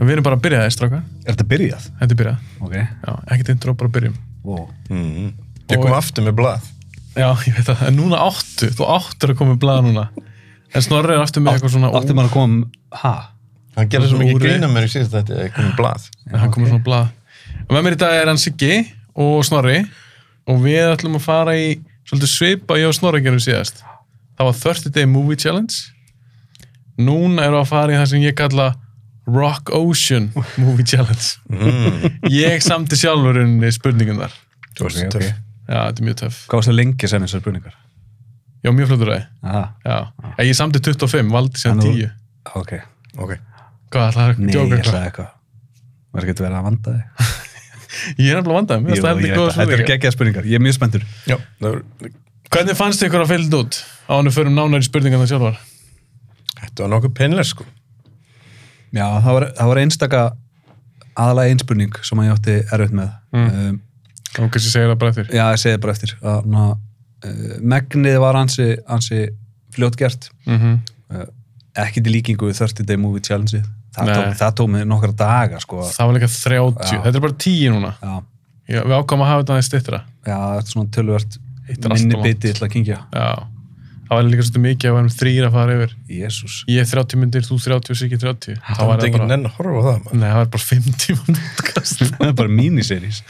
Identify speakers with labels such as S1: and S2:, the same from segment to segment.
S1: við erum bara að byrja það, stráka.
S2: Er þetta byrjað?
S1: Þetta er byrjað.
S2: Ok.
S1: Já, ekkert intro, bara byrjum.
S2: Wow.
S3: Mm. Ég kom
S1: Og-
S3: aftur með blað.
S1: Já, ég veit það. En núna áttu, þú áttur að koma í blaða núna. En Snorri er aftur með eitthvað svona...
S2: Átti maður að koma, um ha?
S3: Hann gerði svo mikið
S1: Úri.
S3: grín að mér í síðast þetta, ég kom með blað.
S1: Já, hann komur svona blað. Og með mér í dag er hann Siggi og Snorri og við ætlum að fara í svolítið svipa ég og Snorri gerum síðast. Það var 30 Day Movie Challenge. Núna erum við að fara í það sem ég kalla Rock Ocean Movie Challenge.
S3: Mm.
S1: Ég samti sjálfur unni spurningum þar.
S3: Þú veist,
S2: Ok, ok.
S3: töff.
S1: Já, þetta er mjög töff.
S2: Hvað var svo lengi sem þessar brunningar?
S1: Já, mjög flottur aðeins.
S2: Aha,
S1: Já. Ég, ég samti 25, valdi sem
S2: En þú-
S1: 10.
S2: ok.
S3: Ok.
S1: Hvað, það er
S2: Nei, ég
S1: djóka eitthvað.
S2: ætlaði eitthvað. Maður getur verið að vanda þig.
S1: Ég er nefnilega vandað, mér
S2: Jú,
S1: finnst það
S2: ég
S1: heldur
S2: veit
S1: góða
S2: það. Þetta eru
S1: spurningar.
S2: geggjað spurningar. Ég er mjög spenntur.
S3: Já. það var-
S1: Hvernig fannst ykkur að fylgd út á hann við förum nánar í spurningarna sjálfar?
S3: Þetta var nokkuð penlega, sko.
S2: Já, það var, það var einstaka aðalega einspurning sem að ég átti erfitt með.
S1: Mm.
S2: Um,
S1: Þá kannski segir það bara eftir.
S2: já, ég segi það bara eftir. Að, na, uh, megnið var ansi, ansi fljótgert.
S1: Mhm.
S2: Uh, ekki til líkingu við 30 Day Movie Challenge. Það
S1: Nei.
S2: tók, það tók mig nokkra daga, sko.
S1: Það var líka 30.
S2: Já.
S1: Þetta er bara 10 núna.
S2: Já,
S1: Já, við ákvæmum að hafa þetta aðeins stittra.
S2: já, þetta er svona tölvöld
S1: Hitt er
S2: minni
S1: alltaf langt.
S2: biti til að kynkja.
S1: Já. Það var líka svolítið mikið að við erum þrýr að fara yfir.
S2: Jésús.
S1: Ég er 30 myndir, þú 30 og Siggi 30.
S3: Það
S1: var
S3: var enginn nenn að horfa á það, maður.
S1: Nei, það var bara 5 tíma podcast.
S2: Það er bara míniserís.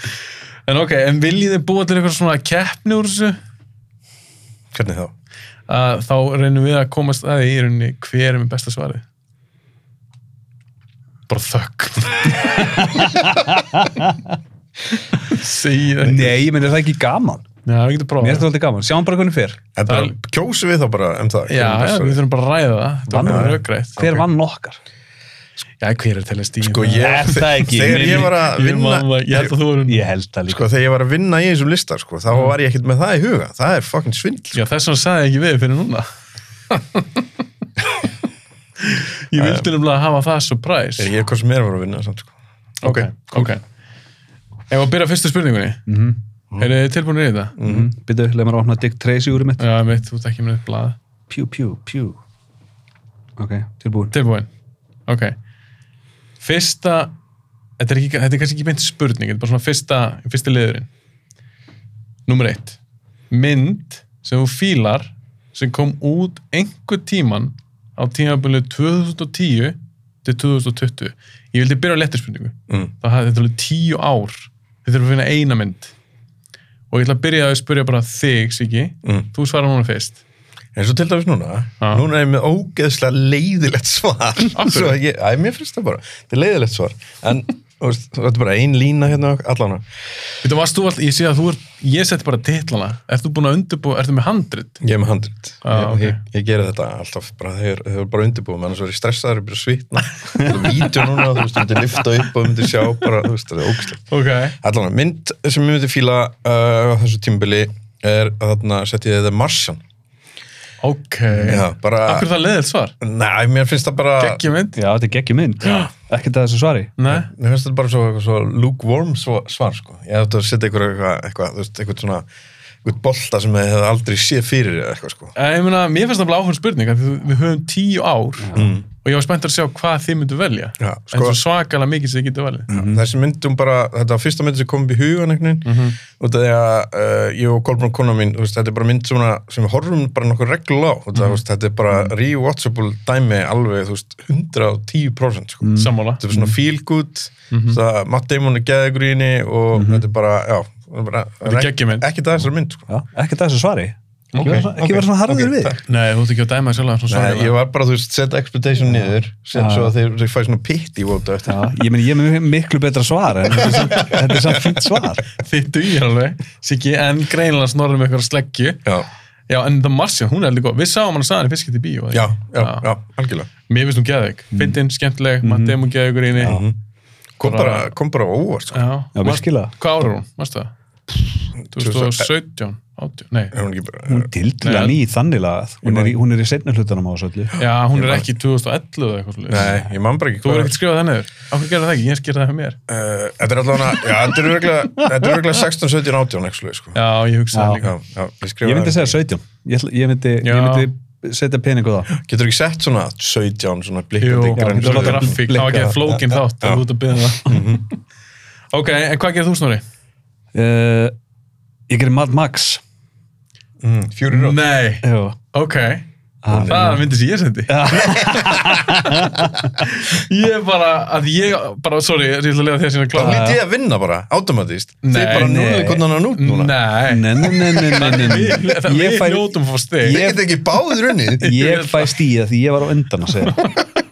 S1: en ok, en viljið þið búa til eitthvað svona keppni úr þessu?
S3: Hvernig þá?
S1: Að þá reynum við að komast að því í rauninni hver er með besta svarið. Bara þögn. Segið það.
S2: Nei, ég meina er það ekki gaman.
S1: Já, við getum
S2: Mér
S1: prófað.
S2: finnst það aldrei gaman. Sjáum bara hvernig fer.
S3: En
S1: Það
S3: bara,
S1: er-
S3: kjósum við þá bara um það.
S1: Já,
S3: hvernig
S1: já,
S3: passar
S1: við
S3: við?
S1: þurfum bara að ræða það. Það
S2: Vann-
S1: var röggrætt.
S2: Hver vann okkar?
S1: Já, hver er til að stíða?
S3: Sko, ég,
S2: Er það ekki?
S3: þegar ég var að
S1: Ég, man
S3: vinna,
S1: það, ég held Mm. að þú var unni.
S2: Ég held það líka.
S3: sko, þegar ég var að vinna í þessum lista, sko, þá var ég ekkert með það í huga. Það er fucking svindl.
S1: Já, þess vegna sagði ég ekki við fyrir núna. ég vildi nefnilega hafa það surprise.
S3: Þegar ég hvað sem er að vera að vinna, samt, sko.
S1: Ok, ok. Ef að byrja á fyrstu spurningunni. Mm -hmm. Er þið tilbúinir í þetta?
S2: Mm -hmm. Býtu, leið mér að opna Dick Tracy úr í mitt.
S1: Já, mitt, þú ert ekki með eitt blað.
S2: Pjú, pjú, pjú. Ok, tilbúin.
S1: Tilbúin. Ok. Fyrsta, þetta er, ekki, þetta er kannski ekki mynd spurning, þetta er bara svona fyrsta, fyrsti liðurinn. Númer eitt. Mynd sem þú fílar sem kom út einhver tíman á tímabilið 2010 til 2020. Ég vildi byrja á lettir spurningu.
S3: Mm.
S1: Það hafði þetta er alveg tíu ár. Þetta er að finna eina mynd. Og ég ætla að byrja að spyrja bara þig, Siki.
S3: Mm.
S1: Þú svarar núna fyrst.
S3: En svo til dæmis núna,
S1: Já.
S3: núna er ég með ógeðslega leiðilegt svar.
S1: Af hverju?
S3: Svo að ég, æ, mér finnst það bara. Þetta er leiðilegt svar. En, þú veist, þetta er bara ein lína hérna, allan.
S1: Þetta varst þú alltaf, ég sé að þú er, ég seti bara titlana. Ert þú búin að undirbúa, ertu með handrit?
S3: Ég er með handrit.
S1: Ah,
S3: ég,
S1: ok.
S3: ég, ég gera þetta alltaf bara, þegar þau eru bara undirbúið, annars verður ég stressaður, ég byrja að svitna. Það er vídeo núna, þú veist, þú myndir lifta upp og myndir sjá bara, þú veist, það er ógeðslega.
S1: Ok.
S3: Allan, mynd sem ég myndi fíla uh, á þessu tímbili er, þarna, sett ég þetta Marsan.
S1: Ok.
S3: Já, bara,
S1: Akkur það leðið svar?
S3: Nei, mér finnst það bara...
S1: Gekki mynd?
S2: Já, þetta er geggjum mynd. Ekkert að þessu svari.
S1: Nei.
S3: Mér finnst þetta bara svo, svo lukewarm svo, svar sko. Ég ætti að setja einhver eitthvað, eitthvað, þú veist, eitthvað svona eitthvað bolta sem ég hef aldrei séð fyrir eða eitthvað sko.
S1: Eh, Ég meina, mér finnst það bara áhverjum spurning að við höfum tíu ár og ég var spennt að sjá hvað þið myndu velja.
S3: Já,
S1: En
S3: sko.
S1: svo svakalega mikið sem þið getur
S3: Mm.
S1: velja.
S3: Þessi myndum bara, þetta var fyrsta mynd sem kom upp í hugan einhvern veginn,
S1: Mhm.
S3: út af því að uh, ég og Kolbrun kona mín, þú veist, þetta er bara mynd sem, sem við horfum bara nokkur regl á
S1: Mhm.
S3: út af, mm -hmm. þetta er bara rewatchable dæmi alveg, þú veist, 110% sko.
S1: Sammála.
S3: Þetta er svona feel good,
S1: Mhm.
S3: það, Matt Damon er geðegur í henni og þetta er bara, já, bara,
S1: Þetta er geggjum mynd.
S3: ekki það þessar mynd sko.
S2: Já, ekkert að þessu svari. Ekki
S1: Ok,
S2: vera svona- ekki
S3: ok,
S2: vera svona harður
S3: ok,
S2: við.
S3: takk.
S1: Nei, þú ert ekki að dæma þér sjálf að svona
S3: Nei, ég var bara, þú veist, setja expectation niður sem
S2: Já.
S3: svo að þeir, þeir fæ svona pitt í vóta eftir.
S2: Já, ég meina, ég er með miklu betra svar en þetta er samt- þetta er samt fint svar.
S1: Þið dugir alveg, Siggi, en greinilega snorðum eitthvað sleggju.
S3: Já,
S1: Já, en The Martian, hún er alveg góð. Við sáum hann að sagði hann í fiskit í bíó. eða ekki?
S3: já, já, já, algjörlega.
S1: Mér finnst hún geðveik. Fyndin, skemmtileg,
S3: Mhm.
S1: Matt Damon geðveikur í henni.
S3: Kom bara, kom bara á óvart, sko.
S1: Já,
S2: Já,
S1: Marst-
S2: virkilega.
S1: Hvað ára hún, mástu það? 2017, 18, nei.
S3: Er Eh, hún ekki bara,
S2: Hún dildilega ný þannig lagað. Hún er í, hún er í setna hlutunum á þessu öllu.
S1: Já, hún er ekki 2011 eða eitthvað slúið.
S3: nei, ég man bara ekki
S1: Þú verður ekkert skrifað það niður. Akkur gerði það ekki, ég gerði það hjá mér.
S3: Uh, þetta er allavega, já, þetta er örugglega- þetta er örgulega 16, 17, 18, ekki slúið, sko.
S1: Já, ég hugsaði
S2: Já.
S1: það líka.
S3: já, já, ég skrifa
S2: Ég myndi segja 17. Ég, ætla- ég myndi, ég
S1: Já.
S2: myndi setja pening á það
S3: Getur ekki sett svona 17 svona
S1: Jú,
S3: blikkandi græn
S2: getur
S1: svona
S2: látið
S1: grafík, það
S2: blikka.
S1: var ekki flókin
S3: Já, Mhm.
S1: þátt það
S3: já.
S1: var út að byrja það ok, en hvað gerir þú snori?
S2: uh, Ég gerir Mad Max
S3: mm, Fury Road
S1: nei,
S2: Já,
S1: ok
S2: Ah,
S1: það er myndið sem ég sendi ég bara að ég, bara, sorry, ég ætla að lega þér sinna
S3: Það
S1: klára
S3: lítið ég að vinna bara, automatist
S1: Nei,
S3: Þið bara núnaði
S2: nei.
S3: hvernig hann er nút núna
S1: nei,
S2: Nei, nei, nei, nei, nei, nei, nei.
S1: Við- það-
S2: Ég
S1: við
S2: fæ-
S1: njótum að fá steg
S3: Þið get ekki báðir unnið
S2: Ég fæst í það því ég var á undan að segja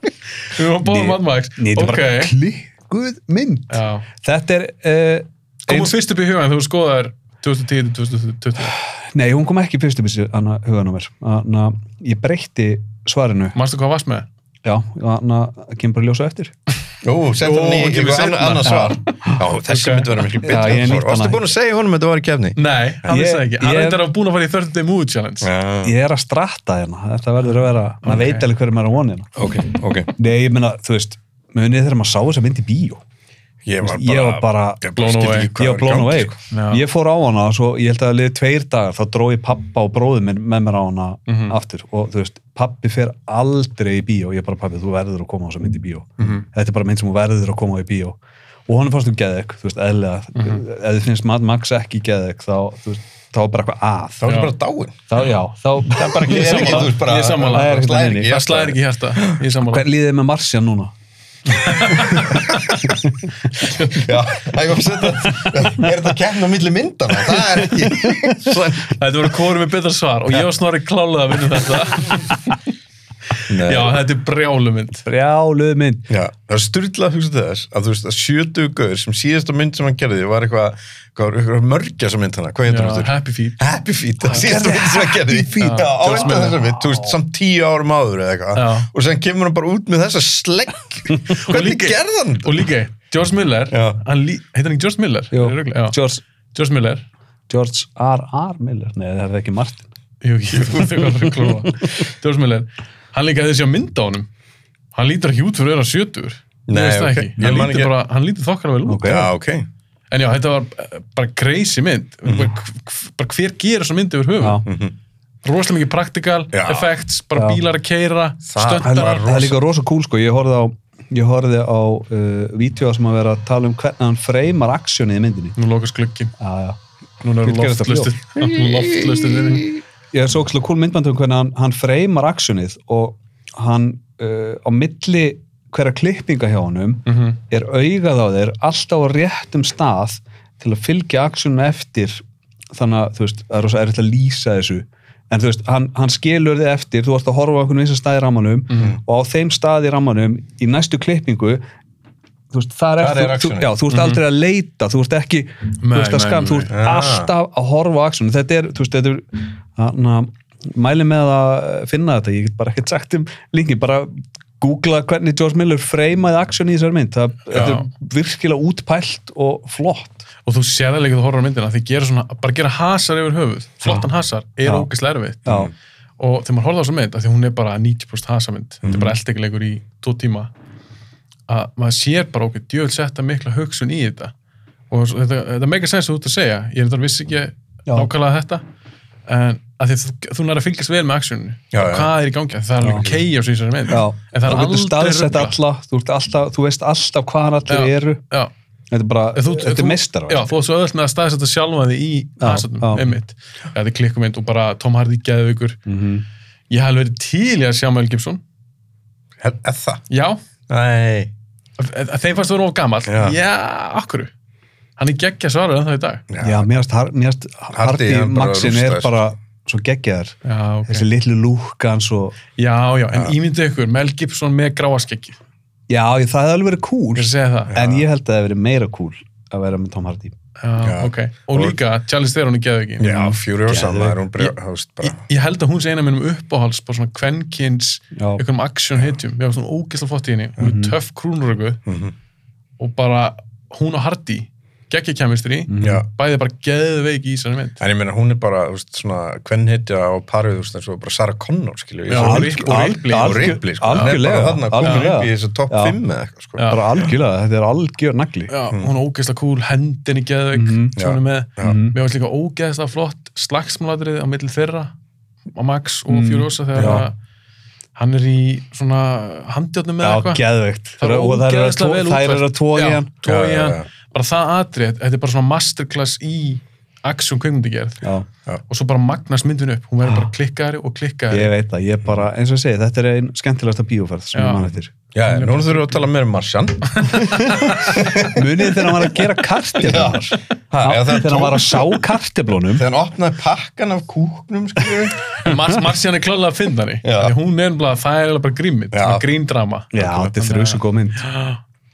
S1: við varum báðum
S2: Nei,
S1: mannmæks
S2: Nei, þetta er
S1: ok,
S2: bara klikkuð mynd
S1: já
S2: Þetta er uh,
S1: komum
S2: eins-
S1: fyrst upp í hugan þú skoðar 2010-2020
S2: Nei, hún kom ekki fyrst upp í sig hana hugan á mér hana, Ég breytti svarinu
S1: mannstu hvað varst með?
S2: Já, hana kemur bara að ljósa eftir
S3: Jú, sett
S1: Jú,
S3: hann í
S1: hann kemur
S3: eitthvað
S1: seinna.
S3: annað- annað svar Já, þessi
S1: Ok.
S3: myndi vera miklu
S2: Já, ég er
S3: betur
S2: nýtt
S3: Varstu
S2: annað.
S3: búin að segja honum að þetta var í kefni?
S1: nei, hann
S2: Ég-
S1: vissi það ekki hann
S2: ég-
S1: reyndar að búin að fara í 30 day mood challenge
S3: Já,
S2: Ég er að stratta hérna, þetta verður að vera maður
S1: Ok.
S2: veit alveg hverju maður er að vona hérna
S3: ok, ok
S2: Nei, ég meina, þú veist, munið þegar maður sá þess mynd í bíó
S3: Ég var
S2: Ég var bara-
S3: Ég
S1: Blown
S3: skildi
S1: away.
S3: ekki hvað
S2: ég var
S3: var í
S2: blown
S3: gangi,
S2: away
S3: sko.
S1: Já.
S2: ég fór á hana svo ég held að liði tveir dagar þá dró ég pappa og bróðum minn með mér á hana
S3: Mhm.
S2: aftur og þú veist, pappi fer aldrei í bíó, ég bara pappi þú verður að koma á þessa mynd í bíó
S3: Mhm.
S2: þetta er bara mynd sem þú verður að koma á í bíó og honum fannst þú geðek, þú veist, eðlilega
S3: Mhm.
S2: ef þið finnst Mad Max ekki geðek þá, þú veist, þá er bara eitthvað að
S3: Þá er
S1: Já.
S3: þetta bara dáin
S2: þá, já, þá bara
S1: Ég er sammála. Ég er sammála.
S2: Það er ekkert
S3: slæðir
S2: þannig.
S3: ekki
S1: það slæðir ekki hérsta ég er sammála
S2: hvern líðið með Marcia núna?
S3: Já, það er ekki að setja Er þetta kemna á milli myndana? Það er ekki Slæðir
S1: þetta voru kórum með betra svar og ég var snorri klálega að vinna þetta já, þetta er brjálumynd
S2: brjáluð mynd
S3: Já, það er styrlað að hugsa til þess að þú veist að 70 gaur sem síðasta mynd sem hann gerði var eitthvað, hvað var eitthvað mörgja sem mynd hana, hvað heitir
S1: Já,
S3: hann aftur?
S1: happy feet
S3: Happy Feet, það er síðasta mynd sem hann gerði Happy
S1: Feet.
S3: Já, á
S1: George
S3: undan
S1: Miller.
S3: þessa mynd, þú veist, samt 10 árum áður eða eitthvað
S1: Já.
S3: og sen kemur hann bara út með þessa slegg Hvernig
S1: líka-
S3: gerði hann?
S1: og líka, George Miller
S3: Já.
S1: hann lí- heitir hann George Miller?
S2: Jú,
S1: Er ég að rugla? Já.
S2: George,
S1: George Miller
S2: George R. R. Miller nei, það er ekki Martin
S1: Jú, ég veit ekki hvað það er klóa. George Miller, hann líka hefði sér mynd á honum. Hann lítur ekki út fyrir öðra sjötur.
S3: Nei,
S1: Nei,
S3: ok.
S1: okay.
S3: Ég
S1: Hann
S3: man
S1: lítur,
S3: ekki-
S1: bara, hann lítur þokkar vel út.
S2: Ok.
S3: Já, ok
S1: En já, þetta var eh, bara crazy mynd. Bara, bara hver gerir svona mynd yfir höfum?
S2: Mhm. Já.
S1: Rosalega mikið praktikal,
S3: Já.
S1: effects, bara
S2: Já.
S1: bílar að keira,
S3: Það
S2: það
S1: stöndarar.
S2: er- það er líka rosa cool sko, ég horfði á ég horfði á uh, vídeo sem að vera að tala um hvernig hann freymar aksjónið í myndinni
S1: Nú lokast glöggin.
S2: já, já.
S1: Núna eru
S2: Við gerum þetta
S1: loftlustir. Loftlustir þinni.
S2: ég er svo ókslega cool myndband um hvernig hann, hann freymar aksjónið og hann uh, á milli hverja klippinga hjá honum
S1: Mhm.
S2: er augað á þeir alltaf á réttum stað til að fylgja aksjónum eftir þannig að þú veist, það er rosa erfitt að lýsa þessu en þú veist, hann, hann skilur þið eftir þú ert að horfa á einhvern vissan stað í rammanum
S1: Mhm.
S2: og á þeim stað í rammanum í næstu klippingu þú veist, þar er,
S3: Þar er
S2: þú, þú,
S3: actionið.
S2: já, þú ert aldrei að leita þú ert ekki, þú
S1: Mhm. Nei,
S2: ert að
S1: nei,
S2: skam þú
S1: nei.
S2: ert
S3: Ah.
S2: alltaf að horfa á aksjónum þetta er, þú veist, þetta er hana, mæli með að finna þetta ég get bara ekkert sagt um linki bara googla hvernig George Miller freymaði aksjónu í þessari mynd, það þetta er virkilega útpælt og flott
S1: Og þú sér það líka þegar þú horfður á myndina, þeir gera svona, bara gera hasar yfir höfuð, flottan hasar, er
S2: Já.
S1: ógeðslega erfitt.
S2: já,
S1: og þegar maður horfði á þessa mynd, af því hún er bara 90% hasamynd, þetta
S2: Mhm.
S1: er bara eldtekilegur í tvo tíma, að maður sér bara okkur djöðl setta mikla hugsun í þetta og svo- þetta, þetta meika sens þú ert að segja, ég er þetta vissi ekki
S2: Já.
S1: nákvæmlega þetta en að því þú, þú nær að fylgjast vel með aksjónu
S3: Já,
S1: og
S3: já.
S1: hvað er í gangi, af því það er alveg keið á sig í þessari mynd,
S2: já
S1: en það er
S2: þú getur
S1: aldrei
S2: staðsett
S1: ruglað.
S2: alla, þú, ert alltaf, þú veist alltaf hvaðan allir
S1: Já.
S2: eru
S1: Já,
S2: þetta er bara,
S1: en þú-
S2: þetta
S1: þú-
S2: er mistar
S1: Já, þú varst svo öðvöld með að staðsetta sjálfa þig í
S2: Já,
S1: hasatnum,
S2: já.
S1: einmitt ja, þetta er klikkumynd og bara Tom Hardy geðveikur
S2: -hmm.
S1: ég hef alveg verið til í að sjá Mel Gibson
S3: Er það?
S1: já,
S3: Nei
S1: að að þeim fannst þú of gamall já,
S3: Já.
S1: já akkur hann er geggja svarur en það í dag
S2: já, mér finnst har- mér finnst Hardy
S3: hann bara
S2: Maxin er
S3: rústaðist.
S2: bara svo geggjaður
S1: já,
S2: þessi
S1: okay.
S2: litlu lúkan svo
S1: já, já, en ímyndu ykkur Mel Gibson með gráaskeggi ég
S2: já, ég- það hefði alveg verið cool
S1: er að segja það já,
S2: en ég held að það hefði verið meira cool að vera með Tom Hardy
S3: Já.
S1: ok, og líka Charlize Theron er geðveikin
S3: Já, Fury og saman
S2: Geðveik.
S3: er hún brjá, þú veist bara
S1: ég, ég held að hún sé eina minnum uppáhals bara svona kvenkins,
S2: Já.
S1: einhverjum action hitjum ég var svona ógeðslega flott í henni, hún er töff krúnurögu
S3: Mhm.
S1: og bara hún og Hardy, geggja kemistri
S2: Mhm.
S3: Já
S1: bæði bara geðveik í þessari mynd
S3: En ég meina, hún er bara, þú veist, svona kvennhetja á parið, þú veist, eins og bara Sarah Connor, skilju.
S1: Já,
S3: og
S1: alg-
S3: Ripley, og
S2: algjör-
S3: Ripley, sko.
S2: algjörlega,
S3: Hún er bara þarna að koma
S2: algjörlega.
S3: upp í þessu topp
S2: Já.
S3: 5 eða eitthvað, sko.
S1: Já.
S2: bara algjörlega, þetta er algjör nagli
S1: Já, hún er ógeðslega cool, hendin í geðveik mm
S2: Mhm.
S1: svona
S3: Já,
S1: með,
S3: já.
S1: mér finnst líka ógeðslega flott slagsmáladrið á milli þeirra á Max og
S2: Mm,
S1: Furiosa þegar
S2: já.
S1: að hann er í svona handjárnum með
S2: Já,
S1: eitthvað
S2: geðveikt.
S1: Það er
S2: Og þær eru að
S1: ógeðslega
S2: tó-
S1: vel
S2: þær eru
S1: útfært.
S2: að tóa í
S1: Já,
S2: hann.
S1: toga í
S3: Já, já,
S1: hann.
S3: já.
S1: bara það atrið, þetta er bara svona masterclass í action kveimundingerð
S2: Já,
S1: og svo bara magnast myndin upp, hún verður bara klikkari og klikkari
S2: ég veit það, ég bara, eins og ég segi, þetta er einn skemmtilegasta bíóferð sem
S1: Já.
S2: ég mann eftir.
S3: Já, nú þurfum við að tala meira um Marsjan.
S2: Munið þegar hann var að gera karteflunar.
S3: Ha, eða þegar
S2: Þegar hann var að sá karteflunum.
S3: Þegar hann opnaði pakkan af kúknum, skriðu.
S1: Mars, Marsjan er klálega að finna hann
S3: Já.
S1: því hún er bara, það er eiginlega bara grímið
S3: Já.
S1: gríndrama
S2: Já, þetta er þrjus og góð mynd.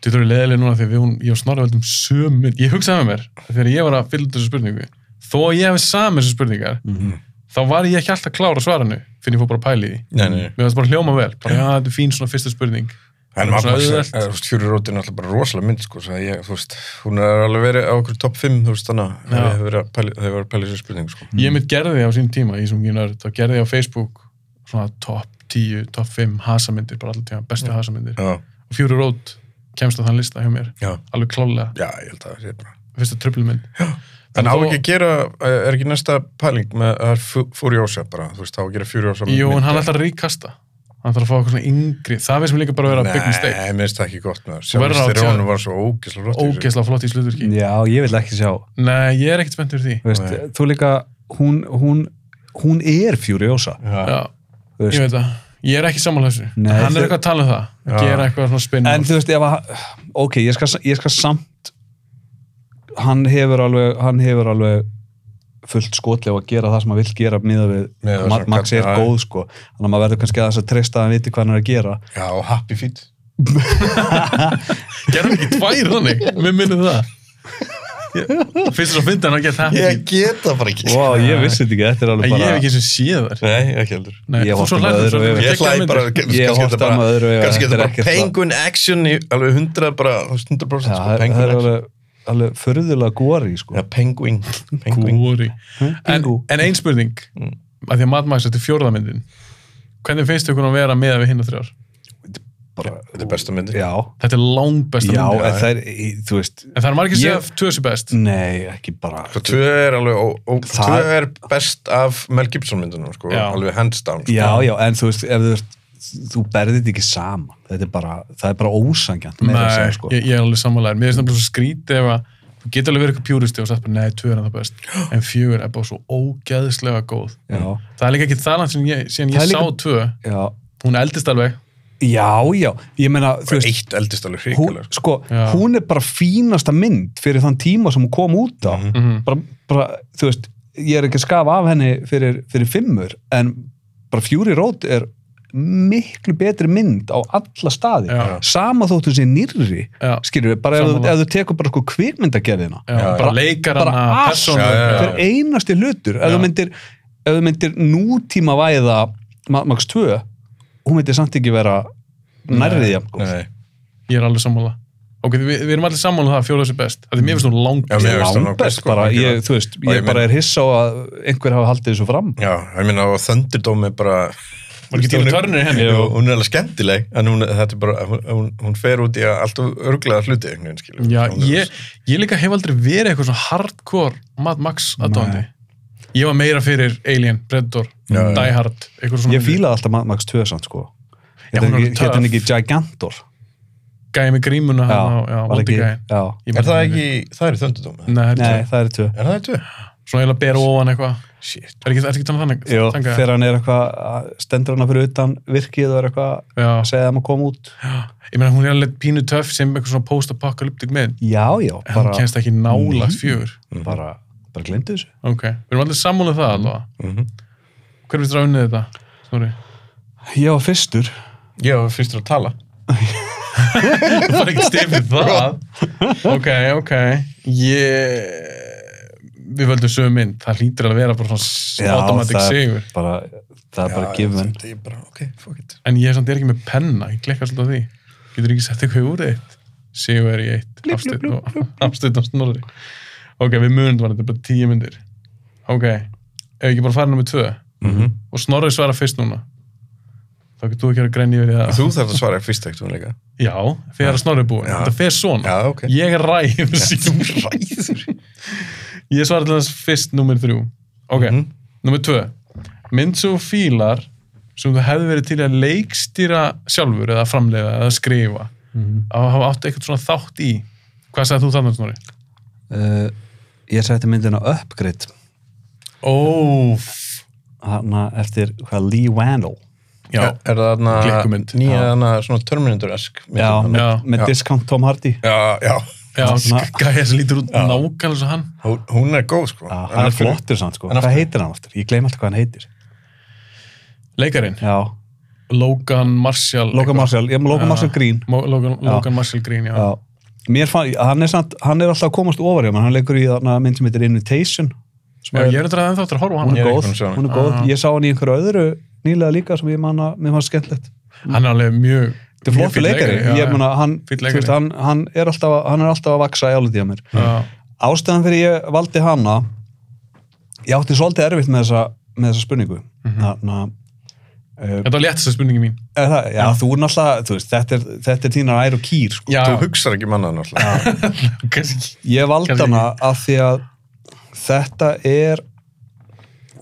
S1: Þú þurfum leðilega núna því við hún, ég og Snorri veldum sömu, ég hugsaði með mér þegar ég var að fylla út þessu spurningu þó að ég hefði samið þessu spurningar
S3: Mhm.
S1: þá var ég ekki alltaf klár að svara hennu finn ég fór bara að pæli því
S3: Nei, nei.
S1: mér varst bara hljóma vel, bara já þetta er fín svona fyrsta spurning
S3: En
S1: Bara svona
S3: maður,
S1: auðvelt.
S3: þú veist, eh, Fury Road er náttúrulega bara rosalega mynd, sko, svo að ég, þú veist, hún er alveg verið á okkur top 5, þú veist, þannig að
S1: Já.
S3: það hefur verið að pæli- hefur verið að pæla þessu spurningu, sko.
S1: ég mitt gerði því á sín tíma í svona gínar, þá gerði ég á Facebook svona top 10, top 5 hasamyndir, bara alltaf tíma, bestu hasamyndir
S3: Já,
S1: og Fury Road kemst á þann lista hjá mér
S3: já,
S1: alveg klálega,
S3: já, ég held að það sé bara.
S1: fyrsta tröflumynd
S3: En á ekki að gera, eh, er ekki næsta pæling með, það er Furiosa bara, þú veist, á að gera Furiosa
S1: Jú, en hann ætlar að ríkasta hann ætlar að fá eitthvað svona yngri það veist mér líka bara að vera big mistake
S3: Nei, mér finnst það ekki gott með það.
S1: Þú verður að
S3: Sjálfstir
S1: sjá-
S3: honum var svo ógeðslega flott. í þessu.
S1: ógeðslega flott í slutturki
S2: Já, ég vil ekki sjá.
S1: Nei, ég er ekkert spennt fyrir því
S2: Þú Veist, þú líka, hún, hún, hún er Furiosa.
S3: Já,
S1: Já,
S2: þú
S1: ég
S2: veist.
S1: veit það Ég er ekki sammála þessu
S2: Nei,
S1: Hann
S2: þau-
S1: er eitthvað að tala um það að
S3: Já.
S1: gera eitthvað svona spinn
S2: En þú veist, ef að, ok, ég skal, ég skal samt, hann hefur alveg, hann hefur alveg fullt skotlega að gera það sem hann vill gera miðað við,
S3: Miðað við
S2: Ma-
S3: svona
S2: Max er
S3: kall-
S2: góð sko þannig að maður verður kannski að þess að treysta að hann viti hvað hann er að gera
S3: já, og Happy Feet.
S1: Gerðum ekki tvær þannig Mér minnum það Ég- Fyrst þess að finna hann að geta happy feet
S3: geta bara ekki.
S2: Vá, ég vissi þetta ekki, þetta er
S1: En
S2: alveg
S1: ég hef
S2: bara
S1: ekki sem séð þar
S3: Nei, ekki heldur.
S1: Nei,
S2: Ég
S1: þú
S2: horfði
S1: svo
S2: með
S1: hlærðu
S2: öðru
S1: svo
S2: auga.
S1: geggjaðar
S3: Ég hlæði
S1: myndir.
S3: bara,
S2: Ég
S3: kannski
S2: horfði
S3: þetta bara,
S2: með öðru auga,
S3: kannski
S2: þetta
S3: þetta
S2: er
S3: bara
S2: ekkert það.
S3: penguin action í alveg 100 bara, þú veist, 100%
S2: Já,
S3: sko,
S2: það það
S3: penguin
S2: er
S3: action.
S2: alveg, alveg förðulega góri sko.
S3: Já, penguin, penguin.
S1: Kúri En,
S2: Bingo.
S1: en ein spurning
S3: Mm.
S1: að Því að matmæs þetta er fjórðamyndin Hvernig finnst ykkur að vera með við hinn og þrjár?
S2: bara,
S3: Þetta er besta myndi.
S2: já,
S1: Þetta er langbesta
S2: já
S1: myndin
S2: en það er, í- þú veist
S1: En það er margir sem
S2: Ég-
S1: segja að tvö sé best
S2: nei, ekki bara
S3: Svo Sko, tvö er alveg, ó, ó,
S2: Það-
S3: tvö er best af Mel Gibson myndunum, sko,
S1: Já.
S3: alveg hands down. Sko.
S2: já, já, en þú veist, ef þú veist þú berðið þetta ekki saman þetta er bara, það er bara ósangjant meira að
S1: Nei,
S2: segja, sko.
S1: ég, ég er alveg sammálaður. Mér finnst það bara svo skrítið ef að þú getur alveg verið eitthvað pjúristi og sagt bara nei, tvö er það best. En fjögur er bara svo ógæðislega góð.
S2: Já.
S1: Það er líka ekki það langt sem ég, síðan
S2: Það
S1: ég
S2: er
S1: sá
S2: líka-
S1: tvö.
S2: já,
S1: Hún eldist alveg.
S2: já, já ég meina, þú
S3: Og
S2: veist
S3: eitt eldist alveg
S2: hún,
S3: hrikalega. Sko.
S2: sko,
S1: Já.
S2: hún er bara fínasta mynd fyrir þann tíma sem hún kom út á
S3: Mhm.
S2: bara, bara, þú veist ég er ekki að skafa af henni fyrir, fyrir fimmur, en bara Fury Road er miklu betri mynd á alla staði
S1: Já.
S2: sama þóttu sé nýrri
S1: Já.
S2: skilur við, bara ef, þú-
S1: Sammála.
S2: ef þú tekur bara sko kvikmyndagerðina
S1: Já, bara,
S2: bara-
S1: leikar
S2: bara
S1: hana,
S2: allt.
S1: persónu.
S3: Já, já, já.
S2: hver einasti hlutur ef
S1: Já.
S2: þú myndir, ef þú myndir nútíma væða Ma- Max 2 hún myndir samt ekki vera sko. nærrið jafn góð.
S3: Nei,
S1: Ég er alveg sammála. Ok, við, við erum allir sammála um það að fjóður þessi best. Það er mér finnst hún langt.
S3: Já, mér- veist það
S2: langbest
S3: nokkuð, sko,
S2: bara, ég,
S3: algjörlega.
S2: þú veist,
S3: Og
S2: ég,
S3: ég
S2: bara er hissa á að einhver hafa haldið þessu fram
S3: já, ég meina á Thunderdome er bara...
S1: Var ekki Tina Turner í henni?
S3: Jú, Hún er alveg skemmtileg, en hún, þetta er bara, hún, hún, hún fer út í að allt örglega hluti, einhvern veginn, skilur.
S1: Já,
S3: Hún er-
S1: ég, ég líka hef aldrei verið eitthvað svona hardcore Mad Max aðdóndi. Ég var meira fyrir Alien, Predator,
S3: Já, já.
S1: Die Hard, eitthvað svona.
S2: ég fílaði alltaf Mad Max 2 samt sko
S1: Já, hún er alveg
S2: hérna
S1: töff.
S2: ekki Gigantor
S1: Gæði með grímuna
S2: já,
S1: hann á, já,
S2: var
S1: vondi
S2: ekki,
S1: gæðin.
S2: já.
S1: Ég
S3: Er
S1: man
S3: það
S1: ekki-
S3: ekki, það er í Thunderdome?
S1: Nei, það
S2: Nei,
S1: er
S2: það eru 2
S3: Er það í tvö?
S1: svona eiginlega bera ofan eitthvað
S3: Shit.
S1: Er ekki, er ekki talað þannig?
S2: Jú,
S1: þannig að-
S2: þegar hann er eitthvað stendur hann að fyrir utan virkið og er eitthvað
S1: Já,
S2: að segja að maður kom út
S1: ég meina hún er alveg pínu töff sem eitthvað svona post-apokalyptik mynd
S2: já, já,
S1: en
S2: bara, Mhm.
S1: hún kennst ekki nálagt fjögur
S2: bara, bara glemdu þessu
S1: Ok, við erum allir sammálið það allavega
S3: Mhm.
S1: Hver er við unnið þetta? Snorri,
S2: ég var fyrstur
S3: Ég var fyrstur að tala.
S1: það var ekki stefið það
S3: Sko.
S1: Ok, ok Ég Við völdum sömu mynd, það hlýtur alveg að vera bara svona s- automatic
S2: það, er
S1: sigur
S2: bara, það er bara
S3: Já,
S2: gifin
S3: ég- ég bara, ok, fuck it.
S1: En ég er samt ég er ekki með penna, ég klikkar svolítið á því Getur ekki sett eitthvað úr þitt Sigur er í eitt,
S2: Blip, blip,
S1: afstutt og, afstutt og snorri Ok, við munum var þetta bara tíu myndir Ok, ef ekki bara farin nummer tvö og snorri svara fyrst núna þá getur þú ekki að grenja yfir í það
S3: Þú þarf að svara fyrst ekkert hún líka.
S1: Já, þegar snorri er búin,
S3: Já.
S1: þetta fer svona
S3: Já, ok.
S1: Ég er ræð síðan.
S3: ræður.
S1: Ég svara til þess fyrst nummer þrjú Ok,
S3: Mhm.
S1: nummer tvö mynd sem þú fílar sem þú hefði verið til að leikstýra sjálfur eða framlega eða skrifa að hafa átt eitthvað svona þátt í hvað sagði þú þannig snori?
S2: uh, ég sætti myndina Upgrade
S1: Óf
S2: hana eftir hvað Lee Wannell
S1: Já,
S3: er það þarna
S1: Glikkumynd.
S3: nýja þarna svona Terminator-esk mynd
S2: já,
S3: þarna?
S2: með,
S1: Já,
S2: með
S3: já.
S2: discount Tom Hardy
S3: já, já.
S1: já
S2: svona-
S1: gæja sem lítur út nákvæmlega svo hann
S3: Hún, hún er góð sko
S2: já, Ah, hann er flottur samt sko,
S3: en af
S2: hvað
S3: hverju?
S2: heitir hann aftur? ég gleym alltaf hvað hann heitir
S1: Leikarinn,
S2: já,
S1: Logan Marshall
S2: Logan
S1: eitthvað.
S2: Marshall, ég, Logan
S1: Já.
S2: Marshall Green
S1: Mo- Logan, Logan Marshall Green, já,
S2: já. Mér fann, hann er, samt, hann er alltaf að komast ofar hjá mér, hann leikur í þarna mynd sem heitir Invitation sem
S1: já
S2: er,
S1: Ég er þetta ennþá eftir að horfa á
S2: hún
S1: hann
S2: er
S3: Ég er ekki
S2: góð,
S3: búinn að sjá hana.
S2: hún er góð.
S1: Ah.
S2: ég sá hann í einhverju öðru nýlega líka sem ég manna, mér fannst skemmtilegt
S1: Mm. Hann er alveg mjög
S2: þetta er flottur leikari, ég meina hann,
S1: Fínn
S2: þú
S1: leikari.
S2: veist, hann, hann, er alltaf, að- hann er alltaf að vaksa í áliti á mér
S1: Já,
S2: ástæðan fyrir ég valdi hana ég átti svolítið erfitt með þessa, með þessa spurningu
S1: Mhm.
S2: þannig að
S1: Þetta var léttasta spurningi mín.
S2: Er það, já, þú er náttúrulega, þú veist, þetta er, þetta er þínar ær og kýr, sko.
S1: Já,
S3: þú hugsar ekki manna náttúrulega
S1: kannski ekki.
S2: Ég valdi
S1: Gerði
S2: hana af því að þetta er,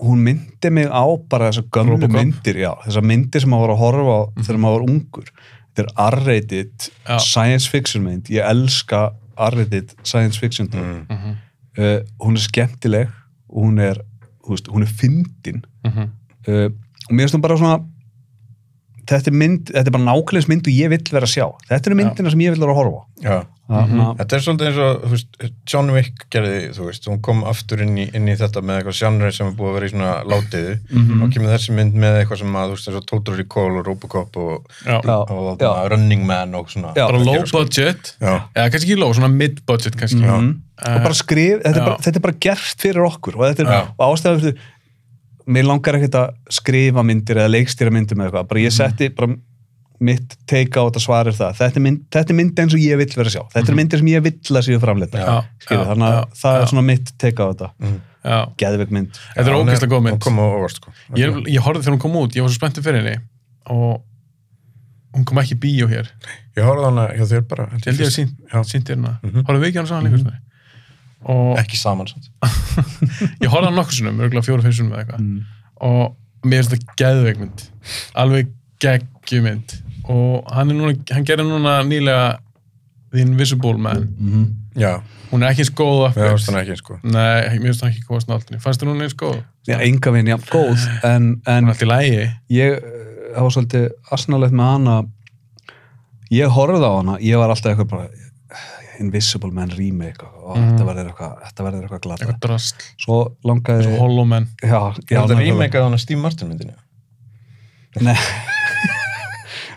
S2: hún myndi mig á bara þessar gömlu
S1: Robocop.
S2: myndir, já, þessar myndir sem maður var að horfa á þegar maður var ungur. Þetta er R-rated
S1: Já.
S2: science fiction mynd, ég elska R-rated science fiction mm. uh, Hún er skemmtileg, og hún er, þú veist, hún er fyndin.
S1: Mhm.
S2: uh, og mér finnst hún bara svona þetta er mynd, þetta er bara nákvæmlega mynd og ég vill vera að sjá, þetta eru myndina sem ég vill vera að horfa á.
S3: já.
S2: þarna,
S3: þetta er svolítið eins og þú veist, John Wick gerði, þú veist, hún kom aftur inn í, inn í þetta með eitthvað genre sem er búið að vera í svona látiðu
S1: Mhm.
S3: og kemur þessi mynd með eitthvað sem að, þú veist, eins og Total Recall og Robocop og,
S1: Já.
S2: Já.
S3: og, og Running Man og svona
S2: Já.
S1: Bara
S3: Það
S1: low
S3: gerir, sko.
S1: budget,
S3: já,
S1: eða kannski ekki low, svona mid budget kannski.
S2: mm,
S1: Eh,
S2: og bara skrif, þetta er
S1: já.
S2: bara, þetta er bara gert fyrir okkur og þetta er,
S3: Já.
S2: og ástæðan fyrir mér langar ekkert að skrifa myndir eða leikstýra myndir með eitthvað,
S1: Mhm.
S2: bara ég setti bara mitt take á þetta svarir það þetta er, mynd, þetta er mynd eins og ég vill vera að sjá þetta er myndir sem ég vill að séu framleita
S1: Mhm. Já. Já.
S2: þannig að
S1: Já.
S2: það
S1: Já.
S2: er svona mitt take á þetta
S1: Já.
S2: geðveik mynd
S1: Þetta er
S3: hún
S1: ógeðslega góð
S3: hún
S1: mynd.
S3: kom á óvart sko
S1: Ég, er- ég horfði þegar hún kom út, ég var svo spenntið fyrir henni og hún kom ekki í bíó hér.
S3: ég horfði á hana hjá þér bara held
S1: Ég held ég að sínt,
S3: Já.
S1: sínt þér hana. hérna.
S2: Mhm.
S1: Horfðu við ekki á hann saman líka svona? Og
S3: ekki saman samt
S1: ég horfði á hann nokkur sinnum, örgulega fjóra fyrir sinnum eða eitthvað. Og mér finnst þetta geðveik mynd. Alveg geggjumynd. Og hann, er núna, hann gerir núna nýlega The Invisible Man.
S3: já,
S1: Hún er ekki eins góð og
S3: ég
S1: upphefst.
S3: horfði hana ekki sko
S1: Nei, mér finnst það ekki góð snáltinni. Fannst þér hún eins góð?
S2: Já, enga veginn, já, góð en,
S1: Hún
S2: en
S1: er allt í lægi.
S2: ég eh, það var svolítið asnalegt með hana ég horfði á hana ég var alltaf eitthvað bara eh, Invisible Man remake og
S1: Mhm.
S2: þetta verður eitthvað, þetta verður eitthvað glata
S1: Eitthvað drasl.
S2: svo langaði
S1: Svo Hollow Man.
S2: já, já,
S3: þetta
S2: nákvæmlega.
S3: remake að hana Steve Martin myndinni
S2: Nei.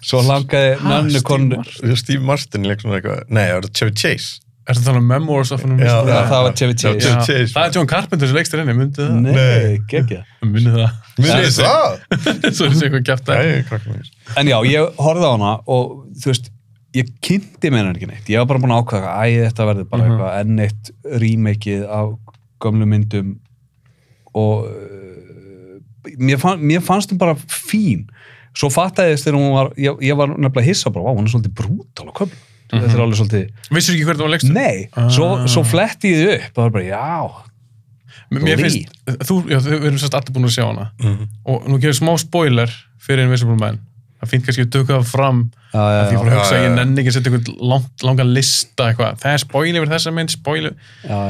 S2: svo langaði
S1: Ha,
S2: nannu
S1: Steve
S2: konu
S1: Martin.
S3: Steve Martin leik svona eitthvað nei, það var Chevy Chase
S1: Er það þannig um Memoirs of an Invisible
S2: Já,
S1: Man?
S2: það var Chevy Chase.
S3: Chevy Chase
S1: Það er John Carpenter sem leikstir henni, myndið það?
S2: nei, geggja
S1: Myndið það.
S3: Munið þið það?
S1: Svo er þessi eitthvað gæft að.
S3: Nei, krakkar mínir.
S2: en já, ég horfði á hana og þú veist, ég kynnti mér henni ekki neitt ég var bara búin að ákvæða, æ, þetta verður bara
S1: Mhm.
S2: eitthvað enn eitt rímeikið af gömlu myndum og uh, mér, fann, mér fannst hún bara fín svo fattaði þess þegar hún var ég, ég var nefnilega hissa bara, vá, hún er svolítið brútal og kömlu, þetta er alveg svolítið
S1: Vissur ekki hvernig það var leikstur?
S2: nei,
S1: Ah.
S2: svo, svo fletti ég þið upp og það var bara, já,
S1: Mér
S2: Lee.
S1: finnst, þú, já, þú- við erum sérst allir búin að sjá hana. Og nú gerir smá spoiler fyrir Invisible Man. Það fínt kannski að duka það fram
S2: já,
S1: að því
S2: já,
S1: fór að hugsa
S3: já,
S1: að ég
S3: já.
S1: nenni ekki að setja einhvern langt, langan lista eitthvað. Það er spoil yfir þessa mynd, spoil
S2: já,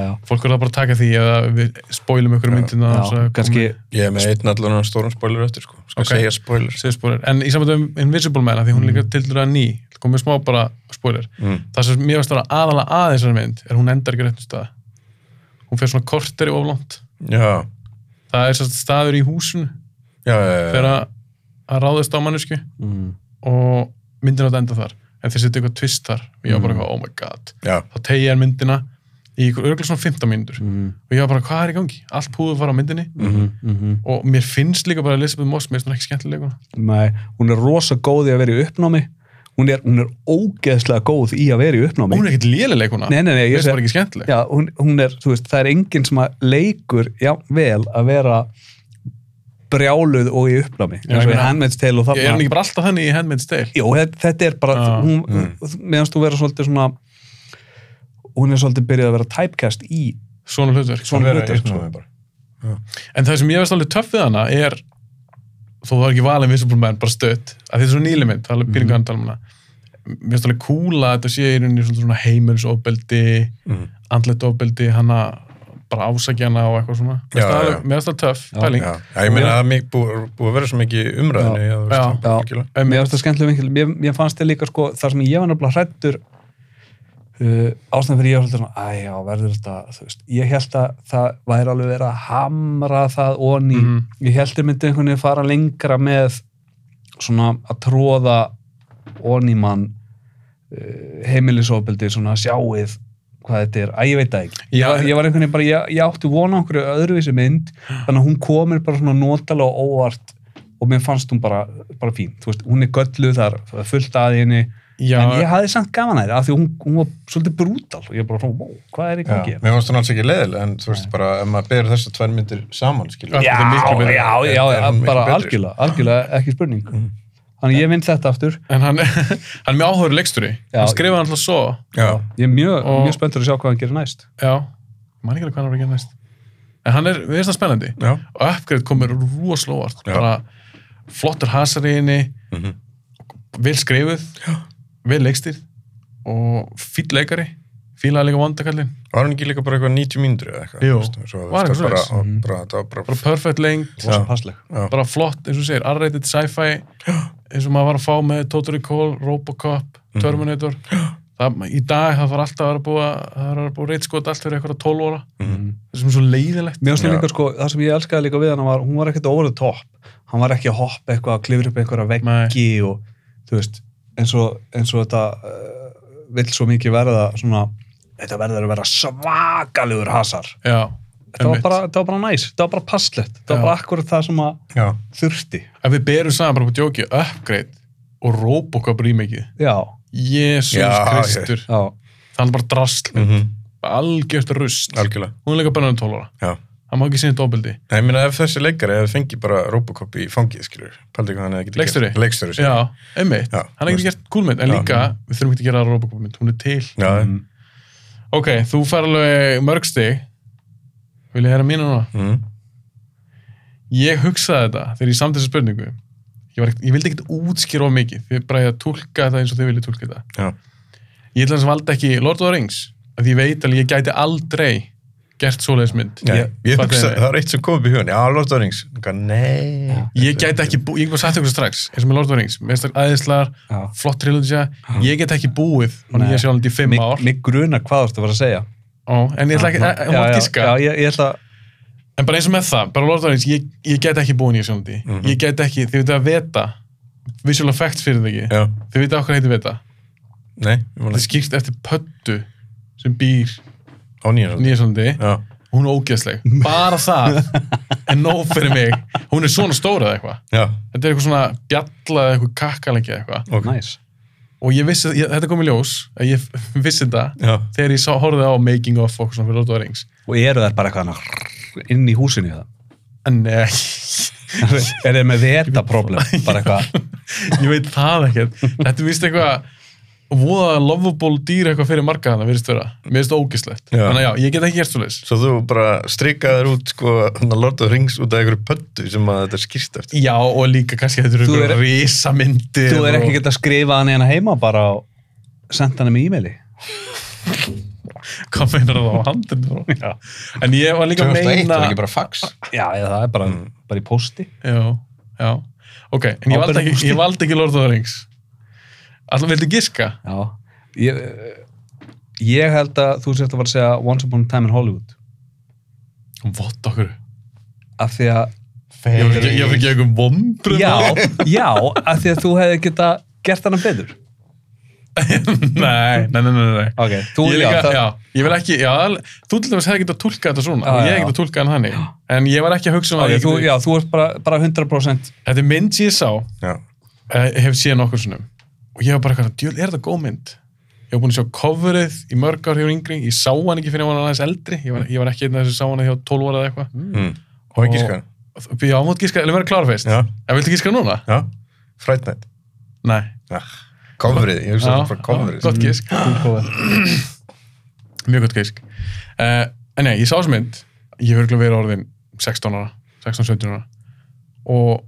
S2: já,
S1: Fólk verður bara að taka því eða við spoilum ykkur myndina.
S2: já,
S1: án þess að
S2: kannski
S3: Ég er með einn allan stórum spoiler eftir sko Skal
S1: Ok.
S3: segja spoiler
S1: segja en í samvættu um Invisible Man af því hún er líka til dæra ný komið smá bara spoiler
S3: Mm.
S1: það sem mér varst að vera aðalega að þessari mynd er hún endar ekki á réttum stað hún fer svona korteri oflónt
S3: Já,
S1: það er sérst staður í húsun
S3: já, já, já.
S1: fyrir að að ráðast á mannesku
S2: mm,
S1: og myndin átt að enda þar en þeir setja eitthvað twist þar og ég var
S2: Mm.
S1: bara eitthvað oh my god
S3: já.
S1: þá tegja er myndina í ykkur örgulega svona 15 mínútur
S2: mm,
S1: og ég var bara hvað er í gangi allt púðu fara á myndinni
S2: mm, mm.
S1: og mér finnst líka bara Elizabeth Moss mér finnst hún ekki skemmtilega
S2: Nei, hún er rosa góð í að vera í uppnámi hún er, hún er ógeðslega góð í að vera í uppnámi
S1: hún er ekkert lélileg hún
S2: Nei, nei, nei, ég
S1: finnst
S2: seg-
S1: bara ekki skemmtileg
S2: Já, hún, hún er, þú veist, það er enginn sem að leikur, já, vel að vera brjáluð og í uppnámi
S1: Já, ég
S2: eins og í
S1: meina-
S2: Handmaid's Tale og
S1: Ég er hann
S2: þarna
S1: ekki bara alltaf þannig í Handmaid's Tale?
S2: Jó, þetta, þetta er bara
S1: Já.
S2: hún, mm. meðanst þú vera svolítið svona hún er svolítið byrjuð að vera typecast í
S1: Svona hlutverk.
S2: Svona
S3: Vera
S2: hlutur,
S3: einn
S2: sko.
S3: með bara.
S1: En það sem ég veist alveg töff við hana er þó það var ekki valin Invisible Man, bara stött að þetta er svo nýli mynd, það er
S3: Mhm.
S1: píringu hann tala um hana mér finnst alveg kúla að þetta sé í rauninni svona, svona heimilisofbeldi mm. andletofbeldi, hana bara ásækja hana og eitthvað svona Mér
S3: Já,
S1: finnst það alveg-
S3: já.
S1: mér finnst það töff, pæling
S3: Já, já, ég meina að það er búið búið að vera svo mikið í umræðinni. Já,
S1: Já.
S2: Já, mér fannst það skemmtilega vinkil mér, mér fannst það líka sko, þar sem ég var náttúrulega hrættur uh, ástæðan fyrir ég var svolítið svona, æ já, verður þetta þú veist, ég held að það væri alveg verið að hamra það onni mm
S1: Mhm.
S2: ég held að myndi einhvern veginn fara lengra með svona að tróða onni mann uh, heimilisofbildi svona sjáið hvað þetta er, að ég veit það ekki
S1: Já,
S2: ég, ég var einhvern veginn bara, ég, ég átti vona okkur öðruvísi mynd, þannig að hún komir bara svona notalega og óvart og mér fannst hún bara, bara fín Þú veist, hún er gölluð þar, það er fullt að henni
S1: já,
S2: en ég hafði samt gaman að það af því hún, hún var svolítið brútal og ég bara, svona, wow, hvað er í gangi
S3: Já,
S2: hérna?
S3: mér finnst hún alls ekki leiðilega en þú veist bara, ef maður berur þessar tvær myndir saman,
S1: Já,
S3: skilur
S1: þetta er miklu Mm.
S2: já,
S1: betra.
S2: já, já,
S3: Er hún miklu
S2: bara
S3: betri?
S2: algjörlega, algjörlega ekki spurning þannig ég vinn þetta aftur
S1: en hann, hann er mjög áhugur leiksturi
S2: Já.
S1: hann skrifaði alltaf svo
S3: Já,
S2: ég er mjög,
S1: Og-
S2: mjög spenntur að sjá hvað hann gerir næst
S1: já, maður ekki alveg hvað hann var að gera næst en hann er, við erum það spennandi
S3: já,
S1: og Upgrade kom mér rosalóvart
S3: Já.
S1: bara flottur hasar í henni
S3: Mhm.
S1: vel skrifuð vel leikstýrð og fýll leikari fílaði líka vandakallin
S3: var hún ekki líka bara eitthvað 90 mínútur eða eitthvað?
S1: Jú.
S3: þú veist, svo,
S1: Var
S3: var
S1: eitthvað
S3: eitthvað bara,
S1: svoleiðis?
S3: og bara, það var bara,
S1: bara perfect lengt
S2: og svo passleg
S1: bara flott, eins og þú segir, R-rated sci-fi eins og maður var að fá með Total Recall Robocop,
S2: Mhm.
S1: Terminator það, í dag það var alltaf að vera búið að það var að búið að reitskota allt fyrir eitthvað 12 óra
S3: Mhm.
S2: Mm.
S1: það sem er svo leiðilegt
S2: Mér finnst
S3: Já.
S2: líka sko, það sem ég elskaði líka við hann var, hún var ekkert over the top hann var ekki að hoppa eitthvað, að klifra upp einhverja veggi og þú veist eins og, eins og þetta uh, vill svo mikið verða svona þetta verður að vera svakalugur hasar
S1: já,
S2: þetta var, bara, þetta var bara næs, þetta var bara passlegt þetta
S1: Já.
S2: var bara akkurat það sem að
S3: já,
S2: þurfti
S1: ef við berum saman bara på djóki Upgrade og Robocop remake
S2: Já,
S1: Jésús
S3: Já,
S1: Kristur
S2: já,
S1: það er bara drasl,
S3: mm
S1: algjört rust
S3: algjörlega
S1: hún er líka bönnuð 12 ára
S3: já.
S1: það má ekki um sinni dóbildi
S3: Nei, ég meina ef þessi leikari hefði fengið bara Robocop í fangið, skilur, paldi hvað hann hefði getið
S1: Leikstjóri?
S3: gert. Leikstjóri, skilur.
S1: já, einmitt,
S3: Já,
S1: hann er ekki
S3: þú
S1: gert kúlmynd en
S3: Já.
S1: líka, við þurfum ekki að gera Robocop mynd hún er til
S3: Já,
S2: Mm.
S1: ok, þú fær alveg mörg stig vil ég hæra mínu núna
S3: mm.
S1: ég hugsaði þetta þegar ég samt þessu spurningu ég, var, ekkert- ég vildi ekkert útskýra of mikið þið er bara að tólka þetta eins og þið viljið tólka þetta
S3: já,
S1: ég ætla að valda ekki Lord of the Rings af því ég veit alveg, ég gæti aldrei gert svoleiðis mynd
S3: já.
S2: Ég-
S3: Ég
S1: Hvað
S3: hugsa,
S1: þeim er?
S3: það var eitt sem kom upp í hugan, já, Lord of the Rings. Ég bara, Nei.
S1: ég gæti ekki, bú- ég hef bara sagt ykkur strax eins og með Lord of the Rings, mér finnst það aðeinslar
S2: já.
S1: flott trilógia,
S3: Ah.
S1: ég get ekki búið og
S2: Nei.
S1: nýja sjálfandi í fimm
S2: Mig,
S1: ár
S2: mig grunar hvað þú ert að fara að segja Hérna,
S1: Ó, en ég ætla ekki, en hún
S2: já,
S1: var
S2: já,
S1: gíska
S2: já, ég, ég ætla að
S1: en bara eins og með það, bara Lord of the Rings ég, ég get ekki búið nýja sjálfandi,
S2: Mhm.
S1: ég get ekki þið veitum að veta, visual effects fyrir það ekki
S3: Já,
S1: þið veitum okkur heitir veta
S3: nei, ég
S1: þetta
S3: vona
S1: er skýrt eftir pöttu sem býr
S3: á nýjan.
S1: nýja sjálfandi
S3: Já,
S1: hún er ógeðsleg, bara það en nóg fyrir mig, hún er svona stóra eða eitthvað,
S3: já,
S1: þetta er eitthvað svona bjalla eða eitthvað kakkalengi eða eitthvað
S3: ok.
S2: næs
S1: og ég vissi, ég, þetta kom í ljós að ég vissi þetta
S3: Já,
S1: þegar ég sá, horfði á Making of og svona fyrir Lord of the Rings
S2: og eru þær bara eitthvað hana inn í húsinu í það
S1: en eh,
S2: er þeir með þetta problem bara eitthvað,
S1: ég veit það ekkert þetta er vist eitthvað voða lovable dýr eitthvað fyrir marga þannig virðist vera, mér finnst það ógislegt
S3: Já.
S1: þannig að já, ég get ekki gert svo leis
S3: svo þú bara strikaðir út, sko, þarna Lord of the Rings út af einhverju pöttu sem að þetta er skýrst eftir.
S1: já og líka kannski þetta eru
S2: Þú
S1: einhverja
S2: er-
S1: risamyndir
S2: þú er ekki
S1: og...
S2: gett að skrifa hann hérna heima bara og senda hann með e-maili
S1: hvað meinar það á handin en ég var líka að
S3: 2001
S1: meina
S3: var ekki bara fax.
S2: já, eða það er bara, bara í pósti
S1: já, já, ok en ég valdi ekki, ég valdi ekki Lord of the Rings alltaf viltu giska
S2: já, ég, eh, ég held að þú sért að fara að segja Once Upon a Time in Hollywood
S1: vott okkur
S2: af því að,
S1: ég var ekki, ég var ekki eitthvað vombrun
S2: já, já af því að þú hefði geta gert hana betur
S1: nei, nei, nei, nei, nei.
S2: ok, þú,
S1: ég, líka,
S2: það,
S1: já, ég vil ekki, já, al- þú til dæmis hefði getað tólkað þetta svona,
S2: Já,
S1: og ég
S2: já.
S1: hefði getað tólkað hann þannig, en ég var ekki að hugsa um
S2: ok,
S1: að ég
S2: þú,
S1: geti,
S2: já, þú ert bara, bara 100%
S1: þetta er mynd sem ég sá,
S3: Já,
S1: eh, hef séð nokkur sinnum, og ég var bara eitthvað, djöl, er þetta góð mynd? Ég var búin að sjá coverið í mörg ár hjá yngri, ég sá hann ekki fyrir að hann aðeins eldri, ég var, ég var ekki einn af þessu sá hann hjá 12 ára eða eitthvað.
S3: mm. og ekki sko.
S1: Og- Já, mót gíska, eða vera klárfeist.
S3: Já,
S1: En viltu gíska núna?
S3: já, Fright Night.
S1: Nei.
S3: Ah, Kofrið, ég hugsa
S1: Já,
S3: frá
S1: já,
S3: kofrið.
S1: Gott gísk. mjög gott gísk uh, en nei, ég sá þessu mynd ég hef örgulega verið orðin 16 ára 16-17 ára og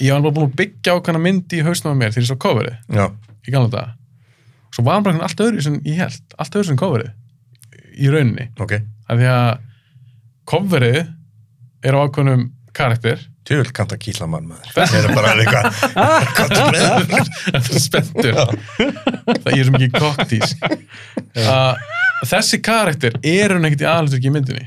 S1: ég var bara búin að byggja ákveðna mynd í hausnum á mér þegar ég svo coverið
S3: já,
S1: í gamla daga svo var hann bara einhvern allt öðru sem ég held allt öðru sem coverið í rauninni
S3: ok,
S1: af því að coverið er á ákveðnum karakter
S3: tjöfull kannt að kýla mann maður það er bara eitthvað hvað þú bregður?
S1: spenntur það ég er sem ekki koktís að Ah, þessi karakter er hún ekkert í aðlutur í myndinni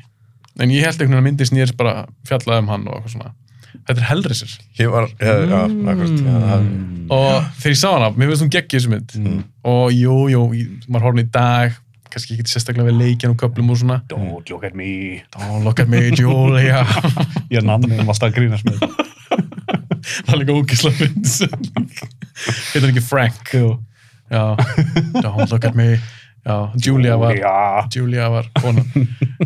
S1: en ég held einhvern veginn að myndin snýrst bara fjallaði um hann og eitthvað svona þetta er Hellraiser
S3: ég var, já, já, akkurat já, það-
S1: og þegar ég sá hana, mér finnst hún geggi þessu mynd og jú, jú, ég- maður horfði í dag kannski ekki sérstaklega við leikjan og köplum og svona
S2: Don't look at me.
S1: don't look at me, Julia það
S2: Ég er nann um alltaf að grínast með þetta.
S1: er líka ógislega mynd heitir hann ekki Frank
S2: Jú.
S1: já, don't look at me já, Julia var
S2: Já.
S1: Julia var konan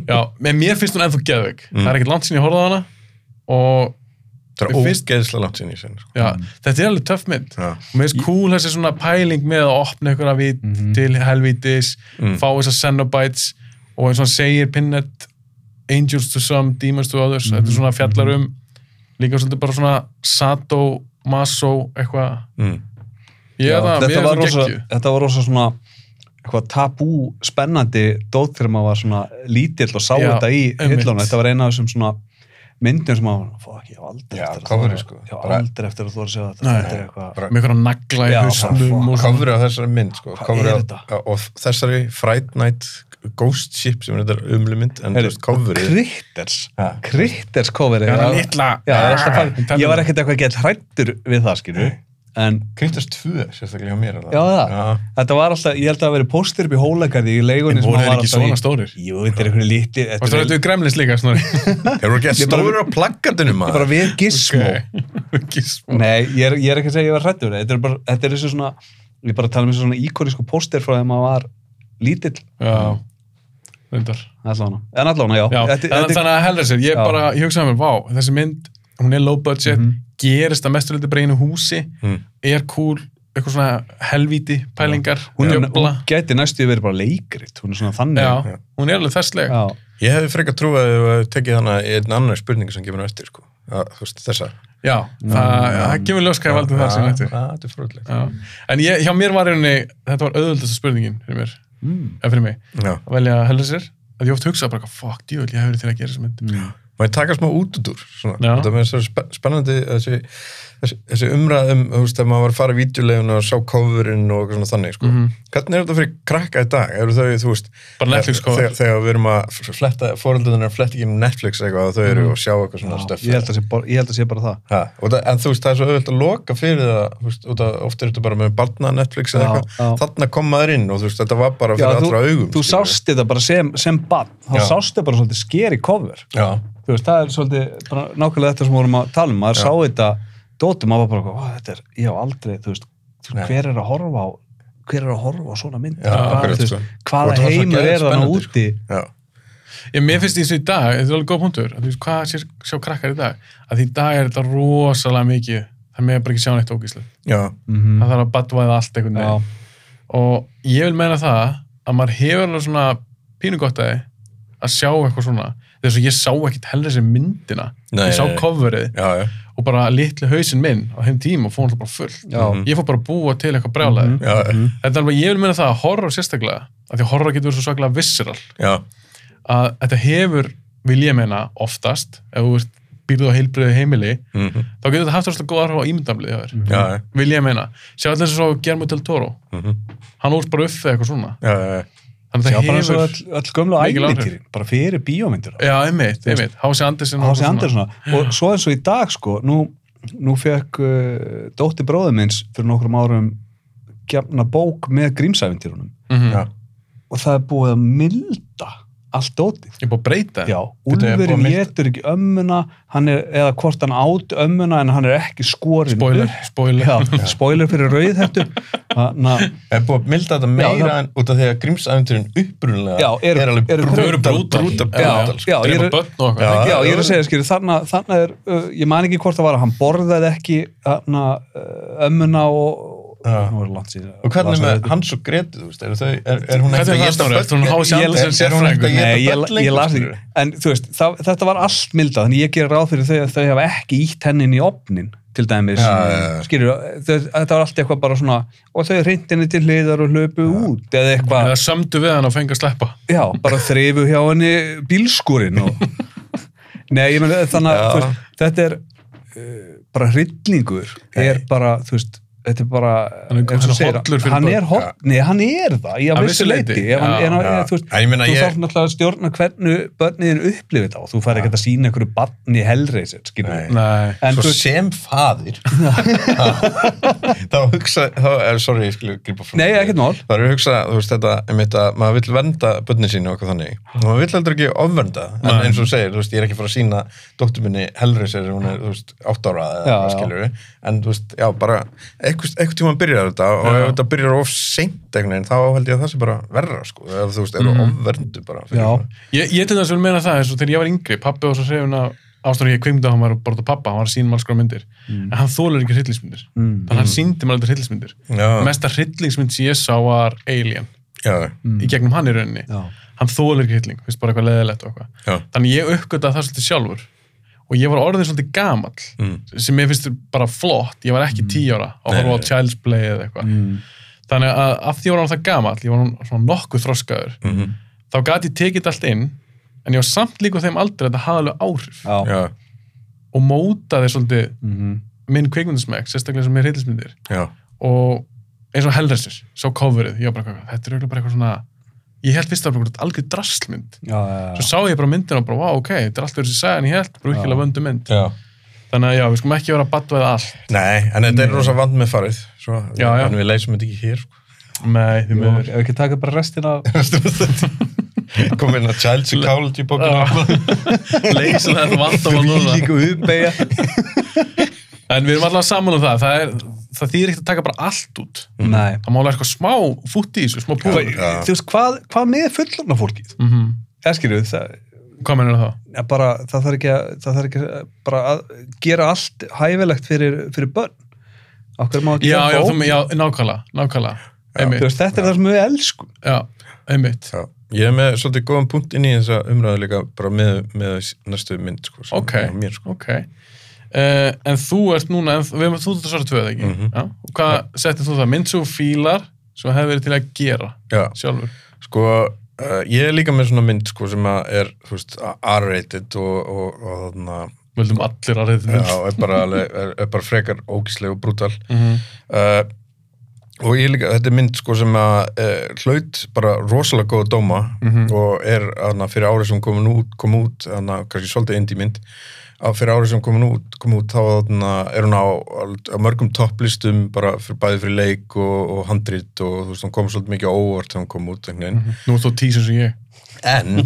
S1: já, en mér finnst hún ennþá geðveik
S2: Mm.
S1: það er ekkert langt sinni ég horfði á hana og
S3: það er
S1: Mér finnst-
S3: ógeðslega langt sinni í sinni sko.
S1: já,
S2: Mm.
S1: þetta er alveg töff mynd
S3: Já.
S1: og mér finnst cool þessi svona pæling með að opna ykkur að við
S2: Mhm.
S1: til helvítis
S3: mm,
S2: Mm.
S1: fá þessar Cenobites og eins og hann segir Pinnet Angels to some, Demons to others þetta
S2: Mhm.
S1: er svona fjallar um líka svolítið bara svona Sato, Maso eitthvað
S3: mm.
S1: ég
S2: Já,
S1: er það, mér
S2: þetta,
S1: er það
S2: var rosa,
S1: geggju
S2: þetta var rosa svona eitthvað tabú spennandi dót þegar maður var svona lítill og sá
S1: Já,
S2: þetta í
S1: einmitt.
S2: hillunum. Þetta var eina af þessum svona myndum sem maður fóð ekki, ég á aldrei
S3: Já,
S2: eftir að
S3: coverið,
S2: þora-
S3: sko.
S2: ég á
S3: Bara-
S2: aldrei eftir að þú að segja þetta
S1: Nei.
S2: þetta er eitthvað
S3: Bara-
S1: með einhverja nagla í
S2: Já, bara
S1: hausnum og svona.
S3: Kofrið á þessari mynd sko.
S2: Hvað
S3: Coverið
S2: er
S3: á-
S2: þetta?
S3: og þessari Fright Night Ghost Ship sem er þetta umlu mynd en þú
S2: Heyrðu,
S3: veist kofrið
S2: Critters,
S3: Ha.
S2: Critters coverið
S1: Já,
S2: Já,
S1: litla Ah,
S2: já, ég er alltaf að
S1: Nintendo.
S2: fara- ég var ekkert eitthvað gett hrættur við það skilju, en
S3: Krittast 2 sérstaklega hjá mér er
S2: Já, það.
S3: Já.
S2: þetta var alltaf, ég held að það hafi verið póstur upp í hólagarði í leigunni
S1: En
S2: sem
S1: voru
S2: maður
S1: þeir
S2: var
S1: ekki svona
S2: alltaf í.
S1: stórir?
S2: Jú, þetta er einhverju lítið
S1: Og svo rættu við gremlins líka, snorri.
S3: Þeir voru ekki að
S2: Ég bara-
S3: stóra á plakkatinu
S2: Þetta er bara
S3: maður.
S2: við gismó
S1: Ekki smá.
S2: Nei, ég er, ég er ekki að segja að ég var hrættur þetta er, bara, þetta er þessu svona ég er bara að tala um þessu svona íkonísku póster frá þegar maður var lítill
S1: Já, reyndar.
S2: allána, en allána, já,
S1: Já,
S2: þetta,
S1: þannig,
S2: þetta,
S1: þannig að heldur sér, ég
S2: Já. Mhm.
S1: bara, ég hugsaði mér, vá, þessi mynd, hún er low budget,
S3: Mhm.
S1: gerist að mesturleiti bara í einu húsi,
S3: Mm.
S1: er cool, eitthvað svona helvíti pælingar,
S2: hún, er,
S1: djöfla.
S2: hún gæti næstu verið bara leikrit, hún er svona þannig
S1: Já, hún er alveg þessleg.
S2: já,
S3: Ég hefði frekar trúið að ég tekið hana í einn annar spurningu sem kemur á eftir sko. að, þú veist, þessa
S1: Já, það, það kemur ljós hvað ég valdi það sem
S3: Já,
S1: þetta.
S3: já, Þetta er fróðlegt
S1: Já. En ég, hjá mér var einhvernig, þetta var auðvöldasta spurningin fyrir mér,
S3: Mm.
S1: eða fyrir mig,
S3: Já.
S1: að velja heldur sér, að ég oft hugsaði bara, fuck, djúvel, ég hefur til að gera þessi mynd.
S2: Mm.
S3: Má ég taka smá út út úr svona.
S1: Já.
S3: Þetta með þessi spennandi þessi, þessi, þessi umræðum þú veist, þegar maður var að fara í vídeolegun og sá coverinn og eitthvað svona þannig sko. Hvernig er þetta fyrir krakka í dag? Eru þau, þú veist
S1: Mhm. Bara Netflix cover.
S3: Þegar, þegar við erum að fletta, fóröldunir er fletta ekki um Netflix eitthvað og þau eru og sjá eitthvað
S2: Mhm. já,
S3: svona stöf
S2: ég, held að sé, bara- ég held að sé bara það
S3: Ha, og það, en þú veist, það er svo auðvitað að loka fyrir það, þú veist, út að ofta er þetta bara með barna Netflix eða
S2: Já,
S3: eitthvað,
S2: já.
S3: þarna kom maður inn og þú veist, þetta var bara
S2: já,
S3: fyrir
S2: þú,
S3: allra augum. skilur
S2: þú
S3: við.
S2: sást þetta bara sem, sem bann þá
S3: Já.
S2: sást þetta bara svolítið skeri cover
S3: Já,
S2: þú veist, það er svolítið bara nákvæmlega þetta sem við vorum að tala um, maður sá þetta dótum, maður var bara, eitthvað, "Vá, þetta er, ég á aldrei þú veist, þú veist,
S3: Nei.
S2: hver er að horfa á hver er að horfa á svona mynd
S3: Já, akkurat, sko. Og
S2: hvaða
S3: þetta var svo
S2: heimur
S3: geðveikt
S2: er þannig
S3: spennandi,
S2: úti
S3: já,
S1: Ég, mér finnst eins og í dag, þetta er alveg góð punktur, að þú veist hvað sér, sjá krakkar í dag, að í dag er þetta rosalega mikið, það með bara ekki sjá neitt ógíslu.
S3: já,
S2: Mhm.
S1: Það þarf að badvæða allt
S3: Mhm.
S1: einhvern
S2: Já.
S1: veginn. Og ég vil meina það að maður hefur alveg svona pínu gott að að sjá eitthvað svona, þess að ég sá ekkit heldur þessi myndina,
S3: Nei,
S1: ég sá
S3: nei, nei.
S1: coverið
S3: já, já,
S1: og bara litli hausinn minn á þeim tíma og fór hann bara fullt.
S2: Já.
S3: Mm.
S2: Mhm.
S1: Ég fór bara að búa til eitthvað brjálæði.
S3: mhm. já,
S1: Þetta er alveg, ég vil meina það að horror sérstaklega, af því að horror getur verið svo svaklega visceral.
S3: já,
S1: að þetta hefur, vil ég meina, oftast, ef þú ert býrðu á heilbriðu heimili,
S3: mhm,
S1: þá getur þetta haft rosalega góð áhrif á ímyndamlið hjá þér,
S2: Mm.
S3: já, já,
S1: vil ég meina. Sjá alltaf eins og Guillermo del Toro,
S3: mhm,
S1: hann úr bara upp eða eitthvað svona.
S3: já, já, já,
S1: Þannig
S2: já,
S1: að það
S2: bara eins og
S1: hefur...
S2: öll, öll gömlu
S1: mikil áhrif.
S2: ævintýrin bara fyrir bíómyndir
S1: Já, einmitt, einmitt, Hási Andersen og
S2: Hási
S1: eitthvað
S2: Andersson og svo eins og í dag sko nú, nú fekk uh, dótti bróðum minns fyrir nokkrum árum gefna bók með grímsævintýrunum
S1: Mhm.
S3: já,
S2: og það er búið að milda allt dótið
S1: Ég er búin að breyta.
S2: Já,
S3: Þetta er búið að
S2: Úlfurinn
S3: milda.
S2: getur ekki ömmuna hann er, eða hvort hann átt ömmuna en hann er ekki skorinn
S1: Spoiler,
S2: upp.
S1: spoiler.
S2: Já, spoiler fyrir rauð þetta
S3: er búið að milda þetta meira
S2: það-
S3: en út af því að grímsæventurinn upprunalega
S2: Já, eru-
S3: er alveg
S2: eru
S1: Þau eru brútal.
S3: brútal,
S1: Já,
S3: brútal, sko.
S2: já,
S1: Þeir
S2: ég
S1: eru
S2: er-
S1: börn og
S3: Já.
S1: eitthvað.
S2: Já, ég er að segja, skilur, þarna, þarna er, uh, ég man ekki hvort það var að hann borðaði ekki þarna, uh, ömmuna og
S3: Já.
S2: nú er langt síðan
S3: Og hvernig
S2: Lasa
S3: með
S2: þetta.
S3: hans og Gretu, þú veist, er, þau, er, er hún
S1: Hvernig
S3: ekkert
S1: er
S3: að
S1: það
S3: geta
S1: stóra? Þú erum hási Andersen
S3: Er- er hún ekkert
S1: sérfræðingur.
S3: að geta
S2: Nei, ég,
S3: börn
S2: ég
S3: lengur,
S2: las því
S3: skilurðu?
S2: En þú veist, það, þetta var allt mildað Þannig ég gerir ráð fyrir þau að þau hafa ekki ítt henni inn í opnin Til dæmis
S3: Já, já, já.
S2: Skilur, þau, Þetta var allt eitthvað bara svona Og þau hrindinni til hliðar og hlupu út Eða eitthvað,
S1: Eða sömdu við hann og fengi að sleppa.
S2: já, bara þreifu hjá henni bílskúrin og... Nei, ég meni, þannig að
S3: Já.
S2: þú veist, þetta er uh, bara hryllingur er bara, þú veist þetta er bara,
S1: Hann er-
S2: eins og
S1: hann er
S2: segir,
S1: hollur fyrir
S2: hann
S1: börn.
S2: er holl, nei, hann er það í að
S1: Að
S2: vissu
S1: vissu
S2: leiti,
S1: leyti,
S2: Ef hann,
S1: já,
S2: en,
S3: já.
S2: þú veist,
S3: Já, ég meina,
S2: þú
S3: ég-
S2: þarf náttúrulega að stjórna hvernig börniðin upplifir þá þú fær ekkert að sína einhverju barni helreisir skilur
S3: Nei.
S2: við.
S1: Nei.
S2: en þú
S3: Svo
S2: veist,
S3: sem faðir þá hugsa þá, eh, sorry, ég skilur gripa frá
S2: nei, ekkert mál
S3: Það eru að hugsa, þú veist þetta, einmitt að maður vill vernda börnin sínu og eitthvað þannig. Og maður vill heldur ekki ofvernda, en
S1: Nei.
S3: eins og þú segir, þú veist, ég er ekki að fara að sína dóttur minni helri sér, hún er, þú veist, átt ára eða
S2: Já,
S3: eitthvað
S2: já.
S3: skilur við. En þú veist, já, bara, eitthvað, eitthvað tíma byrjar þetta og
S1: Já.
S3: ef þetta byrjar of seint einhvern veginn, þá held ég að það sé bara verra, sko. Ef þú veist, eru
S1: Mhm.
S3: ofverndu bara.
S2: já,
S3: svona.
S1: Ég, ég til þess að meina það, eins og þegar ég var yngri, pappi var svo hrifin að ástæður ég kvimta hann var að borða pappa, hann var að sína malskra myndir. En hann þólar ekki hryllingsmyndir.
S2: Mm.
S1: Þannig að hann síndi maður þetta hryllingsmyndir.
S3: Já,
S1: Mesta hryllingsmynd sem ég sá var Alien,
S3: já,
S1: í gegnum hann í rauninni.
S2: Mm. já,
S1: Hann þólar ekki hrylling, finnst bara eitthvað leðilegt og eitthvað.
S3: já.
S1: þannig ég uppgötaði það svolítið sjálfur og ég var orðin svolítið gamall
S3: Mm.
S1: sem ég finnst bara flott, ég var ekki tíu ára að horfa á
S3: Nei.
S1: Child's Play eða eitthvað
S2: Mm.
S1: þannig að af því ég var orðin það gamall ég var orðinn svona nokkuð þroskaður
S3: Mhm.
S1: þá gat ég tekið þetta allt inn en ég var samt líka á þeim aldrei að þetta hafði alveg áhrif
S2: já,
S3: Já,
S1: og mótaði svolítið
S2: Mhm.
S1: minn kveikmyndismæk, sérstaklega sem ég reyðlismyndir
S3: já,
S1: og eins og Hellraiser, svo coverið ég var bara, eitthvað, þetta er auðvitað bara eitthvað svona ég held fyrst að það var algjör draslmynd
S2: já, já,
S1: svo sá ég bara myndina og bara, wow, ok, þetta er allt verið sem ég sagði en ég held, bara virkilega
S2: Já.
S1: vöndu mynd
S3: já.
S1: þannig að já, við skulum ekki vera að batva það allt
S3: Nei, en þetta er rosa vand með farið, svo,
S1: Já, já.
S3: en við leysum þetta ekki hér, sko.
S1: nei, því
S2: já.
S1: miður
S2: Ef ekki taka bara restina af-
S3: kom inn að Child Psychology bókina
S1: Já. leysa þetta vandamál núna
S2: Þvílík uppeyja.
S1: en við erum alltaf saman um það það, er, það þýðir ekkert að taka bara allt út
S2: Nei.
S1: það má alveg eitthvað smá fútt í þessu, smá
S2: Hva,
S1: púður
S3: Já.
S2: þú veist, hvað, hvað með fullorna fólkið?
S1: mm -hmm.
S2: Eða skiljuð, það,
S1: hvað mennir það?
S2: ja, bara, það þarf ekki að, það þarf ekki að, bara að gera allt hæfilegt fyrir, fyrir börn. Okkur má ekki
S1: já, já,
S2: hjálpa
S1: þú, já, nákvæmlega, nákvæmlega
S2: Þú
S1: einmitt,
S2: veist, þetta er það sem við elskum.
S1: já, einmitt
S3: Já, ég er með svolítið góðan punkt inn í þessa umræðu líka bara með, með næstu mynd sko, sem
S1: ok,
S3: er á mér, sko.
S1: ok Uh, en þú ert núna, en, við erum þú þetta svara tvöð ekki,
S3: Mhm.
S1: já, og hvað settir þú það mynd svo fílar sem hefur verið til að gera
S3: Já,
S1: sjálfur
S3: sko uh, ég er líka með svona mynd sko, sem að er þú veist, R-rated og, og, og þarna,
S1: völdum allir að reyða
S3: já, er, bara alveg, er, er bara frekar ógisleg og brútal
S1: -hmm.
S3: uh, og ég er líka, þetta er mynd sko, sem að uh, hlaut bara rosalega góða dóma
S1: Mhm.
S3: og er þarna, fyrir árið sem komin út, kom út þarna, kannski svolítið indie mynd að fyrir árið sem komin út, kom út þá þarna, er hún á, á mörgum topplistum bara fyrir, bæði fyrir leik og, og handrit og þú veist, hún kom svolítið mikið á óvart þegar hún kom út einhvern veginn
S1: Nú ert þú tísur sem ég.
S3: en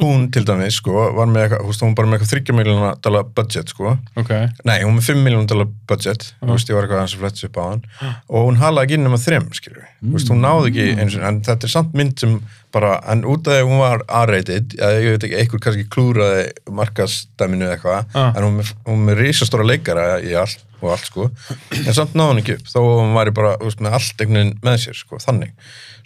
S3: hún til dæmis sko, var með eitthvað, þú veist, hún var bara með eitthvað 30 miljónar dollar budget sko
S1: Ok.
S3: Nei, hún er með 5 miljónum dollar budget þú veist, ég var eitthvað hans að fletsa upp á hann og hún halaði ekki inn nema þrem, skilur mm. veist, hún náði ekki, eins og, en þetta er samt mynd sem bara, en út af því að hún var A-rated, eða ég veit ekki, einhver kannski klúraði markastæminu eða eitthvað
S1: Ah.
S3: en hún er, hún er með risastóra leikara í allt og allt, sko en samt náði hún ekki upp, þó að hún væri bara þú veist, með allt einhvern veginn með sér, sko, þannig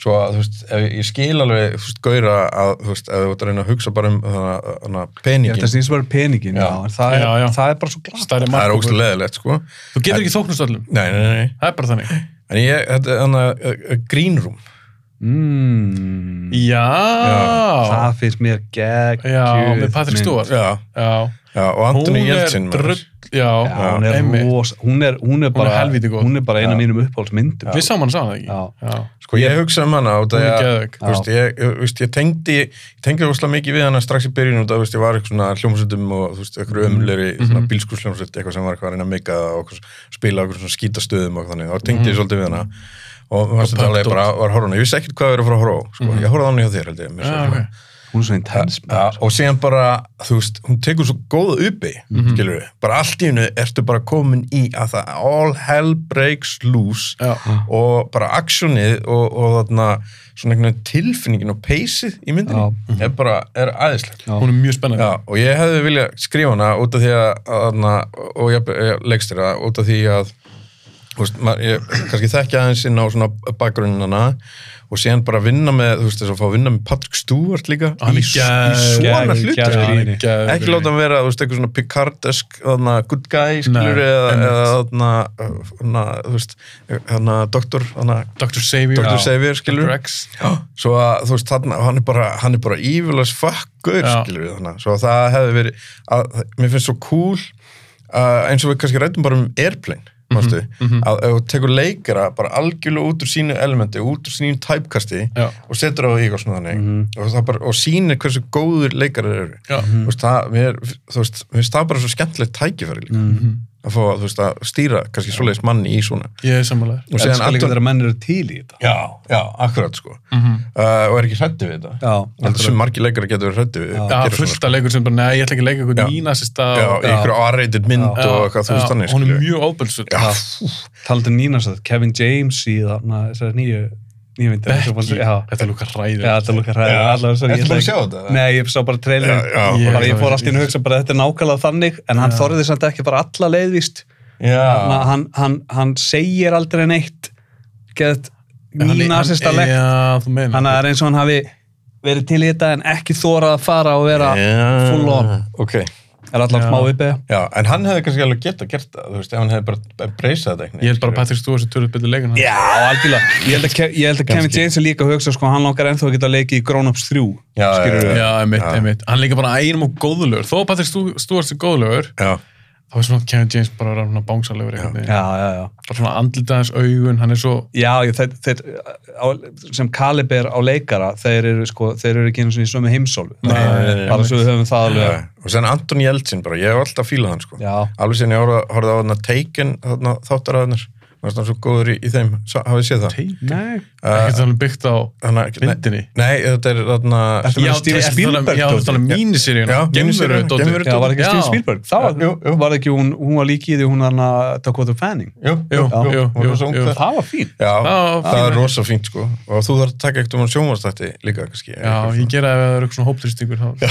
S3: svo að, þú veist, ef, ég skil alveg þú veist, gauðra að, þú veist, ef þú ert að reyna að hugsa bara um þannig, þannig, peningin
S2: Þetta snýst bara um peningin, já.
S3: Já.
S2: en það, er,
S1: Já, já.
S2: það er bara svo glatt.
S1: Stærri
S3: það er
S1: markhópur.
S3: ógstu leðilegt, sko
S1: Þú getur ekki þóknast öllum.
S3: Nei, nei, nei, nei.
S1: Það er bara þannig.
S3: En ég, þetta er hann að að- Green Room.
S2: Mm,
S1: Já. Já,
S2: það finnst mér geggjur.
S1: með Patrick Stewart. Já.
S3: Já, já og
S1: Hún
S3: Anthony
S1: er
S3: Jeltsin. maður.
S1: drull. Já,
S2: Já, hún er,
S1: einmitt.
S2: ros, hún er, hún er bara,
S1: helvíti góð.
S2: hún er bara eina
S3: Já.
S2: mínum uppáhaldsmyndum.
S1: Við sáum hann sá það ekki.
S2: Já.
S1: Já.
S3: Sko, ég hugsa um hana út af
S1: Hún er
S3: að
S1: geðveik.
S3: þú veist, ég, ég, veist, ég tengdi, ég tengdi óslega mikið við hana strax í byrjun út af, þú veist, ég var eitthvað svona hljómsveitum og þú veist,
S1: Mhm.
S3: eitthvað ömleri, mm -hmm. bílskursljómsveit, eitthvað sem var eitthvað að reyna að meika það og eitthvað, spila eitthvað svona skítastöðum og eitthvað þannig, þá tengdi
S1: Mhm.
S3: ég svolítið við hana og mér fannst þetta alveg bara, var horfuna, ég vissi ekkert hvað við erum að fara að horfa á, sko, ég horfði á hana hjá þér held ég, mér
S1: Mhm. Já,
S3: svo,
S1: ok.
S2: Hún er svo intens.
S3: Ja, og síðan bara, þú veist, hún tekur svo góða uppi, mm bara allt í hennu ertu bara komin í að það all hell breaks loose
S1: Já.
S3: og bara aksjónið og, og þarna svona einhvern veginn tilfinningin og peysið í myndinni er bara, er æðislegt
S2: Já.
S1: Hún er mjög spennandi.
S3: Já, og ég hefði eh, viljað skrifa hana út af því að, að og ég, ég leggst þér það, út af því að þú veist, maður, ég kannski þekkja aðeins inn á svona bakgrunnina og síðan bara vinna með, þú veist, þess að fá að vinna með Patrick Stewart líka
S1: Hann er
S3: í, í svona
S2: geð-
S3: hlutur
S2: geð-
S1: Gæðugríni.
S3: ekki láta hann vera, þú veist, eitthvað svona Picardesk þarna, good guy, skilur
S1: Nei,
S3: eða,
S1: einmitt.
S3: eða þarna, þarna, þú veist þarna, doktor, þarna
S1: Dr. Xavier
S3: Dr.
S1: Já.
S3: Xavier, skilur
S1: Dr. X
S3: svo að, þú veist, þarna, hann er bara hann er bara evil as fuck, gaur,
S1: Já.
S3: skilur þarna, svo að það hefði verið að, mér finnst svo cool uh, eins og við kannski rættum bara um airplane Manstu, að ef þú tekur leikara bara algjörlega út úr sínu elementi út úr sínu typecasti
S1: Já.
S3: og setur á í eitthvað svona þannig og, það bara, og sýnir hversu góður leikarar eru
S1: Já.
S3: þú veist, það, mér, þú veist, mér finnst það bara svo skemmtilegt tækifæri líka að fá þú veist, að stýra kannski svoleiðis manni í svona
S1: Ég er sammálaður
S3: og síðan
S2: elskar líka
S3: Anton
S2: þegar menn eru til í þetta
S3: já, já, akkurat sko
S2: Mhm.
S3: uh, og er ekki hrætti við þetta
S2: Já,
S3: heldur sem margir leikari getur verið hrætti við
S2: Já.
S1: Já,
S3: gera svona,
S1: fullt af leikur sem bara, nei, ég ætla ekki að leika
S3: Já.
S1: eitthvað nýnasista
S3: sko. já, í
S2: Já.
S3: ykkur áreitit mynd
S1: Já,
S3: og eitthvað þú
S1: já,
S3: veist þannig
S1: hún er
S3: skilju.
S1: mjög óbælsut
S3: Já,
S2: Taldur Nínast að Kevin James í þarna þessari nýju nýju myndir
S1: Becky,
S2: Já,
S1: þetta er lúka ræður
S2: Já, þetta lukkar hræðið allavega svo
S3: Ertu
S2: ætla
S3: búin að
S2: ekki-
S3: sjá þetta?
S2: Nei, ég sá bara trailerin
S3: Já, já.
S2: Ég, bara,
S1: Ég-
S2: ég fór allt í einu að hugsa bara þetta er nákvæmlega þannig en hann þorði samt ekki bara alla leiðvíst
S3: já,
S2: hann, hann, hann segir aldrei neitt geðt nýnasista lekt
S1: Já, þú meina
S2: þannig að það er eins og hann hafi verið til í þetta en ekki þórað að fara og vera
S3: Já.
S2: full on
S3: ok
S2: er allar
S1: Já.
S2: smá uppið
S3: já, en hann hefði kannski alveg getað gert það þú veist, ef hann hefði bara breysað þetta
S1: Ég held bara að Patrick Stewart sem törður betur leikuna
S2: Já, algjörlega. Ég held að, Ke- ég held að Kevin
S3: Kannski.
S2: James er líka að hugsa, sko, hann langar ennþá að geta að leiki í Grown Ups 3.
S3: Já, já,
S2: skilurðu?
S1: Já, einmitt,
S3: Já.
S1: einmitt Hann er líka bara einum og góðulegur Þó að Patrick Stu- Stewart sem góðulegur
S3: já,
S1: þá er svona Kevin James bara að vera svona bánsalegur einhvern veginn.
S2: Já, já, já.
S1: Bara svona andlitaðins augun Hann er svo
S2: Já, ég- þeir, þeir, á, sem kaliber á leikara, þeir eru, sko, þeir eru ekki einu sinni í sömu heimsólu.
S1: Nei,
S2: Bara svo við höfum það alveg.
S3: já. og sen Anton Jeltsin bara, ég hef alltaf fílað hann sko
S2: Já,
S3: alveg sem ég horfði- horfði á þarna Taken þarna þáttaraðunar varst hann svo góður í, í þeim, Sa- hafið séð það
S2: nei.
S1: Ekkert þannig byggt á
S3: þannig,
S1: myndinni
S3: nei, þetta er þarna
S2: Ertu með
S1: Já,
S2: Steven
S1: ertu
S2: Spielberg
S1: þannig- Já,
S2: dótið?
S1: þetta er míniseríuna
S3: Já,
S1: Gemveru
S3: miniseríuna,
S1: dótið.
S3: Gemveru
S2: Já, var ekki
S1: Já.
S2: Steven Spielberg? Það var,
S3: Jú, jú.
S2: var ekki hún, hún var líki í því hún hann að Dakota Fanning.
S3: jú,
S1: Jú,
S3: hún
S1: jú,
S3: var
S1: jú,
S3: svo ung
S1: jú.
S3: þar.
S2: Það var fín.
S3: já,
S1: Já,
S3: það
S1: fín.
S3: er rosa fínt sko og þú þarf að taka eitt um hann sjónvastætti líka kannski
S1: Já, ég gera ef það eru eitthvað svona hóptrýstingur þá-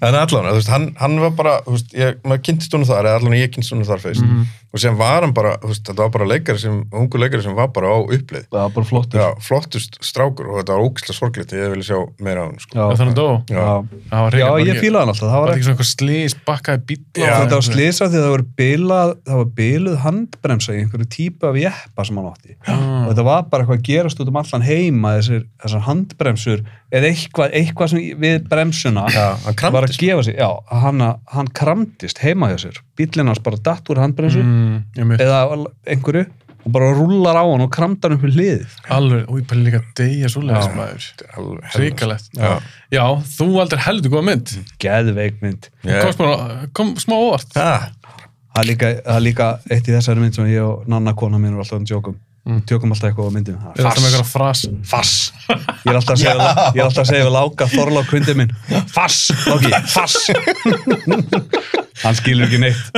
S3: en allan, þú veist, hann, hann var bara þú veist, ég, maður kynntist honum þar, eða allan ég kynntist honum þar fyrst
S1: Mhm.
S3: og sem var hann bara, þú veist, þetta var bara leikari sem, ungu leikari sem var bara á uppleið
S2: Það var bara flott.
S3: já, flottust strákur og þetta var ógislega sorgleitt ég vilja sjá meira á hann sko.
S1: Já, Þannig að dó
S3: já,
S1: Það var
S2: Já,
S1: hreina-
S2: ég fílaði hann alltaf. Það
S1: Var
S2: var
S1: það ekki svona eitthvað slís, bakkaði bíl
S3: Já.
S2: þetta var slisa því að það voru bilað það var biluð handbremsa í einhverju típu af jeppa sem hann átti
S1: Ah.
S2: og
S3: Mm.
S2: þetta var bara eitthvað að gerast út um allan heima þessir, þessar handbremsur eða eitthvað, eitthvað sem við bremsuna
S3: já, hann
S2: var
S3: kramdist
S2: að gefa sig, já, hann, hann kramdist heima hjá sér, bíllinn hans bara datt úr handbremsu
S3: Mm.
S1: Mm, Einmitt.
S2: eða einhverju og bara rúlar á hann og kramdar upp í liðið
S1: Alveg, úi, bara líka degja svoleiðis maður
S3: Alveg helvítið.
S1: Ríkalegt
S3: Já.
S1: Já, þú aldrei heldur góða mynd
S2: geðveikmynd
S3: Ég-
S1: Komst bara- Kom smá óvart
S3: Ha,
S2: það er líka, það er líka eitt í þessari mynd sem ég og nanna kona mín er alltaf um djókum mm. tjókum alltaf eitthvað á myndum
S1: Við erum alltaf með eitthvað fras
S2: Fass Ég er alltaf að segja, ég er alltaf að segja við Láka Þorlák kundið minn Fass, Láki, fass Hann skilur ekki neitt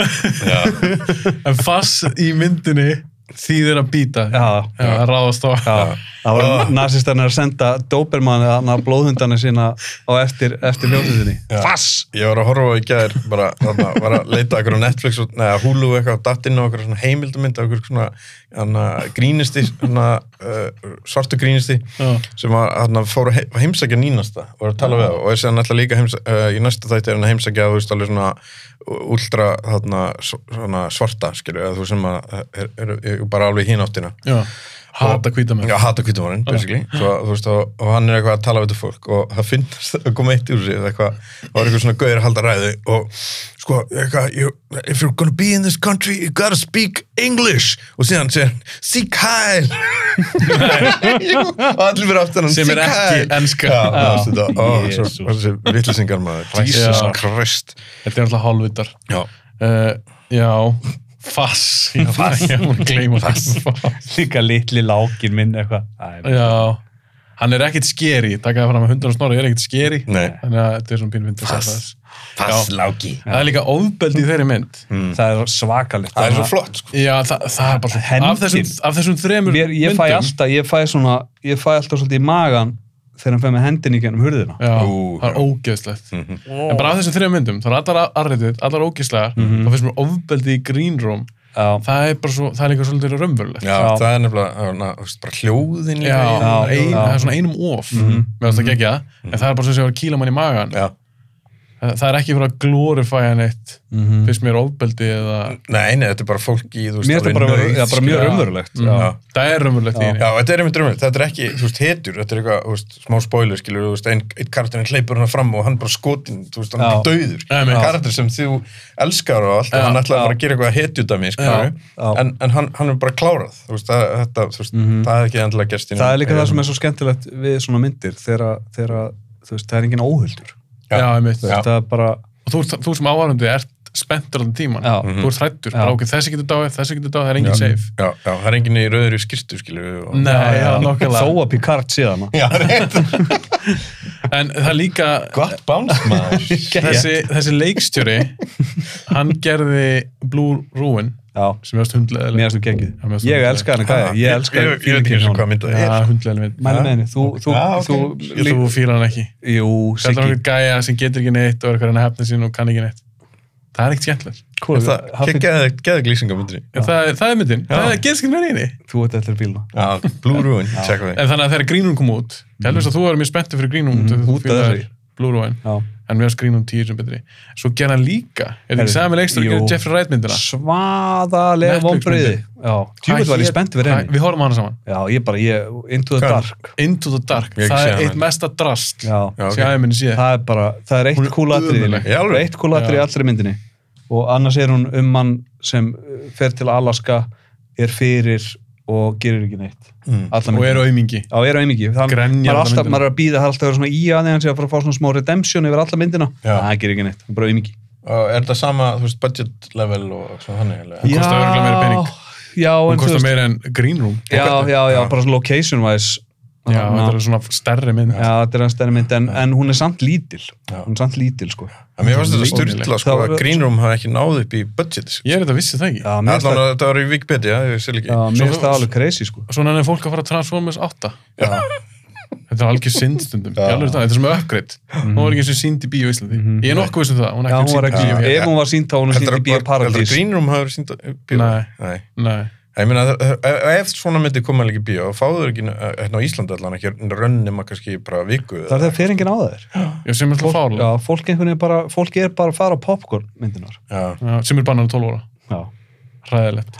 S1: En fass í myndinni þýðir að býta
S2: Já.
S1: að ráðast á
S2: Já, það var nazistarnir að senda dópermanni að blóðhundana sína á eftir, eftir ljóðuðinni Fass
S3: Ég var að horfa á í gæðir bara, þarna, var að leita okkur á Netflix og, neða, Hulu og eitthvað, datt inn á okkur svona heimildamynd okkur svona hana, grínisti, hana, uh, svartu grínisti
S1: Já.
S3: sem var, hana, fór að he- heimsækja nýnasta og var að tala við það og er séðan alltaf líka heimsæ, uh, í næsta þætti er hann að heimsækja þú veist alveg svona ultra þarna, s- svona svarta skilju, eða þú sem að er, er, er bara alveg hínáttina
S1: Já. Hata hvíta með
S3: Já, hata kvítumorinn, basically Svo, þú veist, og, og hann er eitthvað að tala við þetta fólk og það finnst að koma eitt úr sig eða eitthvað, það var eitthvað svona gauðir að halda ræðu og sko, eitthvað you, if you're gonna be in this country, you gotta speak English og síðan segir hann seek heil Jú, og allir fyrir aftan hann
S1: Sem er
S3: "Seek
S1: ekki
S3: heil."
S1: enska.
S3: Já,
S1: Já.
S3: þú veist þetta, ó, svo-
S2: Jesus.
S3: þessi vittlisingar maður
S1: Já.
S3: Jesus Christ
S1: Þetta er alltaf hálfvitar
S3: Já,
S1: Uh, Já, fass Fass Já, hún gleyma fass
S2: Líka litli lákin minn eitthvað Æ,
S1: Já Hann er ekkit skeri, takaði fram að hundur og snorri er ekkit skeri
S3: Nei.
S1: Þannig að þetta er svona pínvind
S3: Fass. Fassláki
S1: Það er líka ofbeldi í þeirri mynd
S2: Það er svakalitt
S3: Það er svo flott, sko
S1: Já, það, það er bara
S2: Hendin.
S1: af þessum, af þessum þremur
S2: Mér, ég, fæ alltaf, ég, fæ svona, ég fæ alltaf svolítið í magan þegar hann fæ með hendin í gennum hurðina
S1: Já,
S3: Ú,
S1: það er
S3: já.
S1: ógeðslegt En bara af þessum þremur myndum, það er allar arriðið, allar ógeðslegar þá finnst mér ofbeldi í Green Room
S2: já,
S1: það er bara svo, það er líka svolítið raunverulegt
S3: Já,
S2: Já.
S3: það er nefnilega, na, veist, bara hljóðin líka
S1: Já,
S3: í
S1: það
S3: honum, bara
S1: er ein,
S3: ein-
S1: það er svona einum of mm. meðan það gegja, en það er bara svo sem að kýla mann í magan
S3: Já.
S1: það, það er ekki fyrir að glorifæja neitt
S2: Mhm.
S1: fyrst mér ofbeldi eða
S3: Nei, nei, þetta er bara fólk í, þú veist,
S2: mér er þetta
S3: alveg
S2: bara,
S3: nauð,
S2: já, bara
S3: skilur.
S2: mjög
S1: skilja.
S2: raunverulegt sko.
S1: Mm.
S2: já.
S3: Já.
S1: það er raunverulegt í henni
S3: Já, þetta er einmitt raunverulegt, þetta er ekki, þú veist, hetur, þetta er eitthvað, þú veist, smá spoiler, skilur, þú veist, einn ein karakterinn hleypur hana fram og hann bara skotin, þú veist, hann
S2: Já.
S3: er döður.
S1: Já, meni.
S3: Karakter sem þú elskar og allt,
S1: Já,
S3: og hann ætlaði
S2: já.
S3: bara að gera eitthvað hetjudami, skilur,
S2: Já, já.
S3: en, en hann, hann er bara klárað, þú veist, það, þetta, þú veist, það er ekki endilega gerst í
S2: það
S3: neinum-
S2: er líka það sem er svo skemmtilegt við svona myndir þegar, að- þegar að, þú veist, það er engin óhuldur
S1: Já, einmitt.
S2: Þú veist, það er bara,
S1: og þú, ert- þú sem áhærandi ert spenntur allan tíman
S2: Já.
S1: þú ert hrættur,
S2: Já.
S1: bara ok, þessi getur dáið, þessi getur dáið það er engin
S3: Já.
S1: safe
S3: Já, já, það er enginn í rauðri skirtu, skilur, og...
S1: Nei, já, nokkulega.
S2: þó að Picard síðan
S3: Já, rétt.
S1: en það er líka
S3: Gott báns, maður.
S1: þessi, þessi leikstjóri hann gerði Blue Ruin
S2: já,
S1: sem ég varst hundlega
S2: mér erstu
S1: Já, mér
S2: gengið
S1: finnst
S2: ég
S1: hún
S2: elska hann,
S3: Ha,
S2: hvað ég elska
S3: ég, ég, ég veit ekki eins og hvað myndað er.
S1: Já, hundlega mynd
S2: mæli með henni, þú, þú,
S3: Já, ok.
S2: þú,
S1: Ég þú fílar hann ekki
S2: jú,
S1: Þetta er
S2: Siggi
S1: einhvern gæja sem getur ekki neitt og er eitthvað að hefna sín og kann ekki neitt Það er ekkert skemmtilegt
S2: hvað,
S3: Það
S2: Hafið-
S3: geggjaði- geggjaði lýsing á myndinni.
S1: En það, er- það er myndin,
S3: Já.
S1: það er gerðskinn með henni
S2: þú ert eftir bílna
S3: Já, Blue Ruin, tjekka því.
S1: En þannig að þegar grínum kom út Ég helvist að þú var mjög spenntið fyrir grínum mm -hmm.
S2: Mhm. út af þessu.
S1: Blue Ruin
S2: já.
S1: En mér varst grínum tíu sem betri Svo gerði hann líka Er þetta
S2: Herri,
S1: ekki sami leikstur að
S2: jú.
S1: gera Jeffrey Wright myndina?
S2: svaðalega
S1: Netflix
S2: vonbröði
S1: myndin.
S2: já, djúvel
S1: Hvað
S2: var ég
S1: hét-
S2: spennt fyrir
S1: hvað-
S2: henni
S1: Við horfum á hana saman
S2: já, ég bara, ég, into the
S3: Hvað?
S2: dark
S1: Into the Dark,
S3: Ég hef ekki
S1: það
S3: séð
S1: er
S3: hana.
S1: eitt mesta drast
S2: hérna. já,
S3: Já, ok.
S1: sem aðeins minni sé
S2: það er bara, það er
S1: Hún
S2: eitt
S1: er
S2: kúlatrið
S1: ömurleg.
S3: Í alvöru?
S2: eitt kúlatrið í
S1: Já.
S2: allri myndinni og annars er hún um mann sem uh, fer til Alaska er fyrir og gerir ekki neitt
S3: Mm.
S2: alla
S1: og er
S2: myndina
S1: auðmingi
S2: Já, er á eimingi. Þannig
S1: Grenjar
S2: maður er
S1: alla
S2: alltaf,
S1: myndina.
S2: maður er að býða, það er alltaf að vera svona í aðeins að fara að fá svona smá redemption yfir alla myndina.
S3: Já.
S2: Það gerir ekki neitt, hún er bara auðmingi.
S3: Og er þetta sama, þú veist, budget level og svona þannig? eða?
S1: Já. kostar örugglega meiri pening.
S2: Já,
S1: Hún
S2: en þú
S1: kostar
S2: veist,
S1: meira en Green Room
S2: já, já, já,
S3: Já.
S2: bara svona location wise.
S1: Já, þetta er svona stærri mynd
S2: Já, þetta er hans stærri mynd, en, en hún er samt lítil.
S3: Já.
S2: Hún er samt lítil, sko.
S3: En mér fannst þetta styrla, sko,
S2: Það var-
S3: að Green Room hafði ekki náð upp í budget, sko.
S1: Ég er þetta vissi það ekki
S2: Já, mér finnst
S3: Allan
S2: það-
S3: að þetta var í Wikipedia, ég sé ekki.
S2: já, mér finnst
S1: Svo-
S2: það alveg crazy, sko.
S1: Svona er fólk að fara að Transformers 8
S3: Já.
S1: Þetta er algjör synd stundum
S3: Já.
S1: Ég alveg það, þetta er sem uppgreitt Hún var ekki eins og sínd í bíó í Íslandi Ég er nokkuð viss um það, hún er
S2: Mhm. Já, hún var
S1: ekki
S2: ekki,
S1: sínd í bíó
S2: ef hún var sínt þá var hún sínt
S3: Heldur
S2: í Bíó
S3: að
S2: Paradís.
S3: Green Room hafði verið sínt í bíó?
S1: Nei.
S3: Nei.
S1: Nei,
S3: Ég meina, það- ef ef svona myndi koma líka í bíó, þá fáðu þau ekki, eh, hérna á Íslandi allan, ekki rönn nema kannski bara viku.
S2: Það er það fyrir enginn á þær.
S1: ég sem er alltaf
S2: Fólk,
S1: fála
S2: já, fólk, einhvern veginn bara, fólk er bara að fara á popcorn myndinar.
S3: Já.
S1: Já, Sem er um bannan 12 óra,
S2: Já.
S1: ræðilegt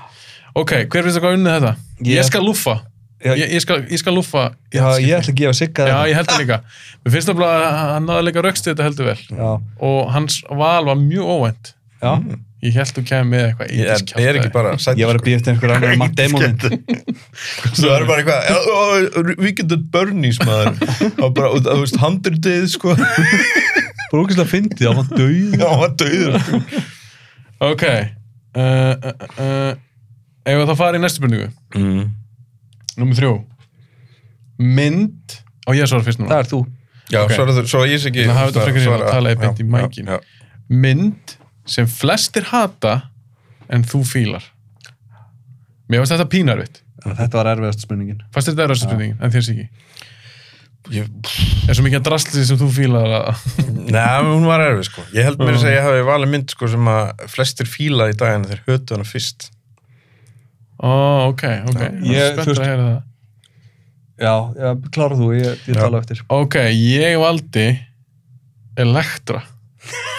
S1: Ok, hver finnst það hvað unnið þetta?
S2: Ég-
S1: Ég skal lúffa
S2: Já,
S1: Ég, ég, skal, ég skal lúffa í
S2: Já,
S1: þetta
S2: ég
S1: skipti.
S2: ætla að gefa sigga
S1: Já, ég held það líka Mér finnst það að hann náði líka röxtu þetta heldur vel
S2: Já,
S1: Og hans val var mjög óvænt
S2: já.
S1: Ég held þú kemur með eitthvað
S3: Ég er, ég er ekki bara sko. sætt.
S2: Ég var að býja eftir einhver annar Matt Damon mynd.
S3: Svo er bara eitthvað, "Já, ó, Weekend at Bernie's maður, og bara, og þú veist, 100 days, sko,
S2: Bara ógæslega fyndið, það var döið.
S3: já, hann var döður, sko.
S1: Ok uh, uh, uh, Ef við þá fara í næstu spurningu
S3: Mm.
S1: Númer þrjú Mynd Á ég að svara fyrst núna
S2: Það er þú.
S3: Já,
S1: Ok.
S3: okay. svo, svo ég sé ekki
S1: Þannig að hafa þetta frekar í að
S3: svara-
S1: tala í beint í
S3: já,
S1: mækin.
S3: já,
S1: Mynd sem flestir hata En þú fílar Mér finnst þetta pínarvitt
S2: Þetta var erfiðast spurningin.
S1: Fast þetta er röstspurningin, en þér sé ekki
S3: já. Ég-
S1: Er svo mikið að drastli sem þú fílar að
S3: Nei, en hún var erfið sko Ég held
S1: Mm.
S3: mér að segja að ég hafi valið mynd sko sem að flestir fíla í dag en þeir hötu hana fyrst
S1: Ó, ok, ok
S2: Já, ég-
S1: Spennt
S2: þú veist-
S1: að heyra það
S2: Já, já klára þú, ég, ég
S3: Já.
S2: tala eftir.
S1: Ok, ég valdi Elektra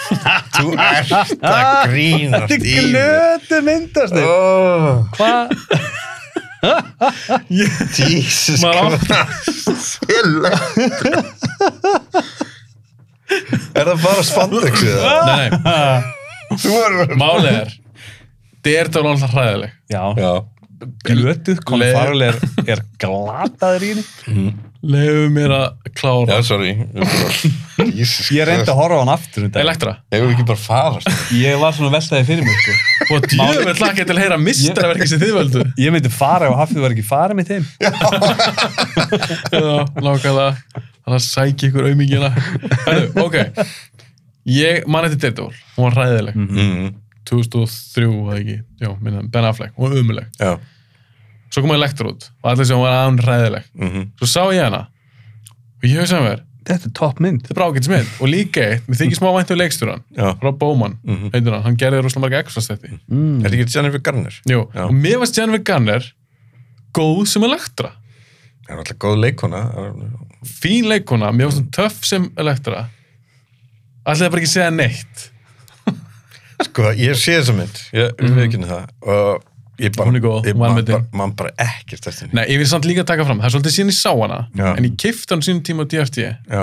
S3: Þú ert að grínast í mér.
S2: Glötu myndast þig.
S3: Ó,
S2: Hvað?
S3: Jesus
S1: Maður
S3: Christ Helvete. Er það bara spandex eða?
S1: Nei, nei,
S3: Þú er
S1: málið er Þetta var alltaf hræðileg
S2: Já,
S3: Já,
S2: glötu, Colin
S1: Le-
S2: Farrell er, er glataður í henni.
S1: Mhm. Lefu mér að klára
S3: já sorry Jesus
S2: Ég reyndi að horfa á hann aftur um dag.
S1: Elektra
S3: Hefur ekki bara farast
S2: Ég var svona veltaði fyrir mig, sko.
S1: Og djöfum hlakka til að heyra mistarverki sem þið völdu.
S2: Ég myndi fara ef Hafið var ekki farið með þeim.
S1: Já, nákvæmlega. Þannig að sækja ykkur aumingina. Herru, ok. Ég man eftir Daredevil. Hún var hræðileg.
S3: mm,
S1: 2003, var það ekki. Já, minna, Ben Affleck. Hún var umuleg.
S3: Já
S1: Svo kom Elektra út og allir sem hún var aðan hræðileg.
S3: mhm.
S1: Svo sá ég hana og ég hugsaði með mér,
S2: þetta er topp mynd
S1: þetta er bara ágætis mynd og líka eitt, mér þykir smá vænt um leikstjóran
S3: Já.
S1: Rob Bowman,
S3: Mhm.
S1: heitir hann, hann gerði rosalega marga extra stetti
S2: Mm.
S3: Er þetta ekki Jennifer Garner?
S1: Jú,
S3: Já.
S1: og mér varst Jennifer Garner góð sem elektra
S3: Það er alltaf góð leikona.
S1: fín leikona, mér varst hún töff sem elektra ætlaði bara ekki að segja neitt
S3: Sko, ég sé þessa mynd. Ég mm. veit ekki það. Og ég bara...
S1: Hún er góð,
S3: ég
S1: hún var
S3: man
S1: með
S3: bara-
S1: þig.
S3: Man bara ekkert eftir henni.
S1: Nei, ég vil samt líka taka fram, það er svolítið síðan ég sá hana
S3: Já.
S1: en ég kifti hann sínum tíma á DFT
S3: Já.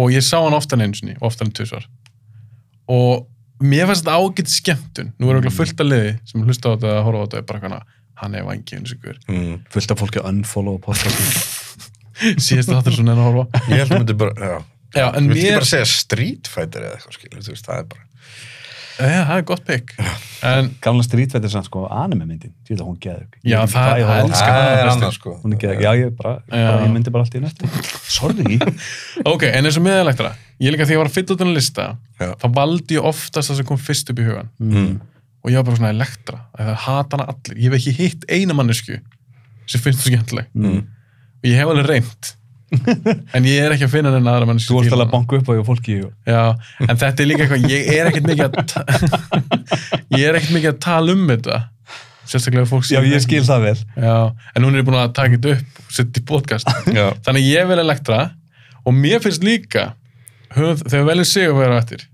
S1: og ég sá hann oftan einu sinni, oftan en tvisvar og mér fannst þetta ágætt skemmtun nú er
S3: Mm.
S1: okkur fullt að liði sem hlusta á þetta að horfa á þetta og er bara hana, hann er vangið eins og ykkur
S3: Mm.
S2: fullt af fólki að unfollow podcastin
S1: síðast þáttur sem hann er að horfa á.
S3: Ég held að myndi bara... Já.
S1: já, en
S3: Þú vilt ekki
S1: mér,
S3: bara segja Street Fighter eða eitthvað, skilur, þú veist, það er bara...
S1: já, það er gott pick en
S2: gamla strítvættir sem sko anime myndin því að hún geðug
S1: Já, það- það elska
S3: Það
S1: hana,
S3: er
S1: veistu.
S3: annað, sko.
S2: hún er geðug, já ég bara, bara
S1: Já.
S2: ég myndi bara allt í nætti sorry
S1: ok, en eins og meðalegtra ég líka því að ég var að fylla út þennan lista
S3: Já.
S1: þá valdi ég oftast það sem kom fyrst upp í hugan
S2: mm.
S1: og ég var bara svona elektra það hata hana allir, ég hef ekki hitt eina mannesku sem finnst þú skemmtileg
S2: Mm.
S1: og ég hef alveg reynd en ég er ekki að finna neina aðra mannesku
S2: þú varst alveg að banka upp á því og fólki og-
S1: Já, en þetta er líka eitthvað, ég er ekkert mikið að ta- ég er ekkert mikið að tala um þetta sérstaklega fólk
S2: já
S1: sem-
S2: ég skil það vel
S1: Já, en hún er búin að taka þetta upp og setja í podcast
S3: Já.
S1: þannig að ég vil elektra og mér finnst líka höfð, þegar velja sig að vera eftir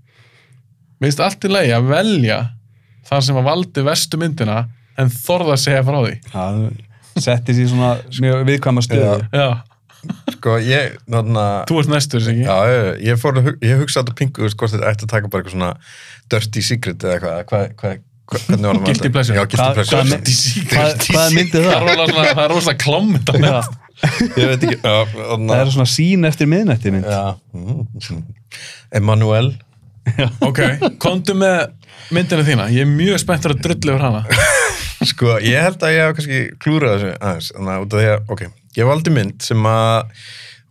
S1: mér finnst allt í lagi að velja þar sem að valdi vestu myndina en þorða að segja frá því
S2: Já, setti sér svona mjög viðkvæma stöðu
S1: Já,
S3: Sko, ég, náttúrulega...
S1: þú ert næstur, ekki?
S3: Já, ég, ég, fór, að hug- ég hugsa alltaf pingu, þú veist, hvort þetta ætti að taka bara eitthvað svona dirty secret eða eitthvað, hvað, hvað, hvað, hvernig var það?
S1: Guilty pleasure.
S3: Já, guilty
S2: Hvað-
S3: pleasure.
S2: hvað-
S1: Dirty secret.
S2: hvað, hvað myndi
S1: Það er
S2: það?
S1: rosalega svona- það er rosalega klámynd
S2: Já,
S3: Ég veit ekki, já,
S2: það
S3: þarna...
S2: er svona sín eftir miðnætti mynd
S3: Já, mm. Emanuel.
S1: Ok, komdu með myndina þína. Ég er mjög spenntur að drullu yfir hana.
S3: Sko, ég held að ég hef kannski klúrað þessu aðeins, þannig að út af því að, ok, ég valdi mynd sem að,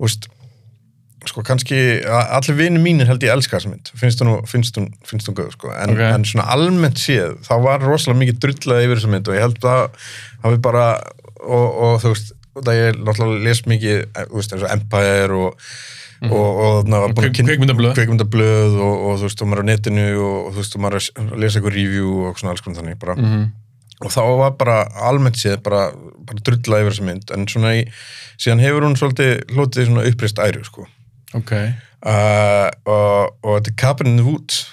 S3: úst, sko, kannski, a- allir vinir mínir held ég elska þessa mynd, finnst hún, finnst hún, finnst hún góð, sko, en,
S1: Ok.
S3: en svona almennt séð, þá var rosalega mikið drullað yfir þessa mynd og ég held að hafi bara, og, og þú veist, út af því að ég náttúrulega les mikið, eh, þú veist, eins og Empire og, og, og þannig að
S1: Kvik- kvikmyndablöð.
S3: kveikmyndablöð og, og þú veist, og maður er á netinu og, og þú veist, og maður er að lesa eitthvað review og svona alls konar þannig bara
S1: Mhm.
S3: og þá var bara almennt séð bara, bara drulla yfir þessa mynd en svona í, síðan hefur hún svolítið hlotið svona uppreist æru sko
S1: Ok.
S3: uh, og, og þetta er Cabin in the Woods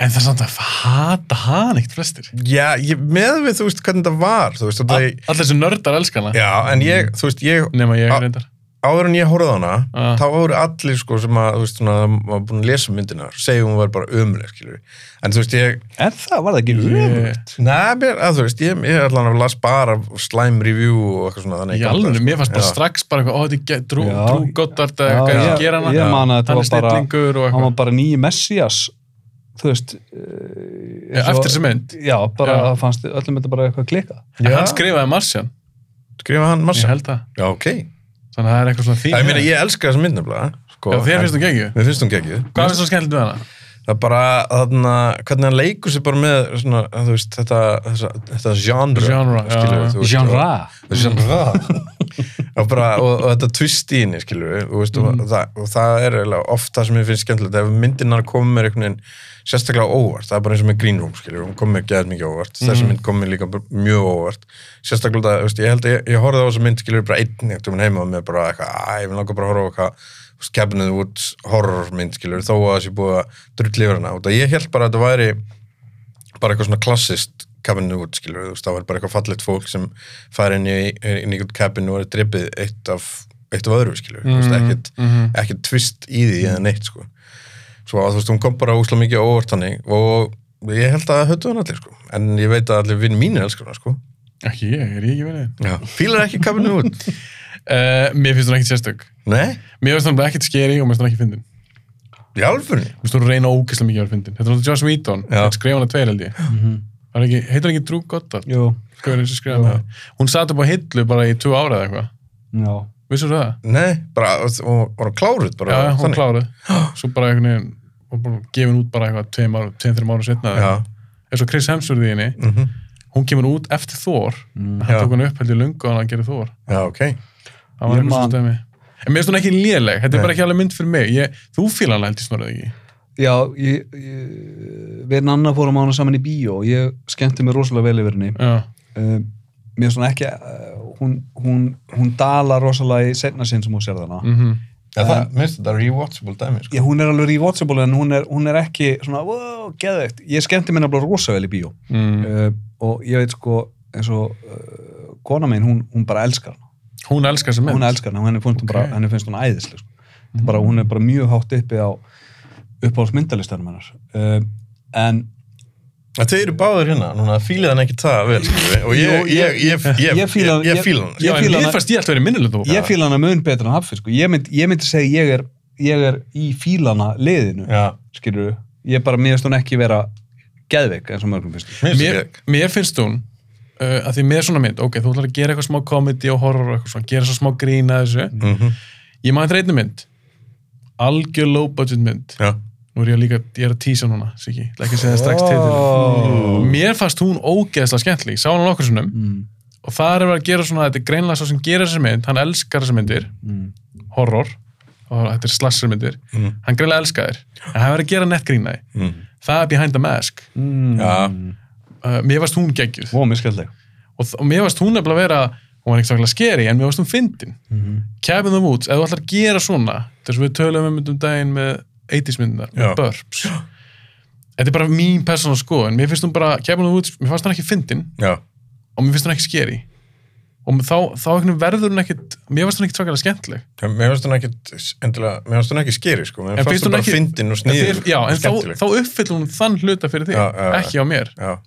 S1: En það er samt að hata hana eitt flestir.
S3: já, ég, með við þú veist hvernig þetta var þú veist,
S1: All,
S3: það,
S1: allir sem nördar elska hana.
S3: já, en ég, þú veist, ég
S1: Nefn að ég
S3: A-
S1: reyndar.
S3: áður en ég horfði á hana
S1: Ah.
S3: þá voru allir sko sem að, þú veist, svona, maður búin að lesa myndina segjum hún var bara ömuleg, skilur við. en þú veist, ég,
S2: er það, var það ekki
S1: Ég,
S2: öfugt?
S3: Nei, mér, að þú veist, ég, ég allan að las bara slæm review og eitthvað svona þannig.
S1: í alveg, mér fannst bara
S3: sko. Já.
S1: strax bara eitthvað, ó, þetta er ge- drú,
S2: Já.
S1: drú gottart eða
S2: Já,
S1: eitthvað
S2: ég-
S1: að gera hana.
S2: ég man að þetta
S1: Hann er
S2: var bara-
S1: snillingur og
S2: hann var
S1: eitthvað.
S2: bara nýji Messias þú veist
S1: Já,
S2: ja,
S1: Eftir sem mynd.
S2: já, bara
S1: Já.
S2: það fannst öllum þetta bara eitthvað klika
S1: En
S3: Já.
S1: Hann skrifaði Martian.
S3: Skrifa hann
S1: Ég
S3: massa.
S1: held það.
S3: Já, ok.
S1: Þannig að það er eitthvað svona
S3: Já,
S1: þín.
S3: ég meina, ég elska þessa mynd nefnilega. Sko,
S1: Já, þér
S3: en-
S1: finnst þú geggjum.
S3: Mér finnst hún geggið.
S1: Hvað finnst þú skemmtilegt við hana?
S3: Það er bara, þarna, hvernig hann leikur sér bara með, svona, þú veist, þetta, þessa, þetta genre.
S1: Genre, já,
S3: skilur við,
S1: já.
S3: þú veist,
S2: Jean-Ra
S3: og- Genre. og, bara, og, og þetta tvist í henni, skilur við, og, veist, og, það, og það er eiginlega oft það sem ég finnst skemmtilegt. Ef myndinar komið mér einhvern veginn sérstaklega óvart, það er bara eins og með Green Room, skilur við, hún komið mér gæðið mikið óvart. Þessi mynd kom mér líka bara mjög óvart. Sérstaklega, það, þú veist, ég held að ég, ég horfði á þessu mynd, skilur við, bara einn, ég tjóðum heima og mér bara eitthvað, að ég vil langa bara að horfa á eitthvað þú veist, Cabin in the Woods horrormynd skilur, þó að það sé búið að drull yfir hana og ég held bara að þetta væri bara eitthvað svona klassist Cabin in the Woods skilur, þú veist, það var bara eitthvað fallit fólk sem fær inn í, inn í einhvern cabin og er drippið eitt af, eitt af öðru skilur, þú
S1: Mm,
S3: veist, ekkert,
S1: mm-hmm.
S3: ekkert tvist í því eða neitt sko svo að þú veist, hún kom bara úslega mikið á óvart hannig og ég held að höttu hann allir sko en ég veit að allir vinn mínir elskar hana sko
S1: Ekki ég, er ég ekki verið.
S3: fílar ekki Cabin in the Woods
S1: Uh, mér finnst hún ekkit sérstök.
S3: nei,
S1: Mér finnst hún bara ekkit skeri og mér finnst hún ekki fyndin.
S3: í alvörni
S1: Þú veist, þú reyna ógeðslega mikið að vera fyndin. Þetta er náttúrulega Joss Whedon,
S3: Já.
S1: hann skrifa hana tveir held ég. Það er ekki, heitir hann ekki Drew Goddard?
S2: jú,
S1: Hvað er þessi skrifa hana? Hún sat upp á hillu bara í tvo ára eða eitthvað.
S2: já
S1: Vissur það?
S3: nei, bara, hún var kláruð
S1: Já,
S3: bara,
S1: hún kláruð. Svo bara einhvern veginn, hún bara gefin út bara eitthvað tveim ára, tveim, þreim ára setna.
S3: já,
S1: Eins og Chris Hemsworth í henni,
S3: mhm
S1: hún kemur út eftir Thor, hann
S3: Já.
S2: Mm.
S1: tók hann upp held ég lungu og hann að gera Thor.
S3: Já, ok.
S1: Það var
S2: Ég
S1: eitthvað svo
S2: man-
S1: stæmi. En mér finnst hún ekki léleg, þetta er bara ekki alveg mynd fyrir mig. Ég, þú fíla hana held ég snorðið ekki.
S2: Já, ég, ég, við erum annað fórum á hana saman í bíó og ég skemmti mér rosalega vel yfir henni.
S1: Já,
S2: Uh, mér er svona ekki, uh, hún, hún, hún dalar rosalega í setna sinn sem hún sér þarna.
S1: mm
S3: Já, það, minnst þetta rewatchable dæmi, sko.
S2: Já, hún er alveg rewatchable en hún er, hún er ekki svona, wow, geðveikt. Ég skemmti mér nefnilega rosalega vel í bíó.
S1: mm.
S2: Uh, og ég veit sko, eins og uh, kona mín, hún, hún bara elskar hana.
S1: Hún elskar þessa mynd.
S2: Hún elskar hana, og henni finnst hún
S1: Ok.
S2: bara, henni finnst hún æðisleg. Sko. Mm. Bara, hún er bara mjög hátt uppi á uppáhaldsmyndalistanum hennar. Uh, en
S3: Að Þeir eru báður hérna, núna fílið hann ekki það vel, sko. Og ég,
S2: Jú,
S3: ég, ég, ég,
S2: ég fíla-
S3: ég,
S2: ég-
S3: ég fíla hann.
S1: Já,
S2: ég
S1: en
S2: fíla
S1: mér
S2: hana-
S1: fannst ég alltaf verið minnileg þú.
S2: ég fíla hana mun betur en Hafið sko. ég, mynd, ég myndi segja ég er, ég er í fílana liðinu
S3: Já,
S2: skilur ég bara mér finnst hún ekki vera geðveik eins og mörgum finnst
S3: minnst
S1: mér,
S3: þetta.
S1: mér finnst hún uh, að því með svona mynd, ok, þú ætlar að gera eitthvað smá komedi og horror og eitthvað svona, gera svo smá grína þessu,
S3: Mhm.
S1: ég maður þetta einnig mynd algjör low budget mynd
S3: Já.
S1: nú er ég líka, ég er að tísa núna Siki, ekki að segja það strax
S2: Ó. Oh.
S1: til mér fannst hún ógeðslega skemmtli, ég sá hann nokkur sinnum
S2: mm,
S1: og það er verið að gera svona, þetta er greinlega svo sem gerir þessar mynd, hann elskar þessar myndir
S2: mm.
S1: horror, og þetta er slasser myndir
S3: Mm.
S1: hann greinlega elskar þér en hann verið að gera nettgrínaði,
S3: Mm.
S1: það er behind the mask
S2: Mm.
S3: Já.
S1: uh, mér fannst hún geggjuð
S2: og miskjalleg
S1: og, þ- og mér varst hún nefnilega að vera hún var ekki staklega skeri, en mér varst hún fyndin
S2: Mhm.
S1: kæfum þeim út, ef þú ætlar að gera svona þess að við töluðum um þetta um daginn með 80s myndinar, með
S3: Já.
S1: burps þetta er bara mín persóna skoðun mér finnst hún bara, kæfum þeim út, mér fannst hún ekki fyndin
S3: Já.
S1: og mér finnst hún ekki skeri og þá, þá einhvern veginn verður hún ekkit mér varst hún ekki staklega skemmtileg
S3: Já, Mér finnst hún ekki, endilega, mér finnst hún ekki skeri, sko. Mér
S1: En finnst
S3: finnst hún
S1: hún
S3: bara
S1: ekki-
S3: fyndin og
S1: En
S3: sniður.
S1: þér- já, en þá, þá uppfyllur hún þann hluta fyrir þig,
S3: Já, já, já.
S1: ekki á mér
S3: Já.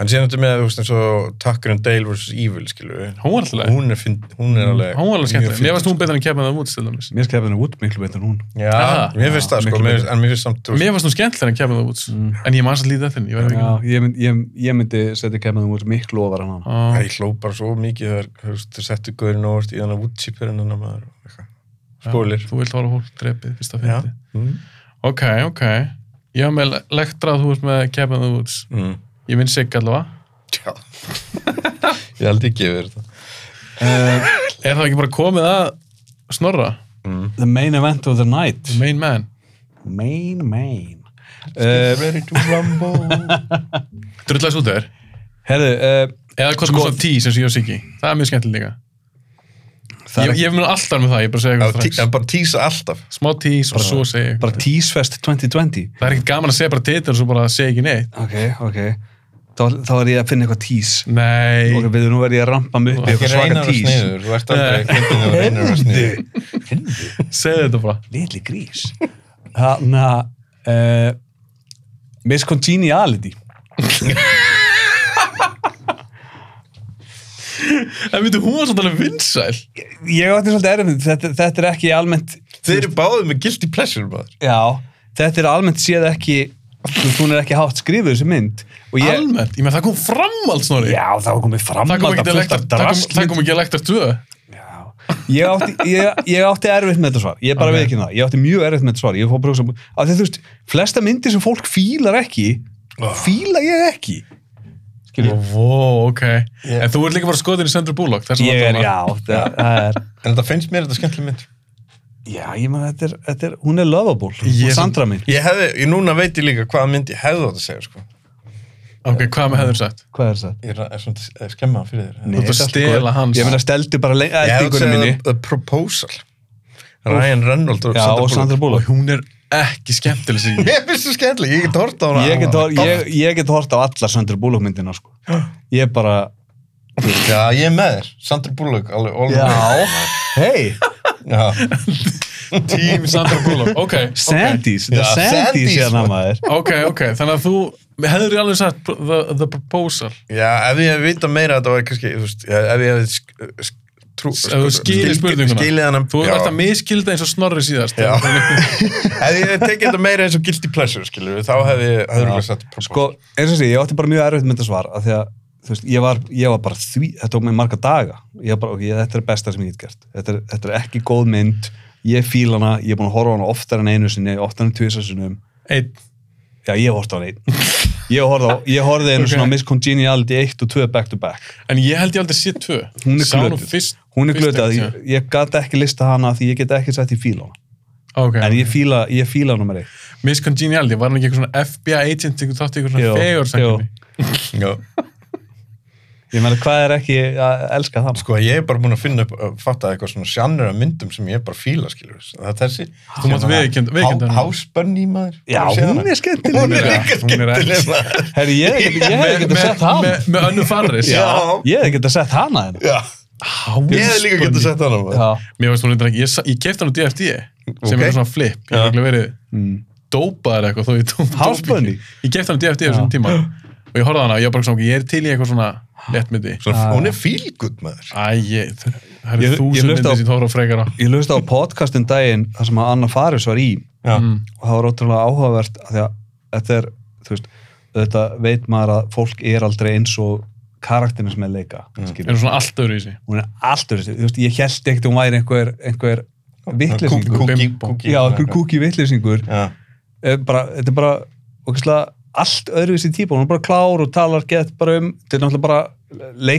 S3: En síðan þetta með, þú veist, eins og Tucker and Dale vs. Evil, skilur við.
S1: hún var alltaf leið.
S3: Hún er, fynd, hún er alveg...
S1: hún var alveg skemmtileg,
S3: mjög
S1: mér varst
S3: fyndin,
S1: hún betur en kæfum þeim út til dæmis.
S2: miskjalleg er út miklu betur en hún
S3: sko. Já,
S1: Ah.
S3: mér finnst það,
S2: Miklu
S3: sko. Mér,
S2: betur.
S3: finnst- en mér finnst samt, þú Mm.
S1: mér varst hún skemmtileg en kæfum þeim út en ég maður satt lítið eftir henni, ég verði ekki
S2: Já, ég, mynd, ég, ég myndi setja kemðum út miklu ofar en hann
S1: Já.
S3: Ég hló bara svo mikið þegar þú veist, þeir settu guðurinn óvart í þannig að útsýpurinn hann að maður og eitthvað. Spólir.
S1: Já, Þú vilt horfa fólk drepið fyrst að
S3: Já.
S1: fyndi.
S3: Mm.
S1: Ok, ok. Ég haf með lektra að þú ert með Cabin in the Woods.
S3: Mm.
S1: Ég vinn sig allavega.
S3: Já. ég held ekki yfir þetta.
S1: Er það ekki bara komið að snorra?
S3: Mm.
S2: The main event of the night
S1: Main man.
S2: Main, main uh,
S3: ready to rumble.
S1: Drullæs út þér.
S2: Herðu uh,
S1: Eða hvað sem
S2: Sko-
S1: er tí sem sé og Siggi. Það er mjög skemmtileg líka.
S2: það er
S1: Ég, ég mun alltaf með það, ég bara segja
S3: Já,
S1: eitthvað
S3: tí-
S1: strax.
S3: en bara tísa alltaf.
S1: Smá tís og svo segja
S2: bara
S1: eitthvað.
S2: Teasfest 2020
S1: Það er ekkert gaman að segja bara titil og svo bara segja ekki neitt.
S2: Ok, ok Þá, þá er ég að finna eitthvað tease
S1: Nei.
S2: Ok, við nú verð ég að rampa mig upp í
S3: Ekki
S2: eitthvað
S3: reynar
S2: svaka
S3: að
S2: tís.
S3: sniður. Þú ert aldrei fyndin og reynar að sniður.
S1: Segðu þetta bara.
S2: Lili grís. Þannig að uh, miscongeniality.
S1: En veitu, hún var svolítið alveg vinsæl.
S2: Ég átti svolítið erfið, þetta, þetta er ekki almennt,
S3: Þeir eru báðið með guilty pleasure, maður.
S2: já, þetta er almennt séð ekki, þú veist, hún er ekki hátt skrifuð þessi mynd. Og ég,
S1: Almennt. Ég menn, það kom framhald snorri.
S2: Já, það var komið fram
S1: Það kom ekki að lektar, það kom, það kom ekki að lektar tvö.
S2: Já. Ég átti, ég, ég átti erfitt með þetta svar ég
S1: Ok.
S2: bara okay. veit ekki það, ég átti mjög erfitt með þetta svar ég fór bara að hugsa, um- af því að þú veist, flesta myndir sem fólk fílar ekki fíla ég ekki
S1: Ó, vó, ok.
S3: Ég-
S1: En þú ert líka bara skotin í Sandra Bullock. þess vegna
S2: ég er,
S1: þarna.
S2: já, það, það er
S3: En þetta finnst mér þetta skemmtileg mynd.
S2: já, ég maður, þetta er, þetta er, hún er lovable
S1: Ég
S2: hún
S1: er-
S2: Sandra mín,
S3: Ég hefði, ég núna veit ég líka hvaða mynd ég hefði átt að segja, sko.
S1: Ok, hvað með hefur sagt?
S2: hvað er það?
S3: Ég er, er svona að skemma fyrir þér.
S1: ert að stela hans.
S2: ég meina, steldi bara le-
S3: Ég hefði
S2: eldingunum
S3: segja
S2: minni
S3: The Proposal. Ryan Reynolds og
S2: já, og Sandra
S1: Og
S2: Bullock
S1: hún er ekki skemmtileg sig.
S3: Mér finnst það skemmtileg, ég get hort á hana
S2: ég get, hor- ég, ég get hort á allar Sandra Bullock myndina sko. ég bara,
S3: Já, ég er með þér, Sandra Bullock alveg all
S2: já
S3: the
S2: hei,
S3: way. Já.
S1: Team Sandra Bullock. Ok, ok.
S2: Sandys, það
S3: Já,
S2: er Sandys
S3: Sandys,
S2: hérna
S3: sko.
S2: maður
S1: Ok, ok, þannig að þú hefur alveg sagt the, the proposal.
S3: Já, ef ég hefði vitað meira þetta var kannski, þú veist, já, ef ég hefði sk- sk- trú, sko,
S1: Ef þú
S2: Sko,
S1: skilir spurninguna.
S3: skilið hann
S1: Þú ert að miskilda eins og snorri síðast.
S3: Já. ef ég hefði tekið þetta meira eins og guilty pleasure, skilur við, þá hefði ég hefði
S2: Já.
S3: ekki sett proposal.
S2: sko, eins og sé, ég átti bara mjög erfitt mynd að svara af því að, þú veist, ég var, ég var bara því, þetta tók mig marga daga ég var bara, ok, þetta er besta sem ég get gert þetta er, þetta er ekki góð mynd, ég fíl hana ég er búin að horfa á hana oftar en einu sinni oftar en tvisar sinnum,
S1: Einn.
S2: já, ég horfði á hana einn ég horfði á, ég horfði einu
S1: Ok.
S2: svona Miss Congeniality 1 og 2 back to back
S1: En ég held ég aldrei sé tvö.
S2: Hún er
S1: Sá nú
S2: glötuð.
S1: fyrst
S2: hún er
S1: Fyrst
S2: glötað,
S1: ekki,
S2: ég, ég gat ekki lista hana því ég get ekki sett í fíla hana
S1: ok.
S2: en ég fíla, ég fíla nummer eitt
S1: Miss Congeniality, var hann ekki eitthvað svona FBI agent ykkur þátti ykkur
S2: Jú,
S1: svona fegursangri?
S3: Já.
S2: ég meina hvað er ekki að elska það
S3: Sko, ég er bara búin að finna upp, að fatta eitthvað svona sjannur af myndum sem ég bara fíla, skilur þess. Það er þessi. Hérna,
S1: Þú mátt viðurkennda- viðurkennda hana.
S3: Hásbönni, maður.
S2: já,
S3: Hefurðu séð
S2: hún
S3: hana?
S2: er skemmtileg
S3: Hún er
S1: líka-
S3: líka
S1: hún er ekki-
S3: skemmtileg, maður.
S2: herri, ég hef ekki- ég hef ekki getað sett hana
S1: Með, með önnu farris?
S3: Já.
S2: ég hef ekki getað sett hana hérna.
S3: Já. Ég hef líka getið sett hana, maður.
S2: Já.
S1: Mér veist hún eitthvað ekki, ég, sa- ég kefti hann á DFD sem
S3: Ok.
S1: er svona flip, ég
S3: Já.
S1: hef ekki verið
S2: Mm.
S1: dópaður eitthvað þó ég tók
S2: House Bunny?
S1: Ég kefti hann á DFD á þessum
S2: Já.
S1: tíma og ég horfði á hana og ég var bara svona, ég er til í eitthvað svona lettmyndi.
S3: Svona,
S2: Já.
S3: hún er fílgud, maður.
S1: Æ, ég, það það eru
S2: Ég- ég
S1: þúsund
S2: hlusta á-
S1: myndir sem þú horfði á frekar á.
S2: ég lögst á podcastin daginn þar sem að Anna Faris var í
S3: Já.
S1: Mm.
S2: og það var ótrúlega áhugavert af því að þetta er, þú veist þetta veit maður að fólk er aldrei eins og karakterinn sem er leika
S1: Eru
S2: mm.
S1: svona allt öðru í sig.
S2: hún er alltaf, þú veist, ég held ekkert að hún væri einhver, einhver
S3: Kúki,
S2: vitleysingur
S3: kúki,
S1: Bimbo.
S3: kúki.
S2: já, einhver kúki vitleysingur
S3: Já.
S2: Eh, bara, þetta er bara okkislega, allt öðruvísi típa, hún er bara klár og talar gett bara um, þetta er náttúrulega bara leikona,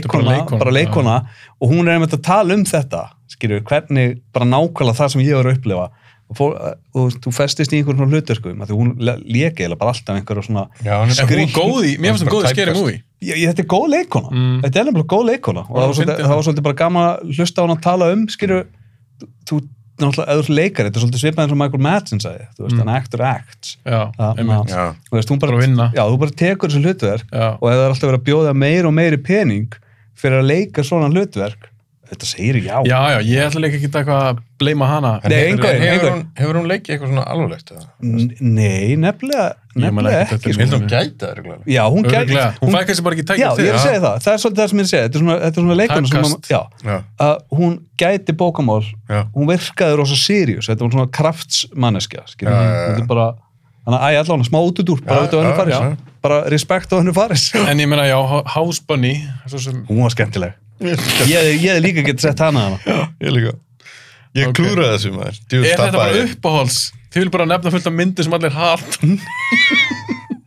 S1: Þetta er bara leikona,
S2: bara leikona og hún er einmitt að tala um þetta skilur, hvernig, bara nákvæmlega það sem ég var að upplifa og fór, og, þú- þú festist í einhverjum svona hluturkum því hún leki eða bara alltaf einhverju svona
S3: Já, hún er
S1: Hún er
S3: bara-
S1: góð í, mér finnst hún
S3: Bara
S1: góð í Scary
S3: tæpast.
S1: Movie.
S2: ég, ég, þetta er góð leikona,
S1: Mm.
S2: þetta er nefnilega góð leikona og
S1: Og
S2: það
S1: hún
S2: var,
S1: fyndi
S2: svolítið,
S1: það.
S2: það var svolítið bara gaman að hlusta á hana að tala um skilur, þú, þú náttúrulega öður leikari, þetta er svolítið svipað eins og Michael Madsen sagði, þú veist,
S1: Mm.
S2: mm. an actor acts
S1: Já,
S2: Já,
S1: einmitt.
S3: Já.
S2: þú veist, hún bara,
S1: Bara vinna.
S2: já, þú bara tekur þessu hlutverk
S1: Já.
S2: og ef það er alltaf verið að bjóða meir og meiri pening fyrir að leika svona hlutverk þetta segir já,
S1: Já, já, ég ætla líka ekki eitthvað að bleima hana.
S3: En
S2: Nei,
S3: hefur-
S2: engu-
S3: hefur
S2: engu.
S3: hún- Hefur hún leikið eitthvað svona alvarlegt? eða?
S2: N- nei, nefnilega,
S1: Ég man
S2: nefnilega
S1: ekkert
S2: ekki
S1: eftir
S3: Ég
S2: sko.
S3: held að hún gæti það, reglulega.
S2: já, hún gæti
S1: Örugglega. Hún fær kannski bara ekki
S2: já,
S1: tækja
S2: ég er að segja það, það er svolítið það sem ég er að segja þetta er svona, þetta er svona leikana sem
S1: Takast.
S2: að, já,
S3: Já.
S2: að hún gæti bókamál
S3: Já.
S2: hún virkaði rosa sirius þetta var svona kraftsmanneskja skilur
S3: Já,
S2: við.
S3: já, já.
S2: þetta er bara, þannig að æ, allan smá út úr, bara
S3: Já,
S2: út á hennu
S3: já,
S2: faris
S3: já.
S2: bara respekt á hennu faris
S1: En ég meina, já, House Bunny, svo sem
S2: hún var skemmtileg ég, ég hefði líka getið sett hana hana
S3: Ég líka. Ég
S1: Ok.
S3: klúraði þessu maður. Djúvill
S1: Er þetta bara
S3: tappaði ég.
S1: uppáhalds? Þið vil bara nefna fullt af myndir sem allir hatt.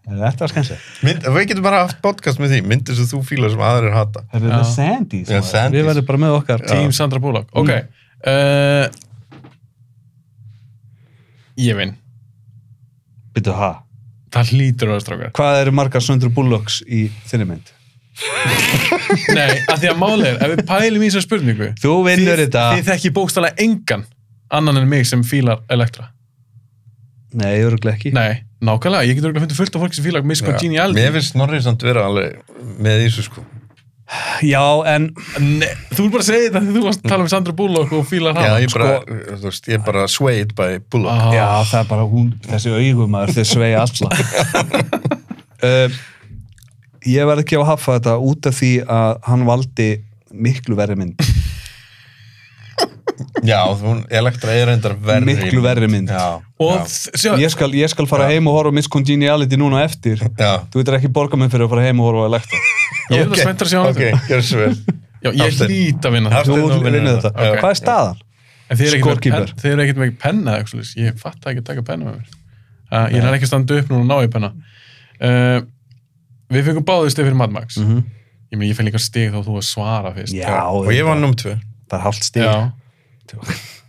S2: Þetta var skemmt
S3: Mynd, við getum bara haft podcast með því, myndir sem þú fílar sem aðrir hata.
S2: Þetta
S1: Já.
S2: er Sandys,
S3: Já,
S2: maður.
S3: Sandys.
S2: Við verðum bara með okkar
S1: Team Sandra Bullock. Ok.
S3: Mm.
S1: Uh, ég vinn.
S2: Býtu, ha?
S1: Það hlýtur að vera strákar.
S2: Hvað eru margar Söndur Bullocks í þinni mynd?
S1: Nei, að því að máli er, ef við pælum í þessar spurningu,
S2: Þú vinnur þetta
S1: þið þekki bókstælega engan annan en mig sem fílar Elektra.
S2: Nei, öruglega ekki
S1: Nei, nákvæmlega, ég getur ekki fundið fullt af fólki sem fílar Miss
S3: Mér
S1: Congeniality.
S3: finnst Snorri samt vera alveg með því, sko.
S2: Já, en
S1: Nei, þú er bara að segja þetta þegar þú varst að tala um Sandra Bullock og fílar
S3: Já,
S1: hana.
S3: ég bara, þú veist, ég er bara swayed by Bullock.
S1: Ah.
S2: Já, það er bara hún, þessi augumæður þau svei alltaf uh, Ég verð ekki á að hafa þetta út af því að hann valdi miklu verri mynd
S3: Já, hún, Elektra er reyndar verri.
S2: Miklu verri mynd.
S3: Já,
S1: Og
S3: já,
S1: þ- sjá,
S2: Ég skal, ég skal fara heim og horfa á Miss Congeniality núna á eftir
S3: já.
S2: Þú veitir ekki borga mig fyrir að fara heim og horfa á Elektra
S1: ég er það spenntur að sjá hana.
S3: Ok, ok, gjör svo vel.
S1: Já, ég
S3: Hafsteinn.
S1: hlýt að vinna það.
S3: Hafsteinn.
S2: Þú
S3: Þetta er nú að vinna
S2: vinnur þetta
S3: þetta.
S1: Ok.
S2: Hvað er staðan?
S1: En þið eru ekkert með
S2: Scorekeeper.
S1: pen- þið eru ekkert með penna eða eitthvað svoleiðis. ég fatt ekki að taka penna með mér uh, ég er ekki að standa upp núna og ná í penna uh, við fengum báðið stið fyrir Mad Max
S2: Mhm.
S1: ég meina ég fengi líka stig þá þú að svara fyrst
S2: Já,
S3: Og ég var nummer tvö.
S2: Það er hálft stíl
S1: Já.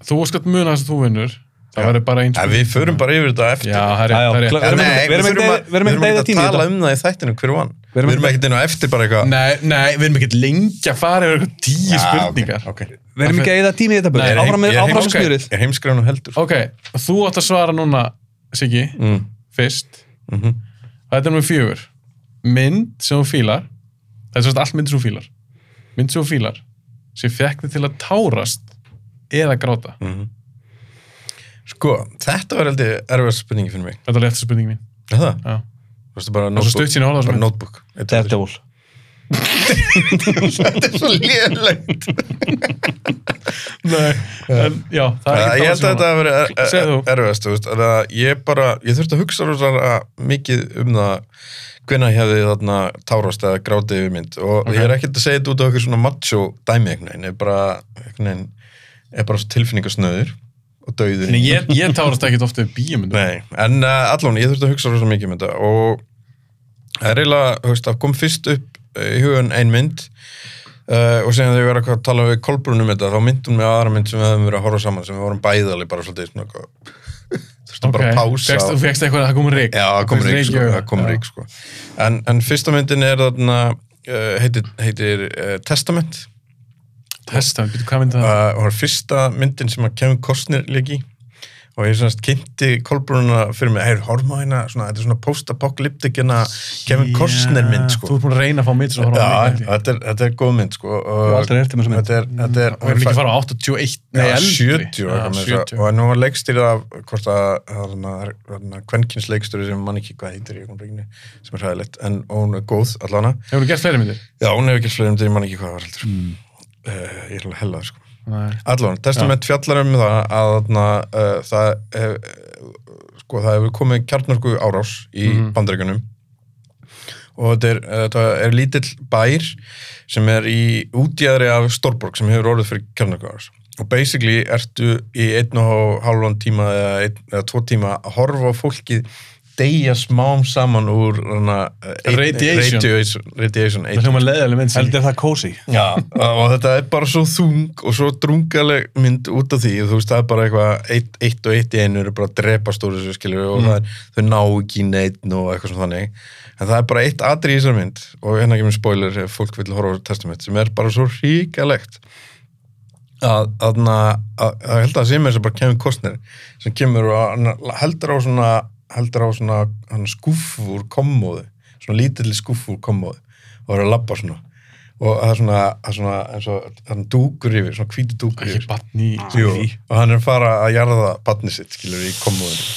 S1: þú skalt muna þess að þú vinnur það verður bara eins
S3: Ja, við förum bara yfir þetta eftir.
S1: já, það er
S2: Já, já,
S1: rétt, það er
S2: klá-
S1: rétt
S2: Verum
S3: Nei,
S2: ekki- verum
S3: við
S2: ekki-
S3: þurfum að-
S2: verum
S3: við
S2: ekki
S3: þurfum
S2: að
S3: ekki
S2: tíma í
S3: að tala
S2: þetta.
S3: um það í þættinu hver vann.
S2: Verum
S3: Við erum
S2: ekki-
S3: ekkert inn á eftir bara eitthvað.
S1: nei, nei, við erum ekkert lengi að fara yfir eitthvað tíu
S3: Já, ok,
S1: spurningar
S3: ok.
S2: Við erum ekki að eða tími í þetta
S1: Nei,
S2: búið. Áfram með
S3: ég-
S2: áfram
S3: ég-
S2: með smjörið.
S3: Ég heimskræði nú heldur.
S1: ok, þú átt að svara núna Siggi,
S3: Mm.
S1: fyrst
S2: mm-hmm,
S3: Mhm.
S1: Þetta er nummer fjögur. Mynd sem hún fílar, það er svolítið allt mynd sem hún fílar, mynd sem hún fílar, sem fekk þið til að tárast eða gráta.
S2: mm-hmm.
S3: Sko, þetta var heldur erfiðast spurningi fyrir mig.
S1: Þetta er rétt spurningi mín.
S3: Er það?
S1: Já.
S3: Þú veist
S1: Það
S3: bara
S1: er svo
S3: notebook.
S1: stutt sín að horfa á
S3: Bara
S1: þessum mynd.
S3: notebook.
S2: Daredevil.
S3: Þetta er svo lélegt.
S1: Nei, en já, það er
S3: Ég
S1: ekki
S3: held að þetta hafi verið er-
S1: Segðu þú.
S3: er- erfiðast, þú veist. að það- Ég bara, ég þurfti að hugsa rosalega mikið um það hvenna ég hefði þarna tárast eða grátið yfir mynd og
S1: Ok.
S3: ég er ekkert að segja þetta út af eitthvað svona macho dæmi einhvern veginn, ég er bara, einhvern veginn, er bara svo tilfinningasnöður og dauður.
S1: Nei, ég, ég tárast ekkert ofta við bíómyndu.
S3: Nei, en uh, allan, ég þurfti að hugsa rosa mikið um þetta uh, og það er eiginlega, þú veist, það kom fyrst upp eh, í hugan ein mynd Uh, og síðan þegar ég var eitthvað að tala við Kolbrunum þetta, þá myndum við aðra mynd sem við höfum verið að horfa saman, sem við vorum bæðali bara svolítið svona eitthvað, þurftum bara að pása
S1: Fekst,
S3: og-
S1: fekst eitthvað að það komur rík
S3: Já, það kom rík, sko, það kom rík sko. en, en fyrsta myndin er þarna uh, heitir, heitir uh, Testament
S1: Testa, býtu, hvað myndi það?
S3: uh, og það er fyrsta myndin sem að Kevin Costner legi og ég semst kynnti Kolbrununa fyrir mig, heyr, horfum á hérna svona, þetta er svona post-apocalyptic hérna Kevin Costner mynd
S1: Þú
S3: sko
S1: ert búin að reyna að fá mynd sem að horfa á
S3: Já,
S1: hana, ekki?
S3: þetta er, þetta er góð mynd sko
S2: Ég
S3: og
S2: hef aldrei hert um þessa mynd.
S1: Mm.
S3: Þetta er, þetta er,
S1: Við erum ekki að fara á 81 Nei,
S3: Já,
S1: eldri.
S3: 70
S1: Já,
S3: og eitthvað með þess
S1: 70.
S3: að- og nú var leikstýrið af hvort að hérna kvenkins leikstýri sem mann ekki hvað heitir í einhvern reyginu sem er hræðilegt en hún er góð allana
S1: Hefur þú gert fleiri myndir?
S3: já hún hefur ekki fleiri um því mann ekki hvað það var heldur
S1: Mm.
S3: uh, ég er alveg hellað sko
S1: Nei.
S3: allan testament fjallar um það að þarna, uh, það uh, sko það hefur komið kjarnorku árás í mm
S1: Mhm.
S3: og þetta er, uh, þetta er lítill bær sem er í útjæðri af Stórborg sem hefur orðið fyrir kjarnorku árás og basically ertu í einn og hálfan tíma eða, einn, eða tvo tíma að horfa á fólkið deyja smám saman úr hana, uh,
S1: Radiation.
S3: radiation, radiation
S1: Það hljóma leðileg mynd sem
S2: Heldur það kósi?
S3: Já, og þetta er bara svo þung og svo drungaleg mynd út af því þú veist, það er bara eitthvað, eitt, eitt og eitt í einu eru bara að drepast úr þessu skilur og það er, þau ná ekki í neitt og eitthvað svona þannig en það er bara eitt atri í þessar mynd og hérna ekki með spoiler ef fólk vil horfa á testament sem er bara svo ríkalegt að, að, að, að, að held að það sé með þess að bara kemur kostnir sem kemur og hann heldur á svona heldur á svona hann skúfu úr kommóðu, svona lítilli skúfu úr kommóðu og er að labba svona og það er svona, það er svona eins og hann dúkur yfir, svona hvítu dúkur
S1: Ekki
S3: yfir
S1: batn í
S3: Jú, og hann er að fara að jarða batni sitt, skilur í kommóðinu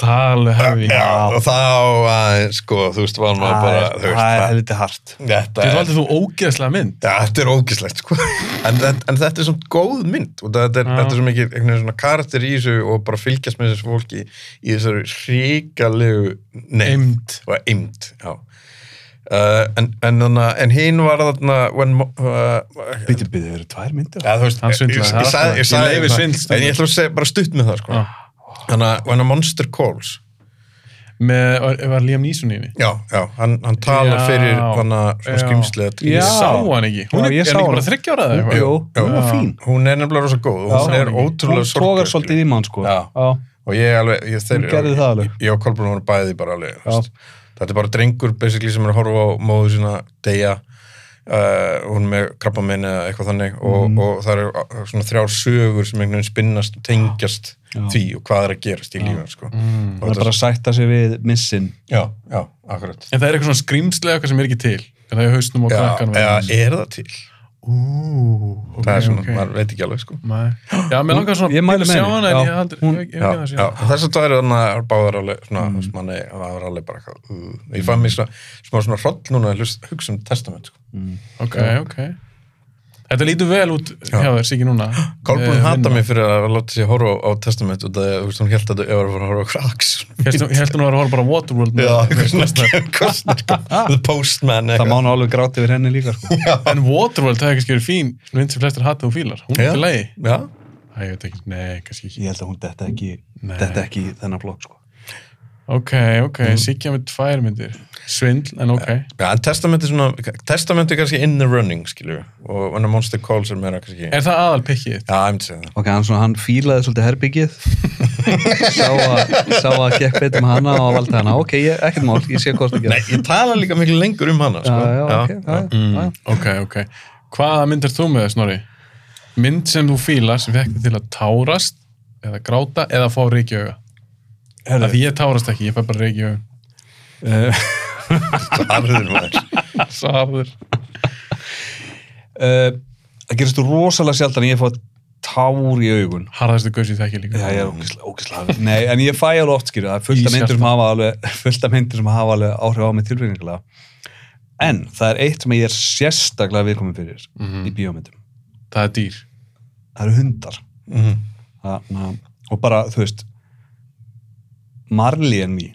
S1: Það er alveg hefði
S3: Já, og þá aðeins, sko, þú veist, var maður
S2: Það
S3: bara,
S2: er-
S3: þú
S2: það er
S3: veist,
S2: heldur hart.
S3: það þetta
S1: Þú
S3: er
S1: valdi þú ógeðslega mynd
S3: Já, þetta er ógislegt sko en, en, en þetta er svona góð mynd og þetta er,
S1: Já.
S3: þetta er svo mikið einhvern veginn svona karakter í þessu og bara fylgjast með þessu fólki í þessari hrikalegu nefnd
S1: Eimt
S3: og eimt já. Uh, en, en, þarna- en hinn var þarna when, mo- uh,
S2: Býtu, býtu, það eru tvær myndir.
S3: Já, þú veist,
S1: Hann svindlaði,
S3: ég,
S1: það er
S3: ég,
S1: alltaf-
S3: sagði, ég,
S1: ég
S3: sagði
S1: leyfi
S3: það.
S1: svindl.
S3: En ég ætla að segja bara stutt með það sko.
S1: Já.
S3: Þannig að When a Monster Calls
S1: Með, var- var Liam Neeson í henni
S3: Já, já, hann, hann
S1: Já.
S3: talar fyrir þannig
S1: Já.
S3: svona skrimslið
S1: Ég
S2: Já.
S1: sá hann ekki Hún
S2: Já,
S1: er,
S2: ég
S1: er
S2: sá
S1: hann ekki
S2: hana.
S1: bara þryggja ára eða
S2: Jú,
S1: eitthvað
S2: hún var
S1: Já.
S2: fín.
S3: Hún er nefnilega rosa góð, hún
S1: Já.
S3: er ótrúlega
S2: Hún tókar
S3: sorgleg,
S2: svolítið í mann, sko.
S3: Já. og ég alveg, ég þeir
S2: Hún gerði það alveg.
S3: ég og Kolbrun voru bæði bara alveg þú
S2: Já.
S3: veist. þetta er bara drengur basically sem er að horfa á móðu sína deyja uh, hún er með krabba eða eitthvað þannig og,
S2: Mhm.
S3: og það eru uh, svona þrjár sögur sem einhvern veginn spinnast og tengjast
S2: Já.
S3: því og hvað er að gerast í lífum sko. mm.
S2: Hún er bara að sætta sig við missin.
S3: já, já, akkurat
S1: En það er eitthvað svona skrýmslega eitthvað sem er ekki til Það er í hausnum og
S3: já,
S1: krakkanum
S3: eða er það til
S1: Ú, ok,
S3: það er svona,
S1: ok.
S3: maður veit ekki alveg sko.
S1: Nei. Já, mér langar svona
S2: Ég
S1: að
S2: mæli með
S1: sjá
S2: henni.
S1: hana en
S2: Já.
S1: ég hef aldrei-
S2: Hún-
S1: ég- ég hef ekki
S3: Já,
S1: hana
S3: já,
S1: síðan.
S3: þess að það eru þannig að báðar alveg svona, mm. manni, það var alveg bara eitthvað, uh, ég fann mér svona, svona, svona hroll núna að hlust- hugsa um testament sko.
S1: Ok, ok Þetta lítur vel út
S3: Já.
S1: hjá þér, Siki, núna
S3: Kolbrún
S1: Eh,
S3: hata
S1: vinna.
S3: mig fyrir að láta sér horfa á testament og það, þú veist, hún held að þau var að horfa á Cracks
S1: Hélstu- Ég held hún hérna- var að horfa bara á Waterworld með- með
S3: Já, eitthvað
S1: Costner.
S3: svona Costner, sko. The Postman
S2: Það
S3: eitthvað.
S2: mána alveg gráti við henni líka, sko.
S1: En Waterworld, það er kannski verið fín mynd sem flestir hata og fílar, hún er
S3: Já.
S1: til lagi
S3: Já,
S1: Æ, ég veit ekki, nei, kannski ekki
S2: Ég held að hún detta ekki,
S1: Nei.
S2: detta ekki í þennan blokk, sko.
S1: Ok, ok, mm. Sikja með tvær myndir Svindl, en ok
S3: Já, en testament er svona, testament er kannski in the running, skilju og when a monster calls er meira kannski Já,
S1: Er það aðal pikkið?
S3: ég myndi segja það
S2: Ok, hann, svona, hann fílaði svolítið herbyggið, sá að, sá að gekk betur með hana og valdi hana. Ok, ég, ekkert mál, ég sé hvort ekki.
S3: Nei, ég tala líka miklu lengur um hana,
S2: já,
S3: sko
S2: já, ok, já, Mm. já, já.
S1: Ah, Ok, ok Hvaða mynd er þú með, Snorri? Mynd sem þú fílar sem fekk þig til að tárast eða gráta eða fá reiki auga
S2: Herðu.
S1: Af Því ég tárast ekki, ég fæ bara reiki auga
S2: Eh,
S3: Harður maður
S1: Sarður
S2: Uh, það gerist rosalega sjaldan að ég fá tár í augun.
S1: Harðastu gauðs ég þekki líka
S2: Já, ég er ógislega, ógislega Nei, en ég fæ alveg oft skýrðu, það er fullt af
S1: Íshjarta.
S2: myndir sem hafa alveg, fullt af myndir sem hafa alveg áhrif á mig tilfinningulega. En það er eitt sem ég er sérstaklega viðkominn fyrir
S1: Mhm.
S2: í bíómyndum.
S1: Það er dýr
S2: Það eru hundar.
S3: Mhm.
S2: Það, na, og bara, þú veist, Marley en mý.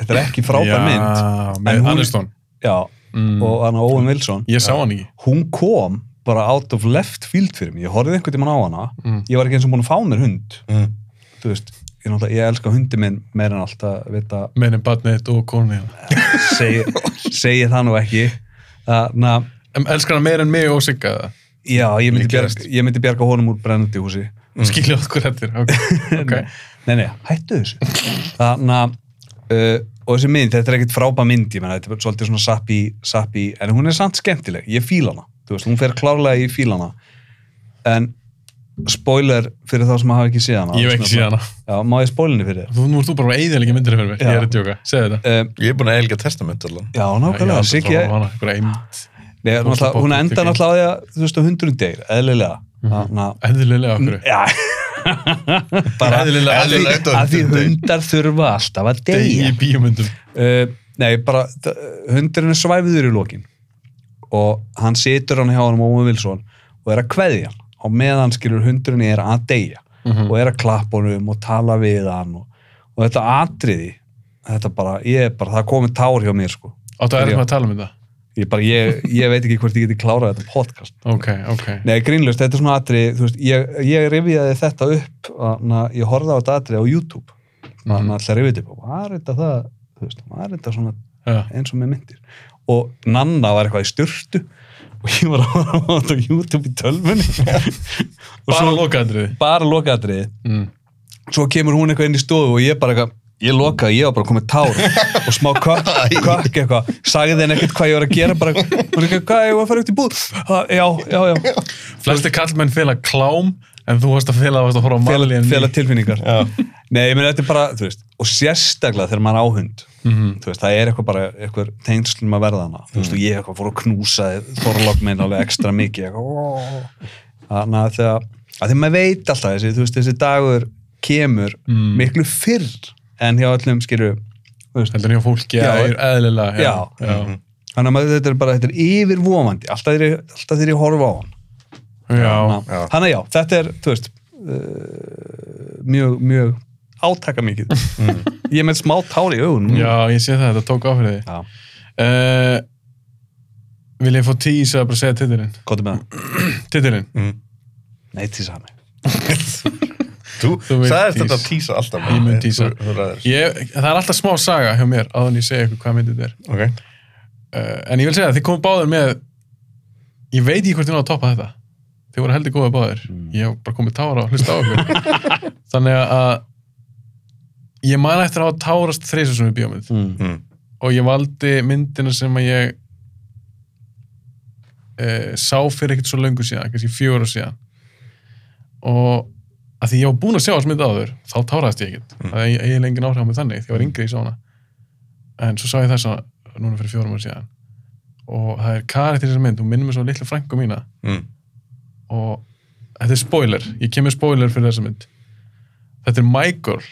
S2: Þetta er ekki frábær mynd. En
S1: Með
S2: hún-
S1: Aniston
S2: Já,
S1: mm.
S2: og hann Owen Wilson.
S1: Ég sá hann ekki
S2: Hún kom bara out of left field fyrir mig. Ég horfði einhvern tímann á hana.
S1: Mm.
S2: Ég var ekki eins og búin að fá mér hund.
S3: Mm.
S2: Þú veist, ég, náttúrulega- ég elska hundi minn meira en allt að vita
S1: Meðin barnið þitt og konið
S2: segi, segi það nú ekki þannig að
S1: Em- Elskar hann meira en mig og Sigga það?
S2: Já, ég myndi,
S1: Líklegast.
S2: bjarga, ég myndi bjarga honum úr brennandi húsi.
S1: Mm. Skilja okkur eftir, ok. okay.
S2: Nei, nei, hættu þessu. Þannig að, uh, og þessi mynd, þetta er ekkert frábæð mynd, ég menna, þetta er bara svolítið svona sappi, sappi, en hún er samt skemmtileg, ég fíla hana, þú veist, hún fer klárlega í fíla hana. En, spoiler fyrir þá sem hafa ekki séð hana.
S1: Ég hef ekki séð hana.
S2: Já, má ég spoilinu fyrir þér?
S1: Þú, nú ert þú bara að eigða líka myndir fyrir mér,
S2: Já.
S1: ég er að djóka, segðu þetta.
S2: Uh,
S3: Ég er búin að eiginlega testament allan.
S2: já,
S1: Ég
S2: nákvæmlega,
S1: er aldrei
S2: Siggi,
S1: að horfa á hana, einhverja eymd.
S2: Nei, náttúrulega, hún endar náttúrulega á því að, þú veist, á hundurinn degir, eðlilega.
S1: Mhm.
S2: Þannig að,
S1: Eðlilega okkur.
S2: já, bara
S3: Eðlilega-
S2: að því-
S3: eðlilega endar á
S2: að því
S3: hundurinn deyr.
S2: hundar þurfa alltaf að
S1: Degi
S2: deyja.
S1: í bíómyndum.
S2: Uh, nei, bara þ- hundurinn er svæfiður í lokin og hann situr hann hjá hann Óma Vilsson og er að kveðja hann og meðan skilur hundurinn er að deyja og er að klappa honum og tala við hann og, og þetta atriði þetta bara, ég er bara, það er komið tár hjá mér sko,
S1: Áttu að erum að tala um þetta?
S2: ég bara, ég, ég veit ekki hvort ég geti klárað þetta podcast
S1: Ok, ok.
S2: Nei, grínlust, þetta er svona atriði, þú veist, ég, ég rifjaði þetta upp, na, ég horfði á þetta atriði á YouTube, þannig
S1: Mhm.
S2: að alltaf rifjaði þetta upp, og var þetta það, þú veist, var þetta svona
S1: Já.
S2: eins og með myndir og Nanna var eitthvað í styrtu og ég var að horfa á þetta á YouTube í tölvunni og
S1: Bara
S2: svo
S1: lokaðandrið.
S2: bara lokaðatriði
S1: Mm.
S2: svo kemur hún eitthvað inn í stofu og ég bara eitthvað ég lokaði, ég var bara komið tár og smá kökk kökk eitthvað sagði henni ekkert hvað ég var að gera bara, hún er eitthvað, hvað, ég var að fara út í búð Ha, já, já, já,
S1: Flesti kallmenn fela klám, en þú varst að fela að varst að horfa á
S2: fela,
S1: Marley
S2: fela tilfinningar nei, ég meni þetta er bara, þú veist og sérstaklega þegar maður á hund
S1: Mhm.
S2: þú veist, það er eitthvað bara, eitthvað tengslum að verða hana, þú veist, og ég eitthvað fór að knúsa þorlokk minn alveg ekstra mikið eitthvað, ó. þannig að þegar að því maður veit alltaf þessi, þú veist, þessi dagur kemur
S1: Mm.
S2: miklu fyrr en hjá öllum skilju
S1: Heldur nýja fólki
S2: Já.
S1: að það er eðlilega.
S2: Já. Mhm.
S1: já.
S2: þannig að maður, þetta er bara, þetta er yfirvofandi alltaf þegar ég- alltaf þegar ég horfa á hann
S1: já.
S2: Þannig að- þannig að já, þetta er, þú veist uh, mjög, mjög átaka mikið ég er með smá tár í augunum
S1: Já, ég sé það, þetta tók á fyrir
S2: Já.
S1: því uh, Vil ég fá tíis að bara segja titilinn?
S2: Kottu með það.
S1: Titilinn?
S2: Nei, til sami.
S3: Þú,
S1: Þú vilt
S3: sagðist
S1: tís.
S3: þetta að tísa alltaf.
S1: Ég mun tísa.
S3: Þú, þú ræður.
S1: Ég, það er alltaf smá saga hjá mér áður en ég segja ykkur hvað myndið er
S3: Ok.
S1: uh, En ég vil segja að þið komum báður með Ég veit ekki hvort þið náðu að toppa þetta Þið voru heldur góða báður Ég hef bara komið tára og hlusta á ykkur Þannig að Ég man eftir að hafa tárast þreysum sem við bíómynd
S2: Mm.
S3: Mm.
S1: og ég valdi myndina sem að ég e, sá fyrir ekkert svo löngu síðan, kannski fjögur og síðan og að því ég var búinn að sjá þessu mynd áður, þá táraðist ég ekkert
S3: Mm.
S1: mm. að ég, ég er lengi náhrá með þannig, því ég var yngri í svona en svo sá ég þessa núna fyrir fjórum og síðan og það er karið til þessa mynd, hún minnir mig svo á litlu frængu mína
S3: Mm.
S1: og þetta er spoiler, ég kemur spoiler fyrir þessa mynd þetta er My Girl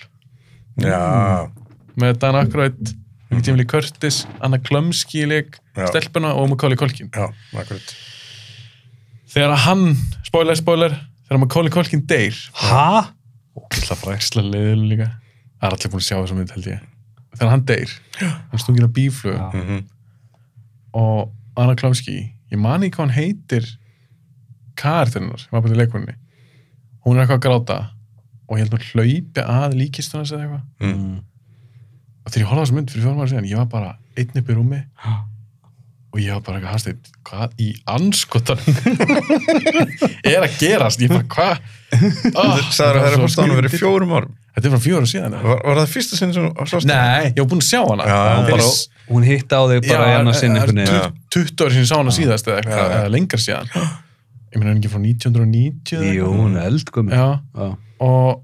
S3: Já.
S1: Mm. með Dan Aykroyd einhvern tíma lík Curtis, Anna Klömski lík
S3: Já.
S1: stelpuna og Macaulay Culkin
S3: Já, akkurat.
S1: þegar að hann, spoiler, spoiler þegar Macaulay Culkin deyr
S2: Hæ?
S1: það er bara ekstra leiðil líka það er allir búin að sjá þessum mynd held ég þegar hann deyr, hann stungir á bíflug
S2: Já.
S3: Mhm.
S1: og Anna Klömski ég man ekki hvað hann heitir karakternar, sem var bara í leikvunni hún er eitthvað að gráta og ég held að hún hlaupi að líkistunars eða eitthvað
S2: Mm.
S1: og þegar ég horfði á þessu mynd fyrir fjórum ára síðan ég var bara einn upp í rúmi og ég var bara eitthvað Hafsteinn, hvað í anskotanum er að gerast ég bara hvað oh,
S3: Sagður að það er að hósta hann verið fjórum árum.
S1: þetta er frá fjóru síðan eða?
S3: Var, var það fyrsta sinni sem þú sást?
S1: nei, ég var búinn að sjá hana
S3: Já,
S1: Hún
S3: já.
S1: bara-
S3: Bara-
S2: Hún hitti á þig bara
S1: Já,
S2: hérna
S1: eh,
S2: sinni einhvern veginn.
S1: tu- 20 ári sinni sá hana síðast eða,
S3: Já,
S1: eitthvað,
S3: já.
S1: eða lengar síðan ég meina er hún ekki frá 1990 eða
S2: Jú, hún er eldgum.
S1: eitthvað? já, og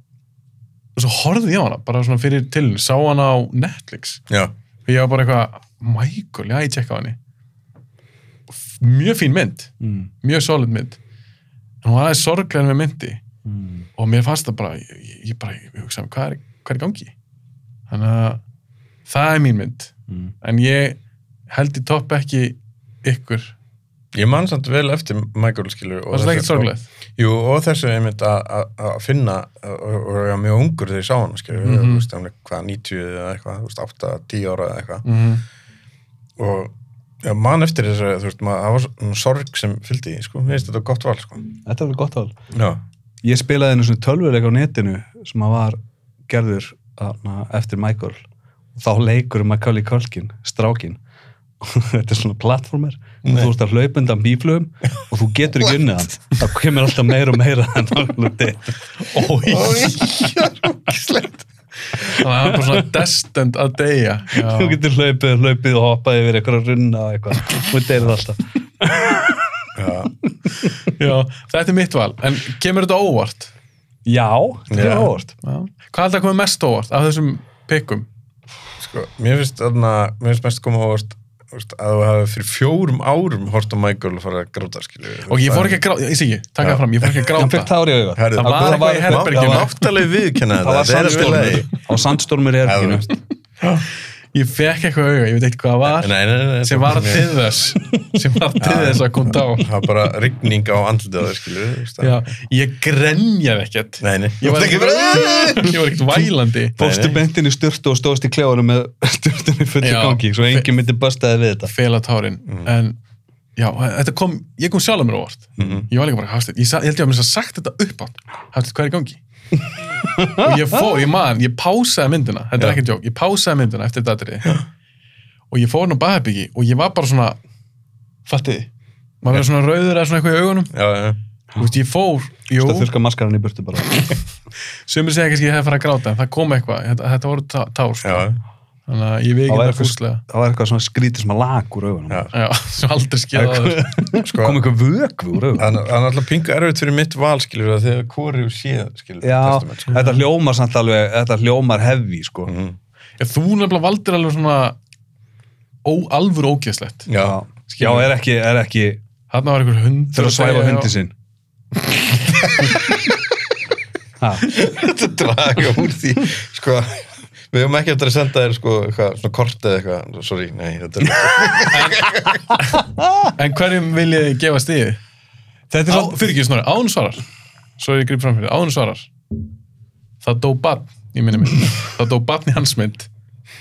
S1: og svo horfði ég á hana bara svona fyrir til sá hana á Netflix
S3: Já.
S1: og ég var bara eitthvað, Michael, já ég tjekka á henni F- mjög fín mynd
S2: Mm.
S1: mjög solid mynd en hún var aðeins sorglega með myndi
S2: Mm.
S1: og mér fannst það bara, ég, ég- ég bara ég hugsaði, hvað er, hvað er í gangi þannig að það er mín mynd
S2: Mm.
S1: en ég held í topp ekki ykkur,
S3: Ég man samt vel eftir Michael skilur.
S1: það
S3: og
S1: er
S3: þessu-
S1: ekkert sorglegt
S3: Jú, og þessu einmitt að- að að finna og og ég var mjög ungur þegar ég sá hann skilur, mm
S1: Mhm.
S3: -hmm. veist, hann er hvað, 90 eða eitthvað, þú veist, 8, 10 ára eða eitthvað
S1: mm -hmm.
S3: og ég man eftir þessu, þú veist, maður, það var svona sorg sem fylgdi, í, sko, mér finnst þetta gott val, sko
S2: Þetta er alveg gott ál.
S3: Já,
S2: Ég spilaði hennu svona tölvuleik á netinu sem að var gerður na, eftir Michael. Þá leikur Macaulay Culkin, strákin. þetta er svona plattformer og
S3: Nei.
S2: þú ert að hlaupa undan bíflugum og þú getur ekki unnið hann það kemur alltaf meira og meira en það er nú deyr.
S1: Ói,
S3: Ógislegt
S1: það var bara svona destined að deyja.
S2: þú
S1: Já.
S2: getur hlaupið, hlaupið og hoppað yfir eitthvað runna og eitthvað, þú deyrir alltaf
S1: Já, þetta er mitt val, en kemur þetta á óvart?
S2: já, þetta
S3: Já.
S2: er óvart
S1: Já. Hvað held að koma mest á óvart af þessum pikkum?
S3: sko, Mér finnst þarna, mér finnst mest koma á óvart þú veist, að þú hafi fyrir fjórum árum hort á Michael og fara að gráta skilju
S1: Og ég fór ekki að gráta, ég sé ekki, taka það fram, ég fór ekki að
S2: hann fekk
S1: gráta.
S2: tár í auðvart
S3: Herri,
S1: Það var
S3: það
S1: eitthvað í herberginu.
S3: Það var áttalegi viðkenna
S2: það var sandstormur á sandstormur er
S3: Já,
S2: ekki
S1: Ég fekk eitthvað auga, ég veit ekki hvað það var,
S3: Nei, nei, nei,
S1: sem var til þess, sem var til
S3: Já.
S1: þess að koma á.
S3: Það var bara rigning á andlitið á þér, skilju þú veist það.
S1: Já, ég grenjaði ekkert.
S3: Nei, nei
S1: Ég var ekkert, ég var ekkert vælandi.
S2: fórstu bentin í styrtu og stóðst í kljáðunum með styrtunni fullu
S1: Já.
S2: gangi svo enginn myndi bastaði við þetta
S1: felatárin mm. en já, þetta kom, ég kom sjálf að mér á óvart ég var líka bara, Hafsteinn, ég, sa- ég held ég að mér að sagt þetta upp átt, Hafsteinn, hvað er í gangi? og ég fór, ég man, ég pásaði myndina, þetta
S3: Já.
S1: er ekkert jók, ég pásaði myndina eftir þetta atriði. og ég fór nú baðherbyggi og ég var bara svona fattið, þið? maður verið svona rauður eða svona eitthvað í augunum,
S3: Já, já
S1: þú veist, ég fór jú,
S2: það þurka maskaran í burtu bara
S1: sömur segja kannski að ég hefði farið að gráta en það kom eitthvað, þetta, þetta voru tá- tár sko.
S3: Já,
S1: þannig að ég við
S2: Það
S1: ekki
S2: var
S1: það
S2: eitthvað-
S1: fúslega
S2: það var eitthvað svona skrítið sem að lag úr augunum
S3: Já.
S1: já, sem aldrei skiljaði áður.
S3: sko,
S2: kom eitthvað vökvi úr augunum
S3: það það er alltaf pingu erfitt fyrir mitt val, skilur það, þegar hvori og séð, skilur
S2: Já,
S3: testament, sko.
S2: þetta hljómar samt alveg, þetta hljómar hefði, sko.
S3: Mhm.
S1: Já, þú nefnilega valdir alveg svona ó, alvöru ógeðslegt.
S3: Já,
S2: Já, já er ekki, er ekki,
S1: Þarna var einhver hund.
S2: þurfa að svæfa hundi sinn. ha,
S3: þetta draga úr því, sko, við höfum ekki eftir að senda þér, sko, eitthvað, svona kort eða eitthvað, sorry, nei, þetta er,
S1: En hverjum viljið þið gefa stíði?
S2: þetta er
S1: Á,
S2: svona,
S1: fyrir ekki snorri, án svarar. Svo er ég grip fram fyrir, án svarar. Það dó barn í minni mynd. Það dó barn í hans mynd.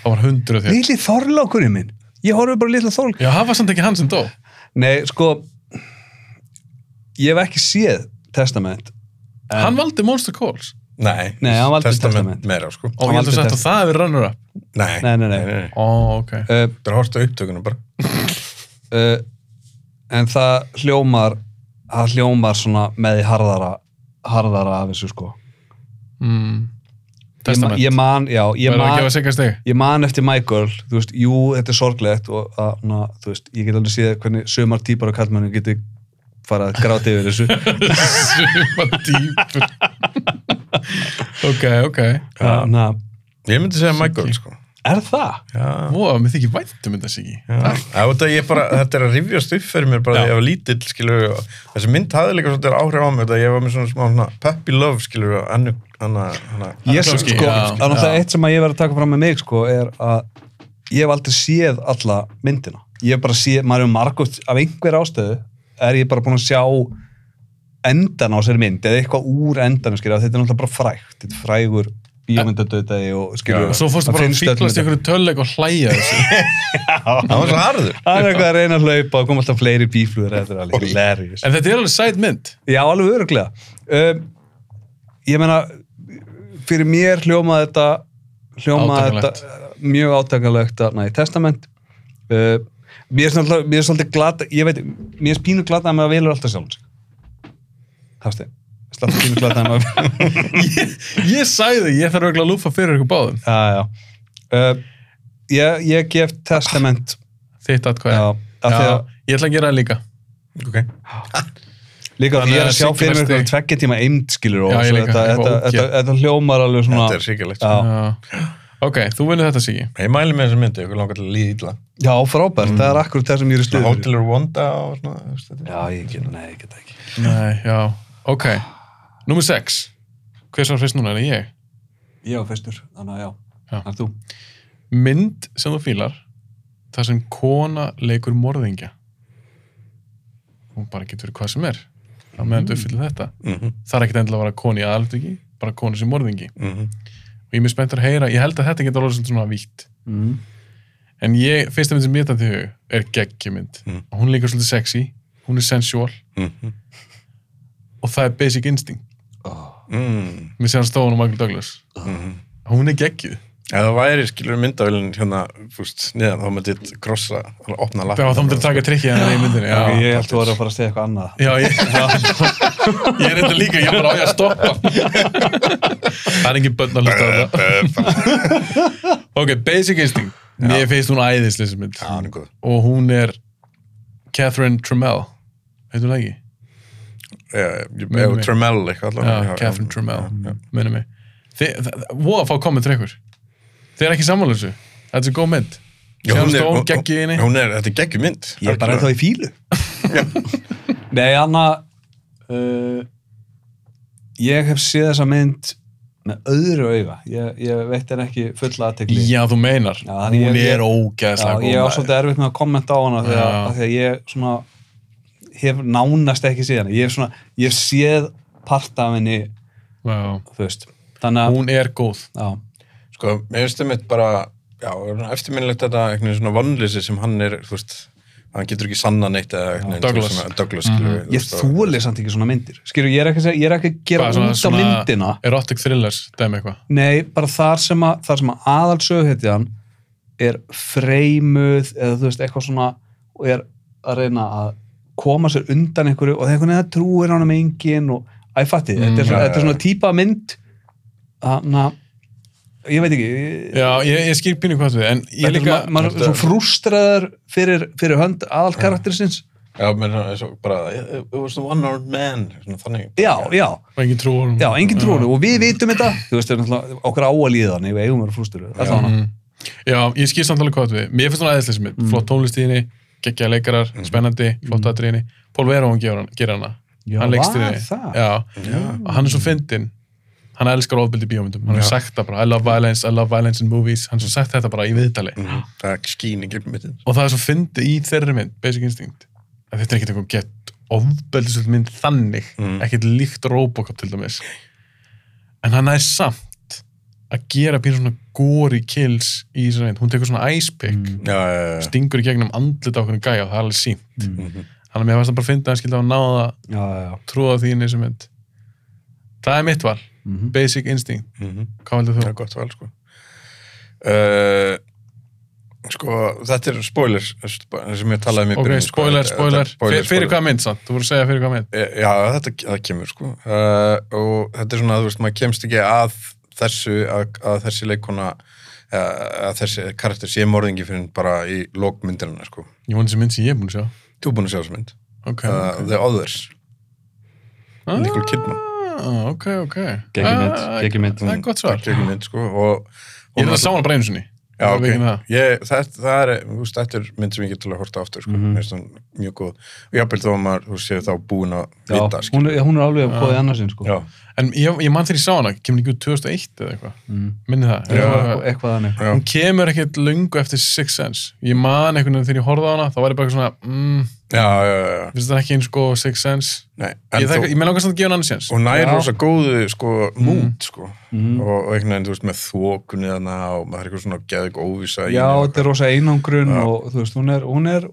S1: Það var hundruð þér.
S2: lítið þorlákurinn minn. Ég horfði bara lítið þorlákurinn.
S1: Já, það var samt ekki hann sem dó.
S2: Nei, sko, ég hef ekki séð testament. En-
S1: Hann valdi Monster Calls.
S3: nei,
S2: Nei, hann valdi testament.
S3: meira, sko,
S1: Og
S2: Hann
S1: ég held
S2: valdi
S1: að sagt
S2: þetta.
S1: að það hefur runner up.
S3: nei,
S2: Nei, nei, nei.
S1: Ó, ok.
S2: Uh,
S3: þetta er hort á upptökunum bara,
S2: uh, en það hljómar, það hljómar svona með því harðara, harðara af þessu, sko.
S1: Mm.
S2: Ég, ma-
S1: Testament.
S2: ég man, já, ég
S1: Verður að
S2: man.
S1: gefa sig að stíði?
S2: ég man eftir My Girl, þú veist, jú, þetta er sorglegt og að, na, þú veist, ég get alveg séð hvernig sömar típar og kallmennu geti fara að gráta yfir þessu
S1: Suma dýpur. ok, ok.
S2: na,
S3: ég myndi segja Michael, sko,
S2: er það?
S3: já,
S1: Vó, mér þykir vænt um þetta Siggi.
S3: Já, þetta, ég bara, þetta er að rifjast upp fyrir mér bara
S1: Já.
S3: þegar ég var lítill, skilur við, og þessi mynd hafði líka svolítið áhrif á mig, þetta ég var með svona smá hana, puppy love, skilur við, og annu, hana, hana,
S2: Ég, sko,
S1: Klofski,
S2: sko,
S1: já,
S2: það er náttúrulega
S1: já.
S2: eitt sem að ég verið að taka fram með mig, sko, er að ég hef aldrei séð alla myndina ég hef bara séð, maður hefur margótt af einhver ástöðu, er ég bara búin að sjá endan á sér mynd eða eitthvað úr endanum, skilja, þetta er náttúrulega bara frægt, þetta er frægur bíómyndadöðdegi og skilja,
S1: Og svo fórstu bara að
S2: hérna
S1: fýblast í einhverju tölleg og hlæja þessu.
S3: hann var svo harður.
S2: Það er eitthvað að reyna að hlaupa og koma alltaf fleiri bíflugur þetta er alveg hilarious.
S1: en þetta er alveg sæt mynd.
S2: Já, alveg öruglega. Um, ég meina, fyrir mér hljómaði þetta, hljómaði
S1: Átakanlegt.
S2: þetta uh, mjög átakalegt að næ, testament. Uh, mér er svolítið, mér er svolítið glata, ég veit, mér er spínu glata að maður velur alltaf sjálfum sig. Hafstein, alltaf spínu glata að maður velur.
S1: ég, ég sagði, ég þarf örugglega að lúfa fyrir ykkur báðum.
S2: Já, já. Uh, ég, ég gef testament,
S1: Þitt atkvæði.
S2: já, af því að
S1: ég ætla að gera það líka.
S3: Ok.
S2: Líka
S1: Þannig
S2: ég
S1: að
S2: er að sjá
S1: Siggi
S2: fyrir mér
S1: fæst
S2: eitthvað
S1: stig.
S2: tveggja tíma eimt skilur og
S1: Já, ég
S2: svo
S1: líka,
S2: þetta,
S1: eitthvað
S2: þetta,
S1: ógeð.
S2: þetta, þetta hljómar alveg svona
S3: Þetta er sikkilegt.
S2: já,
S1: Já. Ok, þú vinnur þetta Siggi.
S3: Ég mæli með þessa myndi, ég langar til að líða illa.
S2: já, frábært, það er akkur það sem ég er
S3: Svona
S2: í stuði fyrir.
S3: Hotel Rwanda og svona, þú veist þetta.
S2: Já, ég get, nei, ég get ekki
S1: Nei, já. Ok. Númer 6. Hver svar fyrst núna er það ég?
S2: Ég var fyrstur, þannig að já,
S1: Já.
S2: það er þú
S1: Mynd sem þú fílar, þar sem kona leikur morðingja. Hún bara getur verið hvað sem er. Það meðan þú uppfyllir þetta.
S3: Mhm,
S1: Það er ekkert endilega að vera koni í aðalviki, bara koni sem morðingi.
S3: mhm.
S1: og ég er mjög spenntur að heyra, ég held að þetta geta alveg svolítið svona vítt
S2: mm.
S1: en ég, fyrsta mynd sem mér þetta til hug er geggjumynd
S3: Mm.
S1: og hún líka svolítið sexy, hún er sensual
S3: Mhm.
S1: og það er basic instinct
S2: oh.
S3: Mm,
S1: með sér hann stóðan og Michael Douglas
S3: mhm.
S1: hún er geggjuð
S3: Ef það væri skilur myndavölin hérna, fúst, neðan, þá myndi ég krossa, alveg opna
S1: Já, þá myndir að taka trikkið hennar í myndinni. Já,
S2: Ég held þú var að fara að segja eitthvað annað.
S1: Já, ég, ég er þetta líka, ég er bara á ég að stoppa. það er engin börn að hlusta á þetta.
S3: þetta.
S1: Ok, Basic Instinct. Mér finnst hún æðislega sem mynd.
S3: Já, hann er góð.
S1: Og hún er Catherine Tremell. Heitur hún það ekki?
S3: Já, ég-
S1: Minnir
S3: eða
S1: mig.
S3: Tremell eitthvað
S1: Já,
S3: allavega.
S1: Catherine Tremell. Minni mig. Þið, það, voða að fá komið til ykkur. Þið er ekki sammála þessu. Þetta er góð mynd.
S3: Já, hún
S1: Sjáum
S3: er-
S1: stóðum
S3: hún-
S1: geggi í henni.
S3: Hún er, þetta er geggjumynd.
S2: Ég er bara ennþá í fílu. Nei, Anna, uh, ég hef séð þessa mynd með öðru auga. Ég, ég veitt henni ekki fulla aðtekli.
S1: Já, þú meinar.
S2: Já,
S1: hún
S2: þannig ég-
S1: er ógeðslega
S2: Já,
S1: góð.
S2: ég á
S1: maður.
S2: svolítið erfitt með að kommenta á hana
S1: Já.
S2: þegar, af því að ég svona hef nánast ekki séð hana ég hef, svona, ég hef séð part af henni
S1: Já.
S2: þú veist þannig að
S1: Hún er góð.
S2: já,
S3: Sko, mér finnst það mitt bara, já, eftirminnilegt þetta einhvern veginn svona vannlýsi sem hann er, þú veist, hann getur ekki sanna neitt eða einhvern veginn.
S1: Douglas. Mhm.
S3: Svona, Douglas, skilur við. þú
S2: ég
S3: veist, og-
S2: þúli samt ekki svona myndir skilur, ég er ekki að, segja- ég er ekki að gera
S1: Hvað, svona-
S2: út af
S1: svona
S2: myndina
S1: Erotic thrillers, dæmi eitthvað.
S2: nei, bara þar sem að, þar sem að aðalsöghetjan er freimuð eða þú veist, eitthvað svona og er að reyna að koma sér undan einhverju og einhvern veginn það trúir hann um engin og æfatti, mm, þetta, er
S1: Mm,
S2: svona-
S3: já,
S2: þetta er svona típa af mynd þannig að ég veit ekki ég,
S1: Já, ég, ég skil pínu hvað við, en ég
S2: þetta
S1: líka...
S2: er svona, maður er
S3: þetta-
S2: svona frústraður fyrir, fyrir hönd aðalkarakterisins
S3: Já, mér finnst það bara, it was a one-armed man, svona þannig.
S2: já, já,
S1: Og engin trú á honum.
S2: já, engin trúinu
S3: Mm.
S2: og við vitum þetta, þú veist, þetta er náttúrulega okkur á að líða þannig, við eigum að vera frústraður allavega.
S1: Mhm. Já, ég skil samtalið hvað við. Mér finnst hún aðeinslega sem er.
S2: Mm.
S1: Flott tónlist í henni, geggja leikarar,
S3: Mm.
S1: spennandi, flott aðri í henni. Pól Verón gerir hann- gerir hana.
S2: Já,
S1: hann leikst í
S2: var
S1: henni.
S2: það?
S1: Já. Og hann er svo fyndinn. Hann elskar ofbeldi í bíómyndum. Hann hefur
S3: Já.
S1: sagt það bara, I love violence, I love violence in movies. Hann hefur sagt þetta bara í viðtali.
S3: Það er skýning í mittin.
S1: Og það er svo fyndið í þeirri mynd, Basic Instinct. Að þetta er ekkert eitthvað gett ofbeldisvöld mynd þannig.
S3: Mm.
S1: Ekkert líkt Robocop til dæmis. En hann er samt að gera pínu svona góri kills í þessari mynd. Hún tekur svona ice pick
S3: Já, já, já, já.
S1: stingur í gegnum andlit á okkur gæja og það er alveg sínt.
S3: Mhm.
S1: Þannig að mér fannst það bara að finna að hann skildi á að náða það,
S3: Mm-hmm.
S2: já, já, já.
S1: trúða því inn í þessu mynd. Það er mitt val,
S2: Mhm.
S3: Mm-hmm.
S1: basic instinct.
S3: Mhm.
S1: Hvað heldur
S3: Það
S1: þú?
S3: er gott val, sko. Uh, sko, þetta er spoilers sp- sem ég talaði um mér
S1: Ok, spoiler, spoiler. Fyr, fyrir hvað mynd samt? Þú voru að segja fyrir hvað mynd.
S3: Eh, Já, þetta það kemur, sko. Uh, og þetta er svona, þú veist, maður kemst ekki að þessu, að, að þessi leikona, eh, að þessi karakter sé morðingi fyrir bara í lókmyndina, sko.
S1: Ég vona þessi mynd sem ég er búin að sjá.
S3: Þú er búin að sjá þessu mynd.
S1: Ok.
S3: Uh, The Others.
S1: Ah,
S3: Nicole Kidman.
S1: Ok, ok.
S2: Geggjum mynd,
S1: Ah,
S2: geggjum mynd.
S1: Það er gott svar.
S3: Ekki ekki mynd, sko. Og, og
S1: Ég er það sá hana bara einu sinni.
S3: Já,
S1: Ég
S3: ok.
S1: veit ekki það.
S3: Ég, það, það er, þú veist, þetta er mynd sem ég get til að horta aftur, sko. Mm -hmm. Mjög góð. Og jáfnvel þá að maður, þú séu þá búin að vita,
S2: Já,
S3: sko.
S2: hún, er- hún er alveg að bóðið annarsinn sko.
S3: Já,
S1: En ég, ég mann þegar ég sá hana, kemur hún ekki út 2001 eða eitthvað.
S2: Mm.
S1: Minni það.
S3: Já.
S1: Eitthvað-
S2: eitthvað þannig
S3: já.
S1: hún kemur ekkert lungu eftir Six Sense ég man einhvern veginn þegar ég horfði á hana þá var ég bara eitthvað svona, mm,
S3: Já, já, já, já.
S1: finnst það ekki eins og Six Sense
S3: Nei, en
S1: ég, þekka,
S3: þú,
S1: ég með langast að gefa hann annars séns
S3: og nær
S2: Já.
S3: rosa góðu, sko, mút, sko.
S2: Mhm.
S3: Og, og einhvern veginn, þú veist, með þókunni þarna og maður er eitthvað svona geðug óvísa í
S2: Já,
S3: henni og
S2: þetta er rosa einangrun og þú veist, hún er, hún er,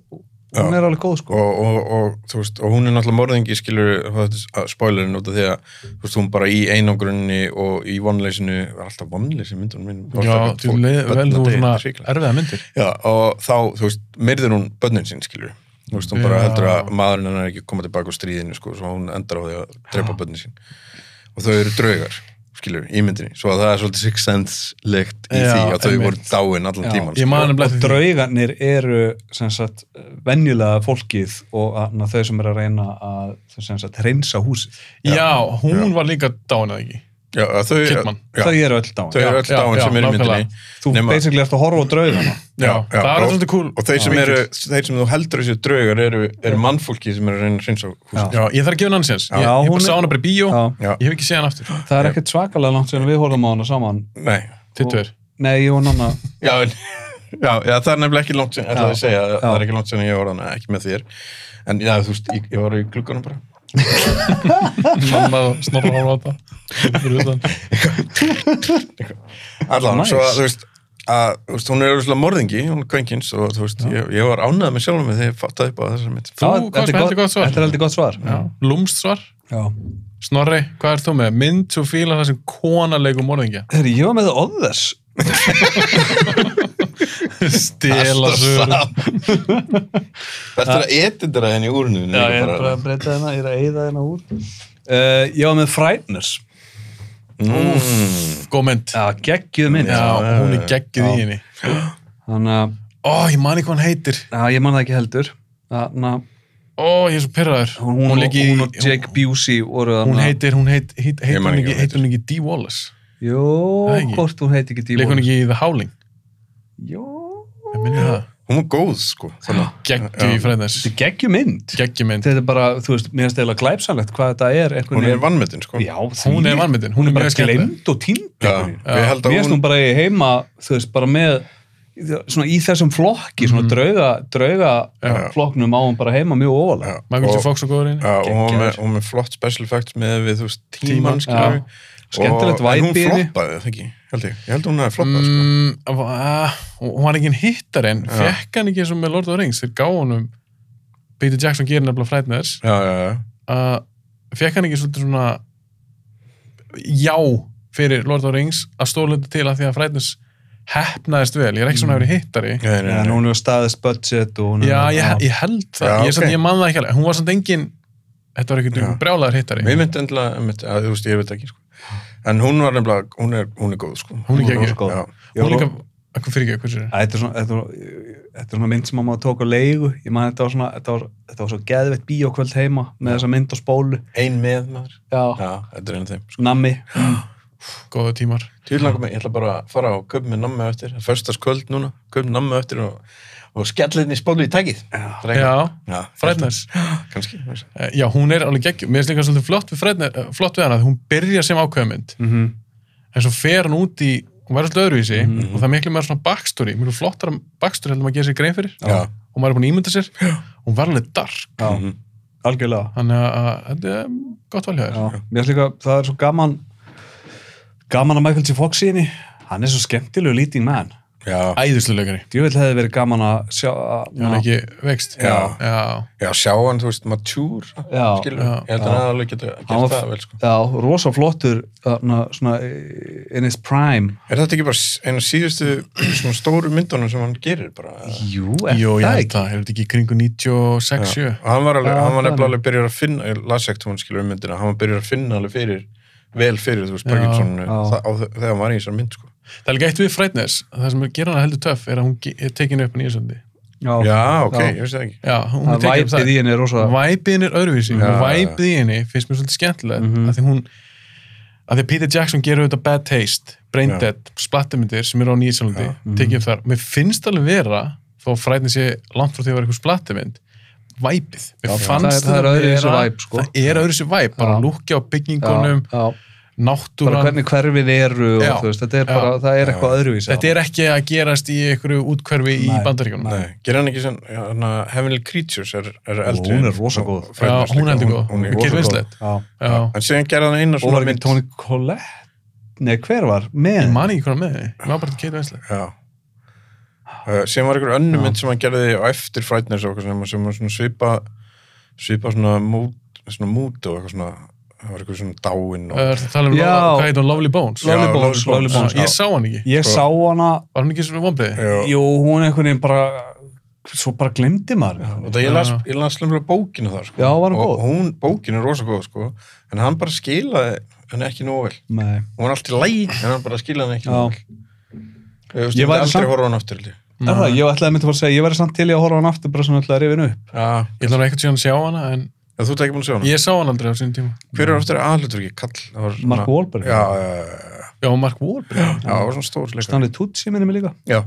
S3: Já.
S2: hún er alveg góð sko.
S3: og, og, og, þú veist, og hún er náttúrulega morðingi skilur spoilerin út af því að þú veist, hún bara í einangrunni og í vonleysinu, var alltaf vonleysi myndunum minn
S1: já, þú leið vel þú svona erfiða myndir
S3: já, og þá, þú veist, myrðir hún börnin sín skilur, þú veist, hún bara
S1: Já.
S3: heldur að maðurinn hennar er ekki að koma tilbaka úr stríðinu sko, svo hún endar á því að drepa börnin sín og þau eru draugar skilur, í myndinni, svo að það er svolítið Sixth Sense legt í
S1: Já,
S3: því að þau
S1: einmitt.
S3: voru dáin allan
S2: Já.
S3: tíman
S1: ég man um
S2: og
S1: nefnilega eftir því
S2: draugarnir eru sem sagt venjulega fólkið og na, þau sem eru að reyna að sem sagt reynsa húsið
S1: já, hún var líka dán eða ekki
S3: já, að þau,
S1: Kidman.
S3: já,
S2: þau eru öll dáin
S3: þau eru
S1: Já,
S3: öll
S1: já,
S3: dáin
S1: já,
S3: sem eru í
S1: nákvæmlega.
S3: myndinni
S2: þú
S3: nema-
S2: basically ert að horfa á draugana
S1: já,
S3: Já, já,
S1: það er
S3: og-
S1: svolítið kúl
S3: og þeir sem eru, þeir sem þú heldur þessu draugar eru, eru mannfólki sem eru að reyna að hreinsa húsið.
S1: já, ég þarf að gefa hann annars séns ég,
S2: Já,
S1: ég
S2: hún
S1: bara
S2: er-
S1: sá hana bara í bíó,
S2: Já.
S3: Já.
S1: ég hef ekki séð hann aftur
S2: það er ekkert svakalega langt sem við horfum á hana saman
S3: Nei.
S1: tittur,
S2: nei, ég og nanna
S3: Já, en, já, já, það er nefnilega ekki langt sem, ætlaði að segja, það er ekki langt sem ég var hana, ekki með þér. En já, þú veist, ég, ég var í glugganum bara.
S1: mamma og snorra hann á þetta
S3: Allan,
S2: Nice.
S3: svo að, þú veist, að, þú veist, hún er auðvitað morðingi, hún er kvöngins og þú veist, ég, ég var ánægð með sjálfum mig þegar ég fattaði upp á þessar mynd.
S1: Þú komst með heldur gott svar.
S2: þetta er heldur gott svar já.
S1: lúmst svar
S2: Já.
S1: Snorri, hvað ert þú með? Mynd svo fíla það sem kona leikum morðingja.
S2: Herri, ég var með það others
S1: Stela sögur.
S4: Þetta er að edindra henni úr núna.
S2: Já, ég er bara að breyta hérna, ég er að eyða hérna úr. Uh, ég var með Frighteners.
S3: Mm.
S1: Góð mynd.
S2: Já, geggjuð minn.
S1: Já, hún er geggið í
S2: Já.
S1: henni.
S2: Þannig að,
S1: Ó, ég man ekki hvað hann heitir.
S2: já, ég man það ekki heldur. Þannig að
S1: Ó, ég er svo pyrraður.
S2: hún, hún,
S1: leik í-
S2: hún og Jake Busey voru
S1: Hún
S2: þarna-
S1: heitir, hún heit, heit, heit,
S3: Ég man
S1: hún
S3: ekki
S1: ekki,
S3: hvað
S1: heitir hún ekki Dee Wallace.
S2: Jó,
S1: Það ekki.
S2: hvort hún heiti ekki
S1: Leik hún
S2: Dímon.
S1: ekki í The Howling.
S2: Jó.
S1: Ég minni það.
S3: Hún var góð, sko. Þannig.
S1: Geggju í fræðnars.
S2: Þetta er geggjum mynd.
S1: Geggju mynd.
S2: Þetta er bara, þú veist, mér finnst eða glæpsanlegt hvað þetta er. einhvern
S3: Hún er
S2: veginn-
S3: vannmetin, sko.
S2: Já, því-
S1: Hún er vanmyndin. Hún er
S2: bara
S1: mjög skemmt.
S2: glemd og týnd.
S3: Já,
S2: einhvern veginn.
S3: ég held að
S2: Mér finnst
S3: hún-
S2: hún bara í heima, þú veist, bara með svona í þessum flokki, svona drauga, drauga flokknum á hún bara heima mjög ofalega.
S3: Já,
S1: Michael J.
S3: og-
S1: Fox og góður í henni.
S3: Já, og hún var með,
S2: Geggjaður.
S3: hún var með flott special effects með við, þú veist, tímann,
S1: Tímann,
S3: skilur við. Og-
S2: Skemmtilegt
S3: en
S2: væp í henni.
S3: Hún floppaði, það ekki, held ég. Ég held að hún hefði floppað, sko.
S1: Mm, ah, hún var ekki hittar en fekk hann ekki eins og með Lord of the Rings þeir gáði honum Peter Jackson gerir nefnilega fræðnæðis
S3: Já, já, já.
S1: uh, fekk hann ekki svolítið svona já fyrir Lord of the Rings að stólundi til að því að fræðnæðis hefnaðist vel, ég er ekki svona að vera hittari
S3: Nei, nei,
S2: En
S3: nei.
S2: hún er staðist budget og hún er...
S1: já, ég, ég held það
S3: Mm. Já,
S1: ég, okay.
S3: ok.
S1: ég man það ekki alveg, hún var samt engin þetta var ekkert
S3: Já.
S1: brjálæður hittari
S3: Mér myndi endilega, einmitt, að, þú veist, ég veit ekki, sko. En hún var nefnilega, hún er, hún er góð, sko.
S1: Hún er
S2: Hún er
S1: ekki
S2: rosa góð.
S3: Já,
S2: Ég
S1: hún
S2: var-
S1: líka, hvað fyrir ekki, hversu
S2: Æ, Þetta er svona, þetta er, þetta er svona mynd sem maður tók á leigu ég man þetta var svona, þetta var, þetta var svo geðveitt bíókvöld heima með þessa mynd á spólu
S3: ein með maður.
S2: já,
S3: Já, þetta er einn af þeim.
S2: nammi
S3: Ah.
S1: góða tímar
S3: Týrlangum mig, ég ætla bara að fara og köp með nammi á eftir, förstaskvöld núna, köp nammi á eftir og, og skella henni spólu í tækið.
S1: já,
S3: já
S1: fræðnæðis
S3: Kanski. Já,
S1: Eh, Já, hún er alveg geggjum. Mér finnst líka svolítið flott við, fredna, flott við hana. því Hún byrja sem ákveðmynd,
S2: mm -hmm.
S1: en svo fer hún út í, hún verður svolítið öðruvísi og það er miklu meira svona backstory, miklu flottara backstory heldur maður að gera sér grein fyrir.
S3: Já.
S1: Og maður er búin að ímynda sér. Hún var alveg dark.
S2: já,
S3: Mhm.
S2: algjörlega
S1: Þannig að- að þetta er gott valhjóður.
S2: já. mér finnst líka, það er svo gaman gaman að Michael T. Fox í henni hann er svo skemmtilegu leading man
S3: já.
S1: Æðislu leikari.
S2: djúvill hefði verið gaman að sjá að,
S1: Hún er ekki vext.
S3: Já.
S1: Já.
S3: já sjá hann, þú veist, matúr,
S2: Já.
S3: skilur.
S1: Já.
S3: Ég held að hann alveg geta
S2: hann
S3: gert
S2: var,
S3: það vel, sko.
S2: já, rosa flottur þarna, svona, in his prime
S3: Er þetta ekki bara einu síðustu svona stóru myndunum sem hann gerir bara? eða?
S2: jú, er
S1: Jó, ég
S2: það
S1: held
S2: ekki
S1: það. Er þetta ekki í kringu 96, 7?
S3: Og Hann var, alveg,
S2: Já,
S3: hann var
S2: það er
S3: nefnilega alveg byrjar að finna, ég las ekkert hún skilur um myndina, hann var byrjar að finna alveg fyrir, vel fyrir, þú veist,
S1: Já,
S3: Parkinsonu,
S2: já.
S3: það- á þe- þegar hann var í þessar mynd, sko.
S1: Það er líka eitt við frætnes. Það sem er gera hana heldur töff er að hún ge- er tekinu upp á nýjasöndi.
S2: já,
S3: Já, ok,
S2: Já.
S3: ég veist það ekki.
S1: Já, hún er
S2: það
S1: tekin upp þar.
S2: væpið í henni er rosa
S1: væpiðin er öðruvísi
S3: Já.
S1: og væpið í henni finnst mér svolítið skemmtilegt
S2: Mhm.
S1: mm að því hún að því að Peter Jackson gerur auðvitað Bad Taste Brain
S3: Já.
S1: Dead, splattermyndir sem eru á Nýjæsjálandi
S2: Mhm.
S1: tekið upp þar, mér finnst alveg vera þó fræðin sé langt frá því að vera eitthvað splattermynd væpið, mér
S2: Já,
S1: fannst
S2: það er- það er
S1: þetta
S2: öðruvísi
S1: vera-
S2: væp, sko.
S1: það er öðruvísi væp, bara
S2: Já.
S1: lúkja á
S2: já,
S1: byggingunum,
S2: já.
S1: náttúran
S2: bara hvernig hverfið eru og,
S1: Já.
S2: þú veist, þetta er
S1: Já.
S2: bara, það er eitthvað öðruvísi
S1: þetta er ekki að gerast í einhverju útkverfi í
S2: Nei.
S1: bandaríkjunum
S3: Nei, gerir hann ekki sem, hann að Heavenly Creatures er, er eldri.
S2: hún er rosa góð.
S3: Og Fred
S1: Já,
S3: Durst
S1: hún er
S3: líka,
S1: heldur góð.
S3: Hún er
S1: Og Kate
S3: rosa góð.
S1: Winslet.
S2: Já.
S1: Já.
S3: En síðan gerði hann eina
S2: og
S3: svona
S2: var ekki
S3: mynd.
S2: Tony Collette nei, hver var? með
S1: ég man ekki hvað með því, ég var bara til Kate Winslet
S3: Já. Uh, síðan var einhver önnum
S2: Já.
S3: mynd sem hann gerði á eftir Frighteners og eitthvað sem, sem var svona svipa, svipa svona mút, svona mút og eitthvað svona, það var eitthvað svona dáinn og...
S1: Það er að tala um,
S2: Já.
S1: Lo- hvað heit hún, Lovely Bones
S3: Já,
S2: Lovely Bones,
S3: Lovely
S2: Lovely
S3: Bones,
S2: Bones
S1: Já, ég sá hann ekki
S2: ég
S3: Sko-
S2: sá hana,
S1: Var hún ekki svona vombriði?
S3: Já.
S2: Eh, jú, hún einhvern veginn bara svo bara glemdi maður
S3: Og það ég las,
S1: Já.
S3: ég las lemlega bókinu þar sko.
S2: Já, var hún
S3: og
S2: góð?
S3: hún, bókinu er rosa góð sko. en hann bara skilaði henni ekki nóg vel
S2: Nei.
S3: hún var allt í læg en hann bara skilaði henni ekki
S2: Já.
S3: nóg vel ég,
S2: Ég
S3: ég
S2: væri
S3: var aldrei
S2: samt-
S3: horfa á hann aftur held ég.
S2: Er það, ég ætlaði að mynda bara að segja, ég væri samt til í að horfa á hann aftur bara svona ætlaði að rifin upp
S3: Já,
S1: Ég ætla nú eitthvað síðan að sjá hana, en
S3: en þú ert ekki búin að sjá hann
S1: ég sá hann aldrei á sín tíma.
S3: hver er aftur aðluturki kall Það var svona-
S2: Mark Wahlberg,
S3: já, já, já, já.
S1: Já, Mark Wahlberg.
S3: já, það var svona stór leikari.
S2: Stanley Tucci minni mig líka
S3: já,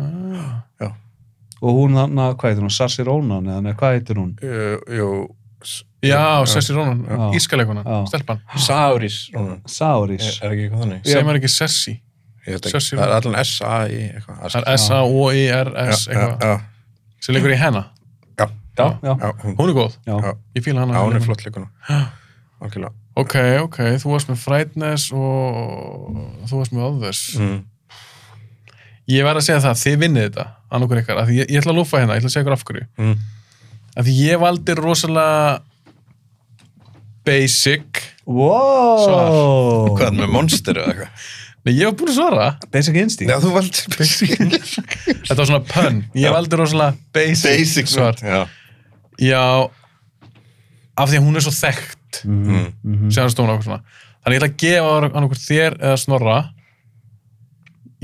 S1: Ah.
S2: og hún þarna, hvað heitir hún, Sassy Ronan eða nei, hvað heitir hún?
S3: Jú, jú, s-
S1: Já, Sessi Rónan,
S2: Já.
S1: ískaleikuna,
S2: Já.
S1: stelpan.
S3: Sauris Rónan.
S2: Sauris
S3: er, er ekki eitthvað þannig
S1: Segir maður ekki Sessi?
S3: Ég veit
S1: Saoirse
S3: ekki. það er allan S-A-I eitthvað það
S1: Það
S3: er
S1: er S-A-O-I-R-S
S3: skil- já,
S1: E eitthvað.
S3: já,
S1: Sem leikur í hennar.
S3: já,
S1: Já.
S2: já,
S3: já, hún,
S1: Hún er góð.
S2: já,
S3: já.
S1: Ég fíla hana.
S3: já, hún er flott leikuna
S1: Já.
S3: algjörlega
S1: Ok, ok, þú varst með Frighteners og þú varst með Others.
S3: mm.
S1: Ég verð að segja það, þið vinnið þetta, annarkur ykkar. af Því ég, ég ætla að lúfa hérna, ég ætla að segja ykkur af hverju.
S3: Mm.
S1: Af Því ég valdi rosalega basic
S2: wow
S3: Hvað, með monster eða eitthvað?
S1: Nei, ég var búin að svara.
S2: Basic Instinct
S5: Já, þú valdi basic.
S1: Þetta var svona pönn. Ég valdi rosalega basic,
S3: Basic
S1: svar.
S3: Já.
S1: Já, af því að hún er svo þekkt mm
S2: Mhm,
S1: -hmm. sem hann stóna okkur svona þannig ég ætla að gefa hann okkur þér eða snorra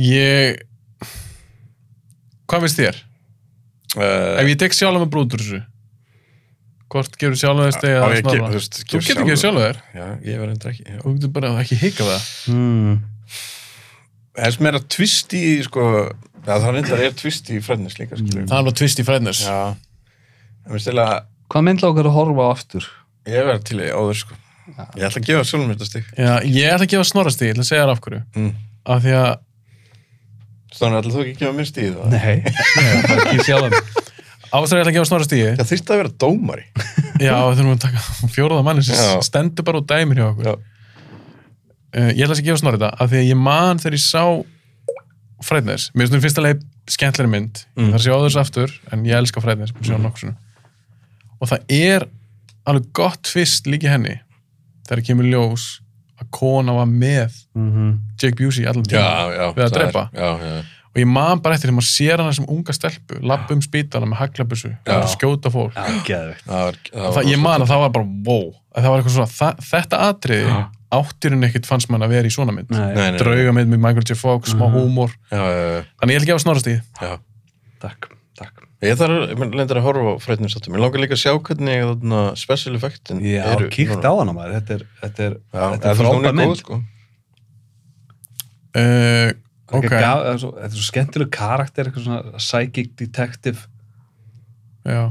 S1: ég hvað finnst þér?
S5: Uh,
S1: Ef ég tek sjálf með brútur þessu hvort gefur sjálf með þess
S5: á ég
S1: eða
S5: að
S1: snorra?
S5: gefa- þú veist,
S1: Þú
S5: gefa
S1: getur gefið sjálf þér
S5: já, ég var enda ekki. já.
S1: þú getur bara ekki hikað það
S2: mm.
S5: Það er sem er að tvist í, sko, já, það reyndar er tvist í frednis líka, skiljum.
S1: það er bara tvist í fredness
S5: Já. En mér stila,
S2: Hvað mynd lókar að horfa á aftur?
S5: ég verði til í áður, sko. Ég ætla að gefa sjálfum þetta stig.
S1: Já, ég ætla að gefa snorra stíð, ég ætla að segja þér af hverju
S5: Mm.
S1: af því að
S5: Þannig ætla þú ekki að gefa mér stig í það.
S2: Nei, Nei bara kýr sjálf
S1: ástæður ég ætla að gefa snorra stíð
S5: Það þýrst að vera dómari.
S1: Já, við þurfum að taka fjóruða manni
S5: Já.
S1: sem stendur bara og dæmir hjá okkur.
S5: Já.
S1: Uh, ég ætla þess að gefa snorri þetta, af því að ég man þegar ég sá Fræðnes, mér finnst hún fyrsta leið skemmtleri mynd, mm. það sé á þessu aftur en ég elska Fræðnes, mér sé hún nokkur svona og það er alveg gott fyrst líki henni þegar kemur ljós að kona var með
S2: mm -hmm.
S1: Jake Busey allan tíma
S3: já.
S1: við að
S3: það er-
S1: drepa.
S3: Já, já.
S1: og ég man bara eftir þegar maður sér hana sem unga stelpu lappa um spítana með haglabussu og skjóta fólk
S2: Geðvegt
S3: Það var, það
S1: það, ég man að það var bara wow að það var eitthvað svona, það, þetta atriði áttirinn ekkert fannst mann að vera í svona mynd
S2: Nei, Mhm.
S3: Nei, nei, nei.
S1: drauga mynd með Michael J. Fox, smá húmor
S3: Já, já, já.
S1: þannig ég ætla ekki að snorast í
S3: já.
S2: takk, takk
S3: Ég þarf lendur að horfa á frætnum sáttum. Ég langar líka að sjá hvernig þarna, special effectin
S2: Já,
S3: eru.
S2: kíkt
S3: núna.
S2: á hana maður Þetta er, þetta er,
S3: Já,
S2: þetta
S3: eða þú
S2: er
S3: veist, hún
S2: frábæð
S3: góð,
S2: mynd
S3: sko.
S1: uh,
S2: okay.
S1: ok,
S2: gaf, þetta, er svo, þetta er svo skemmtileg karakter eitthvað svona psychic detective
S1: já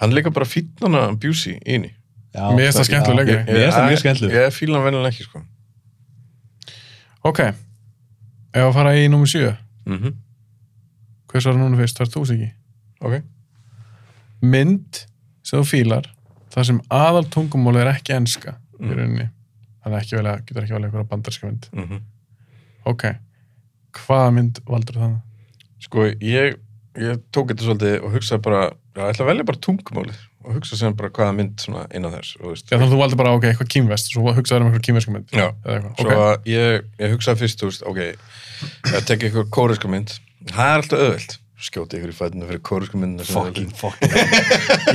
S3: Hann er líka bara fýtn hana Busey í henni.
S2: já,
S1: Mér finnst það skemmtileg
S2: já,
S1: leikari.
S2: Mér finnst það mjög skemmtileg
S3: Ég fýla hann venilega ekki, sko.
S1: ok, ef að fara í nummer 7
S3: Mm
S2: Mhm.
S3: -hmm.
S1: hvers var núna fyrst, þar þú ekki
S3: Ok.
S1: mynd sem þú fílar þar sem aðal tungumóli er ekki enska í
S3: Mm. Mhm.
S1: rauninni þannig að ekki velja, getur ekki velja einhverja bandarska mynd ok, hvaða mynd valdur þannig?
S3: Sko, ég, ég tók þetta svolítið og hugsaði bara, já, ég ætla að velja bara tungumálið og hugsa sem bara hvaða mynd svona innan þess, og þú veist.
S1: Já, þannig að þú valdi bara, ok, eitthvað kýmvest, svo hugsaður um eitthvað kýmversku mynd.
S3: Já.
S1: Eða eitthvað,
S3: Svo
S1: ok.
S3: að ég, ég hugsaði fyrst, þú veist, ok, ég tek eitthvað kóreska mynd, það er alltaf öðvöld. Skjóti ykkur í fætinu fyrir kóreska myndina. sem
S2: fucking, fucking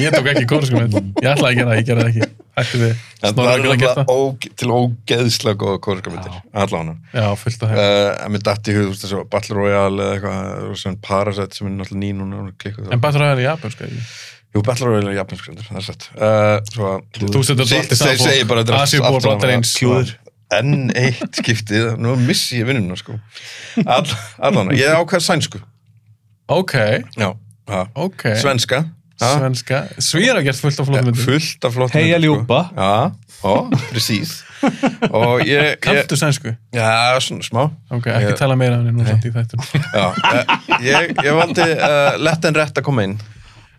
S1: Ég tók ekki kóresku mynd. Ég ætlaði að gera það, ég gera það ekki. Ætti við
S3: En það
S1: snorra
S3: er
S1: að geta gert
S3: náttúrulega
S1: það.
S3: óg- til ógeðslega góða kóreska myndir, allána.
S1: Já, fullt af þeim.
S3: Uh, en mér datt í hug, þú veist, þessu Battle Royale eða eitthvað, og sem Parasite sem er náttúrulega ný núna og klikkuð.
S1: En Battle Royale er japanska, ekki?
S3: Jú, Battle Royale er japansk myndir, það er sett. Uh, svo að...
S1: Þú setur þetta allt í saman
S3: Þeir segja bara
S1: fólk. Asíubúar blandar eins.
S3: Klúður. Sko, Enn eitt skiptið, nú missi ég vinnuna sko. All, allan, ég ákveða sænsku.
S1: Ok,
S3: Já, ha.
S1: ok.
S3: svenska. ha. Eh,
S1: Svenska. Svíra gert fullt af flóðum myndum.
S3: Fullt af flott
S2: Hey, ég ljúpa.
S3: Já, ó, precis. Og ég... ég
S1: Kanntu sænsku?
S3: já, svona smá.
S1: Ok, ekki
S3: Ég-
S1: tala meira af henni nú samt í þættunum.
S3: Já, eh, ég, ég valdi uh, lett en rétt að koma inn.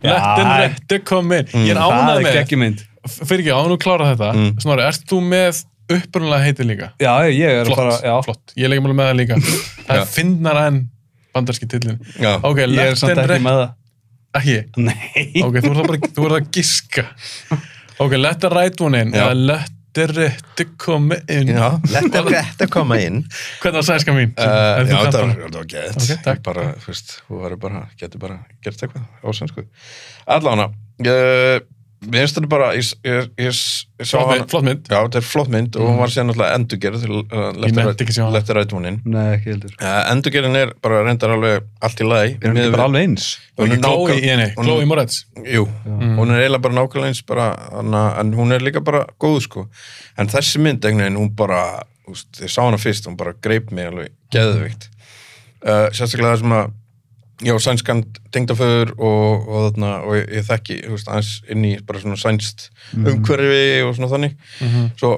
S1: Lettin réttu kom inn. Ég er
S2: Það
S1: ánað
S2: er
S1: með,
S2: ekki mynd
S1: f- fyrir ekki ánum klára þetta, Snorri, ert þú með upprunalega heiti líka?
S2: Já, ég er
S1: Flott,
S2: bara, já,
S1: flott. Ég leik með það líka. Það er finnar en bandarski tillin.
S3: Já.
S1: Ok,
S2: Ég er samt
S1: Lettin
S2: ekki
S1: rétt...
S2: með það
S1: Ekki?
S2: Nei
S1: ok, þú er það bara þú er það að giska ok, let the right one in
S3: Já.
S1: eða let the right come in
S3: Já, lett en rétt að koma inn.
S1: hvernig var sænska mín?
S3: Uh,
S1: Er þú
S3: já, þetta var,
S1: kantar?
S3: þetta var gett.
S1: Ok, takk.
S3: Ég bara, þú veist, þú verður bara, getur bara gert eitthvað á sænsku. Allána, uh, mér finnst þetta bara, ég, ég, ég, ég sá
S1: flott
S3: hana,
S1: mynd, flott mynd.
S3: já, þetta er flott mynd og hún var síðan alltaf endurgerð, eh,
S1: nennti ekki að sjá hana.
S3: leftir rætmunin.
S2: Nei, ekki heldur
S3: Uh, endurgerðin er bara reyndar alveg allt í lagi.
S2: Er hún ekki bara alveg eins?
S1: Hún er Chloe,
S3: nákvæm-
S1: í henni,
S3: hún-
S1: Chloe Moretz
S3: Jú, hún er eiginlega bara nákvæmlega eins bara, hana, en hún er líka bara góð sko. En þessi mynd einhvern veginn, hún bara, úst, ég sá hana fyrst, hún bara greip mig alveg geðvikt. Uh, sérstaklega það sem að, já, sænskan tengdaföður og, og þarna, og ég, ég þekki, þú veist, aðeins inn í bara svona sænst umhverfi og svona þannig.
S1: Mhm,
S3: Svo,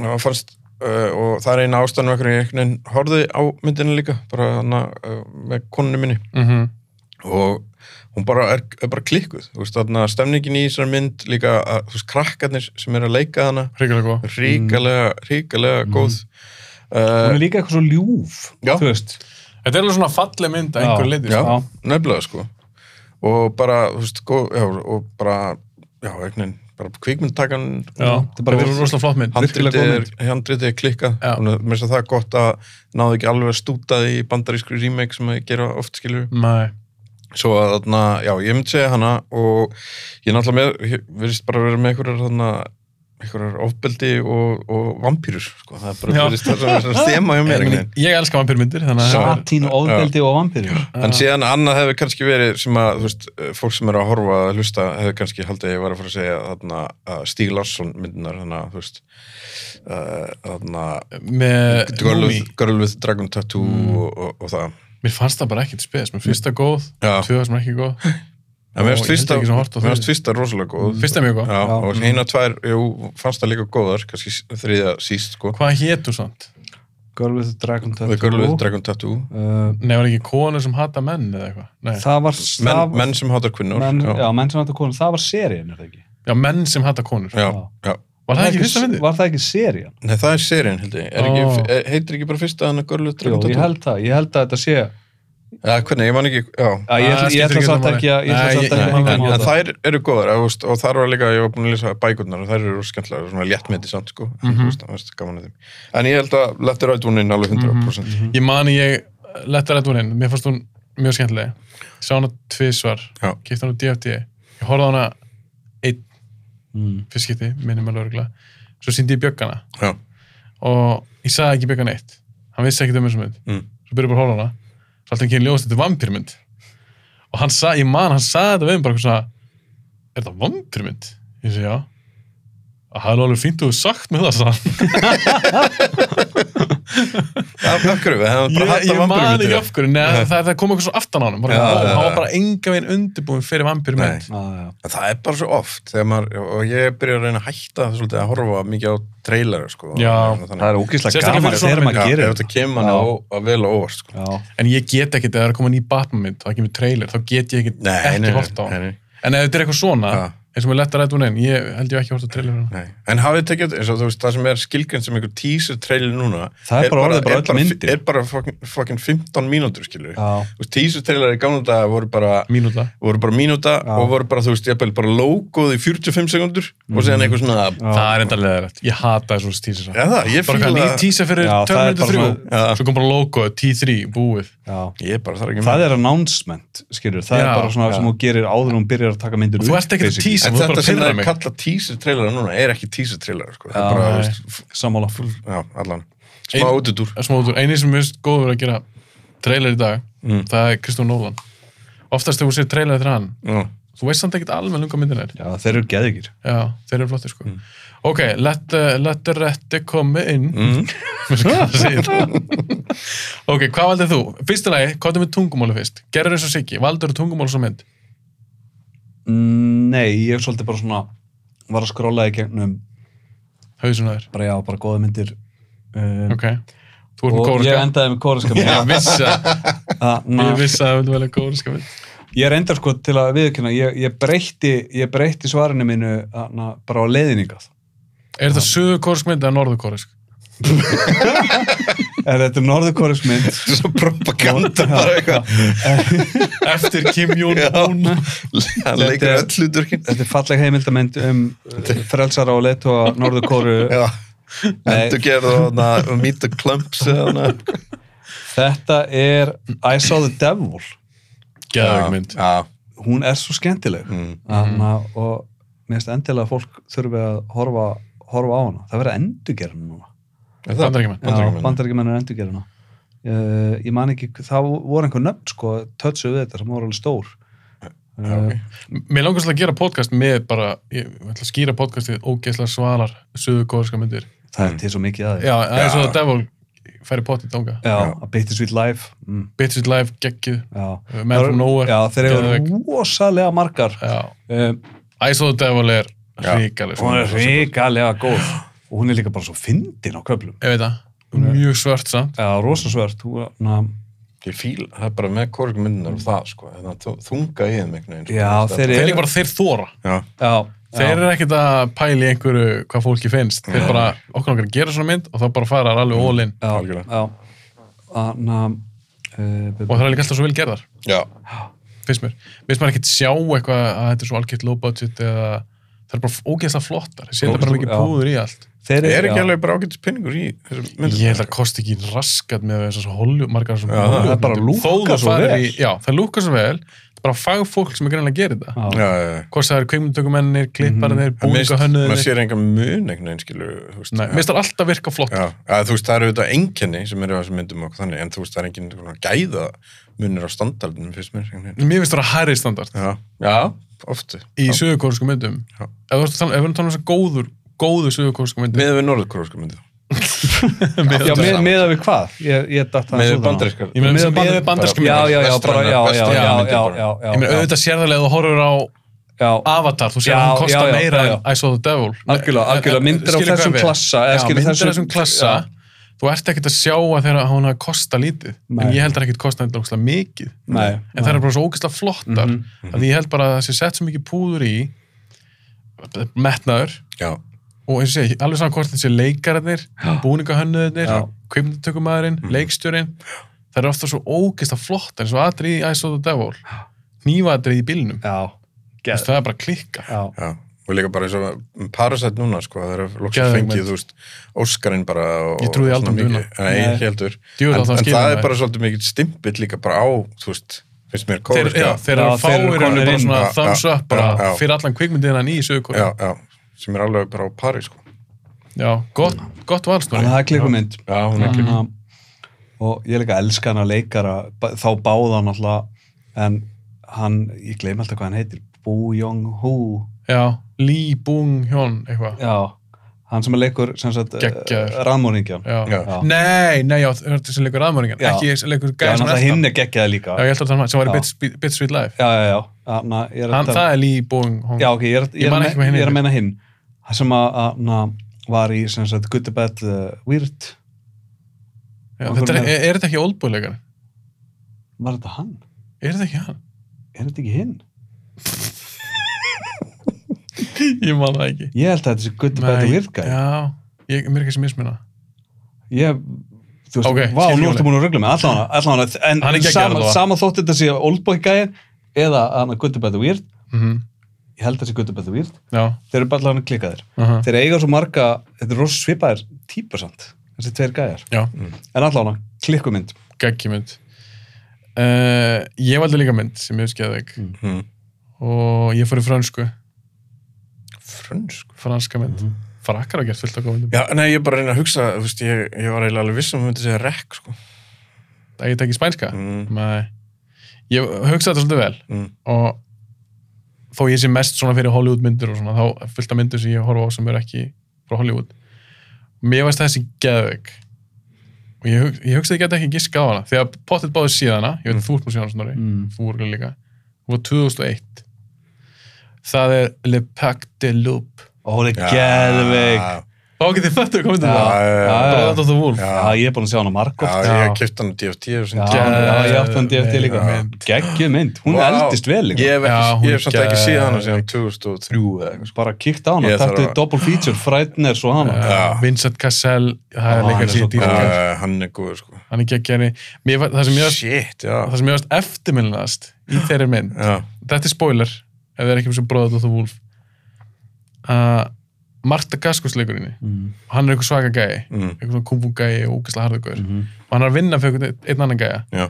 S3: það fannst, uh, og það er eina ástæðan með hvernig ég einhvern veginn horfði á myndina líka, bara hana, uh, með konunni minni
S1: Mhm.
S3: og hún bara er, er bara klikkuð þú veist, þarna stemningin í þessari mynd líka að, þú veist, krakkarnir sem eru að leika hana
S1: hrikalega góð
S3: ríkalega,
S1: Mm.
S3: ríkalega góð
S2: Hún
S3: uh,
S2: er líka eitthvað svo ljúf
S3: Já.
S2: Þú veist
S1: þetta er alveg svona falleg mynd að
S2: Já.
S1: einhver liti
S3: já,
S1: sko.
S3: nefnilega sko og bara, þú veist, góð, já, og bara já, einhvern veginn bara kvikmyndtakan
S1: Já, þetta er bara rosalega flott mynd.
S3: handritið
S2: Virkilega góð
S3: er, handritið er klikkað
S1: Já.
S3: Þannig að mér finnst að það er gott að náðu ekki alveg að stúta í bandarísku remake sem að gera oft skilur
S1: Nei.
S3: svo að þarna, já, ég myndi segja hana og ég er náttúrulega með verðist bara að vera með einhverjar þarna einhverjar ofbeldi og, og vampýrur sko, það er
S1: Já.
S3: bara verðist það sem er svona þema hjá mér
S1: Ég,
S3: einhvern
S1: meina,
S3: veginn.
S1: ég elska vampirmyndir, þannig að Eh, það er-
S2: Satín, ofbeldi og vampirur
S3: en síðan annað hefur kannski verið sem að, þú veist, fólk sem er að horfa að hlusta hefur kannski haldið að ég var að fara að segja þarna, að Stíg Larsson myndinar þannig að, þú veist uh, þarna
S1: með
S3: Girl
S1: Eh, Mummy. Mm.
S3: with, Girl with Dragon Tattoo og, og, og það
S1: Mér fannst það bara ekkert spes, mér fyrsta góð,
S3: Já.
S1: tvöða sem ekki góð.
S3: En
S1: Ó, ég
S3: mér finnst
S1: held
S3: fyrsta,
S1: ekki sem hort á
S3: mér
S1: þriðju.
S3: finnst fyrsta rosalega góð
S1: Fyrsta er mjög góð.
S3: Mm. Já,
S2: Já.
S3: og eina tvær, jú, fannst það líka góðar kannski s- þriðja síst, sko
S1: Hvað hétu samt?
S2: Girl with the Dragon
S3: The
S2: Tattoo
S3: Girl with Dragon Tattoo
S2: Uh,
S1: Nei, var ekki konur sem hata menn eða eitthvað? Nei.
S2: Eh, það var
S3: menn,
S2: það-
S3: menn sem hátar kvinnur
S2: menn,
S3: já,
S2: já. menn sem hættu konur, það var serían er það ekki
S1: Já, menn sem hata konur.
S3: já, já.
S1: Var það ekki fyrsta myndi?
S2: var það ekki serían?
S3: Nei, það er serín, held ég er
S1: Ó.
S3: ekki, er, heitir ekki bara fyrsta þannig Girl with
S2: Jú,
S3: Dragon
S2: ég
S3: Tattoo
S2: held það, ég held að þetta sé
S3: Já, hvernig, ég man ekki, já
S2: að ég, ætla-
S1: Ah,
S2: ég
S1: skiptir
S2: ætla
S1: ekki
S2: samt
S1: máli.
S2: ekki að ég ætla
S1: Nei, ég-
S2: samt ekki að
S1: nei,
S2: mæla
S3: En,
S2: mig á
S3: en
S2: það
S3: þær eru góðar og, veist, og þar var líka, ég var búin að lýsa bækurnar og þær eru skemmtilega, svona léttmyndi samt sko, mm
S1: Mhm.
S3: -hmm. veist, veist, gaman að þeim En ég held að Left Right One in
S2: Mhm.
S3: alveg 100%
S1: Ég mani ég eh, letta rætt úr inn, mér fannst hún mjög skemmtileg. Ég sá hana tvísvar,
S3: Já.
S1: kipta hana á DFT. Ég horfði á hana einn
S2: Mm.
S1: fyrst skipti, minnum alveg örgla. Svo síndi ég bjöggana
S3: Já,
S1: og ég sagði ekki bjöggana eitt. Hann vissi ekkert um þessu mynd.
S3: Mm.
S1: Svo byrjuði bara að horfa á hana. Svo alltaf ekki ljóðast þetta er vampýrmynd. Og hann sa, ég man, hann sagði þetta við um bara eitthvað svona, er þetta vampýrmynd? Ég segi, já. "Að Það er alveg fínt að þú hefur sagt með það, sagði hann.
S3: það er okkur við, það er bara
S1: ég,
S3: hægt
S1: ég man ekki af
S3: að vampirmyndir
S1: hverju, neða það, það kom eitthvað svo aftan á hann bara,
S3: Já,
S1: ó,
S3: já,
S1: hann var
S3: já.
S1: bara enga veginn undirbúin fyrir vampýrmynd
S3: Nei.
S2: Ah, já.
S3: En Það er bara svo oft þegar maður, og ég byrja að reyna að hætta svolítið að horfa mikið á trailer sko,
S1: Já.
S2: það er ógíslega
S1: Sérstaklega
S2: gaman
S1: fyrir
S2: þegar
S1: svona
S2: maður
S3: Já,
S2: gerir
S3: ef þetta kemur manni
S2: Já.
S3: á, á vel og óvart sko.
S2: Já.
S1: en ég get ekkit, ef það er að koma ný Batman-mynd það kemur trailer, þá get ég ekkit
S3: Nei, nei,
S1: ekki
S3: nei,
S1: hort á
S3: nei,
S1: hann
S3: nei.
S1: en ef þetta er eitthvað svona,
S3: Já.
S1: eins og með letta rætt hún einn ég held ég ekki hort á trailer fyrir hann.
S3: Nei. En hafið þið tekið, eins og þú veist, það sem er skilgjörn sem einhver teaser trailer núna
S2: Það er bara orðið bara
S3: er
S2: öll myndin.
S3: Er bara fucking, fucking 15 mínútur, skilur
S2: Já.
S3: Þú veist, teaser trailer í gamla daga voru bara
S1: mínúta,
S3: voru bara mínúta
S2: Já.
S3: og voru bara, þú veist, ég bara logoð í 45 sekundur og
S2: Mhm.
S3: segðan eitthvað svona
S1: það er enda leðrætt ég hata þessu teaser
S3: Já, það, ég
S1: bara
S3: fíla-
S1: hvað, ný teaser fyrir
S2: Já, það er bara
S1: Terminator 3
S3: svona- Já.
S1: svo kom bara logo, T3, búið
S2: Já.
S3: Ég bara þarf ekki
S2: það er announcement skilur, það er
S1: Já,
S2: bara svona
S3: já.
S2: sem þú gerir áður en hún byrjar að taka myndir
S1: Og þú ert ekkert að
S2: basically.
S1: teasa.
S3: En
S1: þú ert bara
S3: þetta
S1: að
S3: sem
S1: pirra
S3: það er
S1: mig.
S3: kallað teaser trailera núna er ekki teaser trailera sko. það
S2: Já,
S3: er bara,
S1: nei.
S3: þú veist, f-
S2: sammála
S3: já, allan smá
S1: Ein-
S3: útudúr
S1: smóður, eini sem mjög góður að gera trailer í dag,
S3: Mm.
S1: það er Kristján Nólan oftast þegar þú sér trailer eftir hann
S3: Já.
S1: þú veist samt ekkert alveg lunga myndin er
S2: Já, þeir eru geðigir
S1: Já, þeir eru flottir sko.
S3: Mm.
S1: Ok, let, uh, let the retti komi inn.
S3: Mhm.
S1: Mm. ok, hvað valdið þú? Fyrsta lagi, hvað er með tungumáli fyrst? Gerður eins og Siggi, valdur tungumál svo mynd?
S2: Mm, Nei, ég er svolítið bara svona var að skrolla í gegnum
S1: Hauðsum þær.
S2: bara já, bara góða myndir um,
S1: Ok, þú ert með
S2: og ég
S1: kóraskap.
S2: endaði með kóraskam
S1: Ég vissi að, ég
S2: ég,
S1: vissi að það vildi velja kóraskap.
S2: ég reyndar sko til að viðkynna ég, ég, breytti, ég breytti svarinu mínu na, bara á leiðiningað
S1: Er þetta sögur kórask mynd eða norður kórask?
S2: er þetta norðurkórask mynd
S3: Svo propaganda bara eitthvað
S1: Eftir Kim
S3: Já.
S1: Jong-un.
S3: hann
S2: Þetta
S3: leikur
S2: er-
S3: öll hlutverkin
S2: þetta er falleg heimildamönd um uh, frelsara og leitóa norðurkóru
S3: já
S2: Nei.
S3: Endur gerð og hana, og meet the clumps eða hana.
S2: þetta er I saw the devil
S1: Gæðug mynd.
S3: Já,
S2: hún er svo skemmtileg
S3: Mm.
S2: Anna, og mér finnst endilega að fólk þurfi að horfa, horfa á hana það verður endurgerðin núna
S3: er það?
S1: Bandaríkjumenn.
S3: Bandaríkjamenn.
S2: bandaríkjumenn er endurgerðina uh, ég man ekki, það voru einhver nöfn sko, tötsu við þetta sem voru alveg stór uh,
S1: Mér langar svolítið að gera podcast með bara, ég ég ætla að skýra podcastið ógeðslega svalar sögur kóraskap myndir.
S2: það er til svo mikið aðeins
S1: Já, það er
S3: Já.
S1: svo að Devil færi potið tónga.
S2: já, að Bitty Sweet Life mm,
S1: Bitches Live geggjuð
S2: já.
S1: Man from Nowhere
S2: já, þeir
S1: geðveik.
S2: eru rosalega margar
S1: Já.
S2: um,
S1: I saw the devil er ríkaleg
S2: hún er
S1: svona.
S2: ríkalega góð og hún er líka bara svo fyndin á köflum
S1: ég veit það mjög svört samt
S2: já, rosasvört hún, na,
S3: Ég fíl, það er bara með kórg myndunar og það sko, þannig að þú- þunga í þeim einhvern veginn sko.
S2: já, þeir
S1: þeir
S2: eru
S1: líka bara þeir þóra
S3: Já,
S2: já,
S1: þeir
S2: já,
S1: eru ekkert að pæla í einhverju hvað fólki finnst þeir bara okkur okkar gera svona mynd og þá bara fara þær alveg all in
S2: já,
S3: algjörlega.
S2: já. Ah, Anna, uh,
S1: og það er líka alltaf svo vel gerðar
S3: já,
S1: finnst mér finnst maður ekkert sjá eitthvað að þetta er svo algjört low budget eða það er bara ógeðslega flottar það setja bara
S2: Ógeðslega-
S1: mikið
S2: já.
S1: púður í allt
S2: Þeir
S3: er ekki
S2: já,
S3: alveg bara ágætis pinningur í þessum myndum
S1: ég held að kosti ekki raskat með þessar Hollywood, margar þessar
S3: það
S2: er bara lúkkar svo vel.
S1: í, já, það lúkar svo vel það er bara fagfólk sem er greinlega að gera þetta
S2: já,
S3: já, já, já.
S1: hvort sem það eru kveimundtökumennir,
S2: Mhm.
S1: klipparnir,
S3: Það mist- maður
S1: búningahönnuðinir
S3: sér engan mun einhvern veginn skilur þú veist.
S1: Nei,
S3: Já.
S1: mér finnst það alltaf virka flott
S3: Já, að, þú veist, það eru auðvitað enginni sem eru á þessum myndum og þannig, en þú veist, það er engin svona gæða munir á standardinu, finnst mér einhvern veginn.
S1: mér finnst það hærri standard
S3: Já, já, ofti
S1: í sögurkórsku myndum
S3: Já.
S1: ef þú ert að tala- ef við erum að tala um þessar góður góðu sögurkórsku myndum
S3: Með við norðkórsku myndið
S2: já með, meðað við hvað? Ég, ég datt aðeins
S3: Með
S2: út af hana.
S3: bandarískar
S1: Ég meina,
S2: Miðað
S1: sem
S2: bandar-
S1: miðað við bandarísku
S2: Já,
S1: myndir.
S2: já, já, bara,
S3: Vestrænar-
S2: já, já, já,
S3: vestrænar
S2: já,
S3: myndir
S2: já,
S3: bara.
S2: já, já,
S1: ég meina auðvitað sérðarlega þú horfur á
S2: já,
S1: Avatar, þú sér
S2: Já,
S1: að hann kostar
S2: já, já,
S1: meira
S2: já, já.
S1: en I saw the devil
S2: Algjörlega, algjörlega, myndir á
S1: Skilur hvað
S2: þessum
S1: við?
S2: klassa, eða
S1: já,
S2: skilur
S1: myndir á
S2: þessum-
S1: þessum klassa
S2: Já.
S1: þú ert ekkert að sjá að þeirra hún að kosta lítið en
S2: Nei.
S1: ég held að ekkert kosta þetta ógislega mikið
S2: Nei,
S1: en það er bara svo ógislega flottar mm
S2: Mhm,
S1: að ég held bara að það sé sett svo mikið púður í metnaður
S3: Já,
S1: og eins og ég segi, alveg saman hvort þessi leikararnir búningahönnuðinir,
S2: Já.
S1: kveimtökumæðurinn leikstjórinn, það er ofta svo ógeðslega flott, eins og atrið í I saw the devil nývatrið í bílnum
S2: já,
S1: Þess, það er bara að klikka
S2: já,
S3: já og líka bara eins og Parasite núna sko, það eru loksins
S1: Geðveik
S3: fengið,
S1: mynd.
S3: þú veist Óskarinn bara og,
S1: Ég trúði
S3: og
S1: aldrei um
S3: svona mikið- Nei,
S2: Nei.
S3: ekki heldur
S1: Djöfull
S3: En,
S1: á það
S3: en
S1: skilur
S3: það er
S1: maður.
S3: bara svolítið mikið stimpill líka bara á, þú veist finnst mér
S1: þeir,
S3: kóður
S1: já,
S3: já,
S1: þeir eru
S2: Já, þeir eru
S1: fáir
S2: komnir
S1: eru bara
S2: inn.
S1: svona
S3: Já,
S1: thumbs
S3: já,
S1: up bara
S3: já, já.
S1: fyrir allan kvikmyndina í sögur
S3: já,
S1: já.
S3: sem er alveg bara á pari sko.
S1: gott, gott
S2: þannig
S1: valsnúri
S2: að það er klíkumynd
S3: Já, hún er
S2: Þannig að- og ég líka elska hana leikara ba- þá báða hann alltaf en hann, ég gleym alltaf hvað hann heitir Boo Young-ho
S1: já, Lee Bung Hjón eitthvað,
S2: já, hann sem leikur sem sagt, eh,
S1: Geggjaður.
S2: raðmóringjan
S1: já.
S3: Já.
S1: nei, nei, já, það er þetta sem leikur aðmöringan
S2: Já.
S1: ekki sem leikur
S2: já,
S1: gæði sem
S2: hann
S1: elta.
S2: hinn er geggjaði
S1: já,
S2: líka
S1: ég held að það sem var í
S2: Já.
S1: Bits- Bits- Bits Sweet Life
S2: já, já, já, hann, ég er að
S1: hann,
S2: tala- um-
S1: það er Lee Bung Hjón
S2: já, ok, ég er, ég
S1: Ég
S2: er,
S1: man
S2: að
S1: ekki hvað
S2: me-
S1: hinn
S2: ég er að
S1: heitir.
S2: meina hinn hann sem að, að na, var í sem sagt, Good Bad uh, Weird
S1: Já, þetta er, er, er þetta ekki oldboy-leikari?
S2: var þetta hann?
S1: Er þetta ekki hann?
S2: er þetta ekki hinn?
S1: Ég man það ekki.
S2: ég held að þetta sé Good Bad
S1: Nei,
S2: Weird guy
S1: Já, ég, mér er ekki sem mismuna.
S2: ég, þú veist,
S1: Ok,
S2: vá,
S1: skil
S2: nú
S1: ég
S2: ertu
S1: alveg.
S2: búin að ruggla mig, allan hana, allan
S1: Hann er
S2: hana en
S1: geggjaður
S2: sama,
S1: allavega.
S2: sama þótt þetta sé Oldboy gæðin eða hana Good Bad Weird
S1: Mm
S2: Mhm. ég held að þetta sé Good Bad Weird,
S1: Já,
S2: þeir eru bara allan að klikka þér
S1: uh
S2: þeir eiga svo marga, þetta er rosa svipaðir típur samt, þessi tveir gæjar
S1: já,
S2: en allan hana, klikkumynd
S1: geggjumynd. Uh, ég valdi líka mynd sem ég hef skeið þig
S3: Mhm.
S1: og ég fór í fransku,
S3: frönsk
S1: franska mynd. Frakkar hafa gert fullt af komendum.
S3: Já, nei, ég er bara að reyna að hugsa, þú veist, ég, ég var eiginlega alveg viss um að myndi segja rekk, sko.
S1: Að ég tekki spænska?
S3: Mm.
S1: Nei. Ég hugsaði þetta svolítið vel
S3: Mm.
S1: og þó ég sé mest svona fyrir Hollywood myndir og svona, þá er fullt af myndir sem ég horfa á sem eru ekki frá Hollywood. Mér varst þessi geðveik og ég, hug, ég hugsaði ég geti ekki giska á hana því að pottet báði síðana, ég veit mm. þú ert múið síðan snorri,
S2: Mm.
S1: þú voru líka, hún var 2001. Það er Le Pac de Loup.
S2: og hún er geðveig
S1: Þá getið þetta komið til
S2: Já,
S1: það.
S3: já, já.
S1: Bráðat of the Wolf.
S3: Já.
S2: Já, ég er búin að sjá hana
S3: Já,
S2: margótt.
S1: Já.
S3: ég kipta hann á DFT og
S2: Já,
S3: svona.
S2: já, ég átti hann DFT líka.
S1: Já.
S2: Geggjuð mynd, hún
S3: Vá.
S2: eldist vel líka.
S3: Ég hef,
S1: Já,
S3: ekki,
S1: hún
S3: ég hef samt
S1: er
S3: ekki séð hana
S1: geðveik.
S3: síðan 2003 eða eitthvað.
S2: Bara kíkta á hana,
S3: Ég þarf
S2: þetta er
S3: að-
S2: double feature, Frighteners og hana.
S1: Uh, Vincent Cassell, það
S2: Já,
S1: er
S2: hann er
S1: leikar
S2: svo
S1: síðan
S3: Já,
S1: dýrkar.
S3: já, hann er góð, sko.
S1: hann er geggjari mér, var- það sem ég
S3: Shit, já.
S1: það sem ég varst eftirminnilegast í þeirri mynd
S3: Já,
S1: þetta er spoiler ef það er ekki um sem bróðat og þú vúlf að Marta Gaskus leikurinn
S2: Mm.
S1: hann er eitthvað svaka gæi
S3: mm,
S1: eitthvað svona kumbu gæi og ógæslega harðugur
S2: Mhm.
S1: og hann er að vinna fyrir einhvern einn annan gæja
S3: já.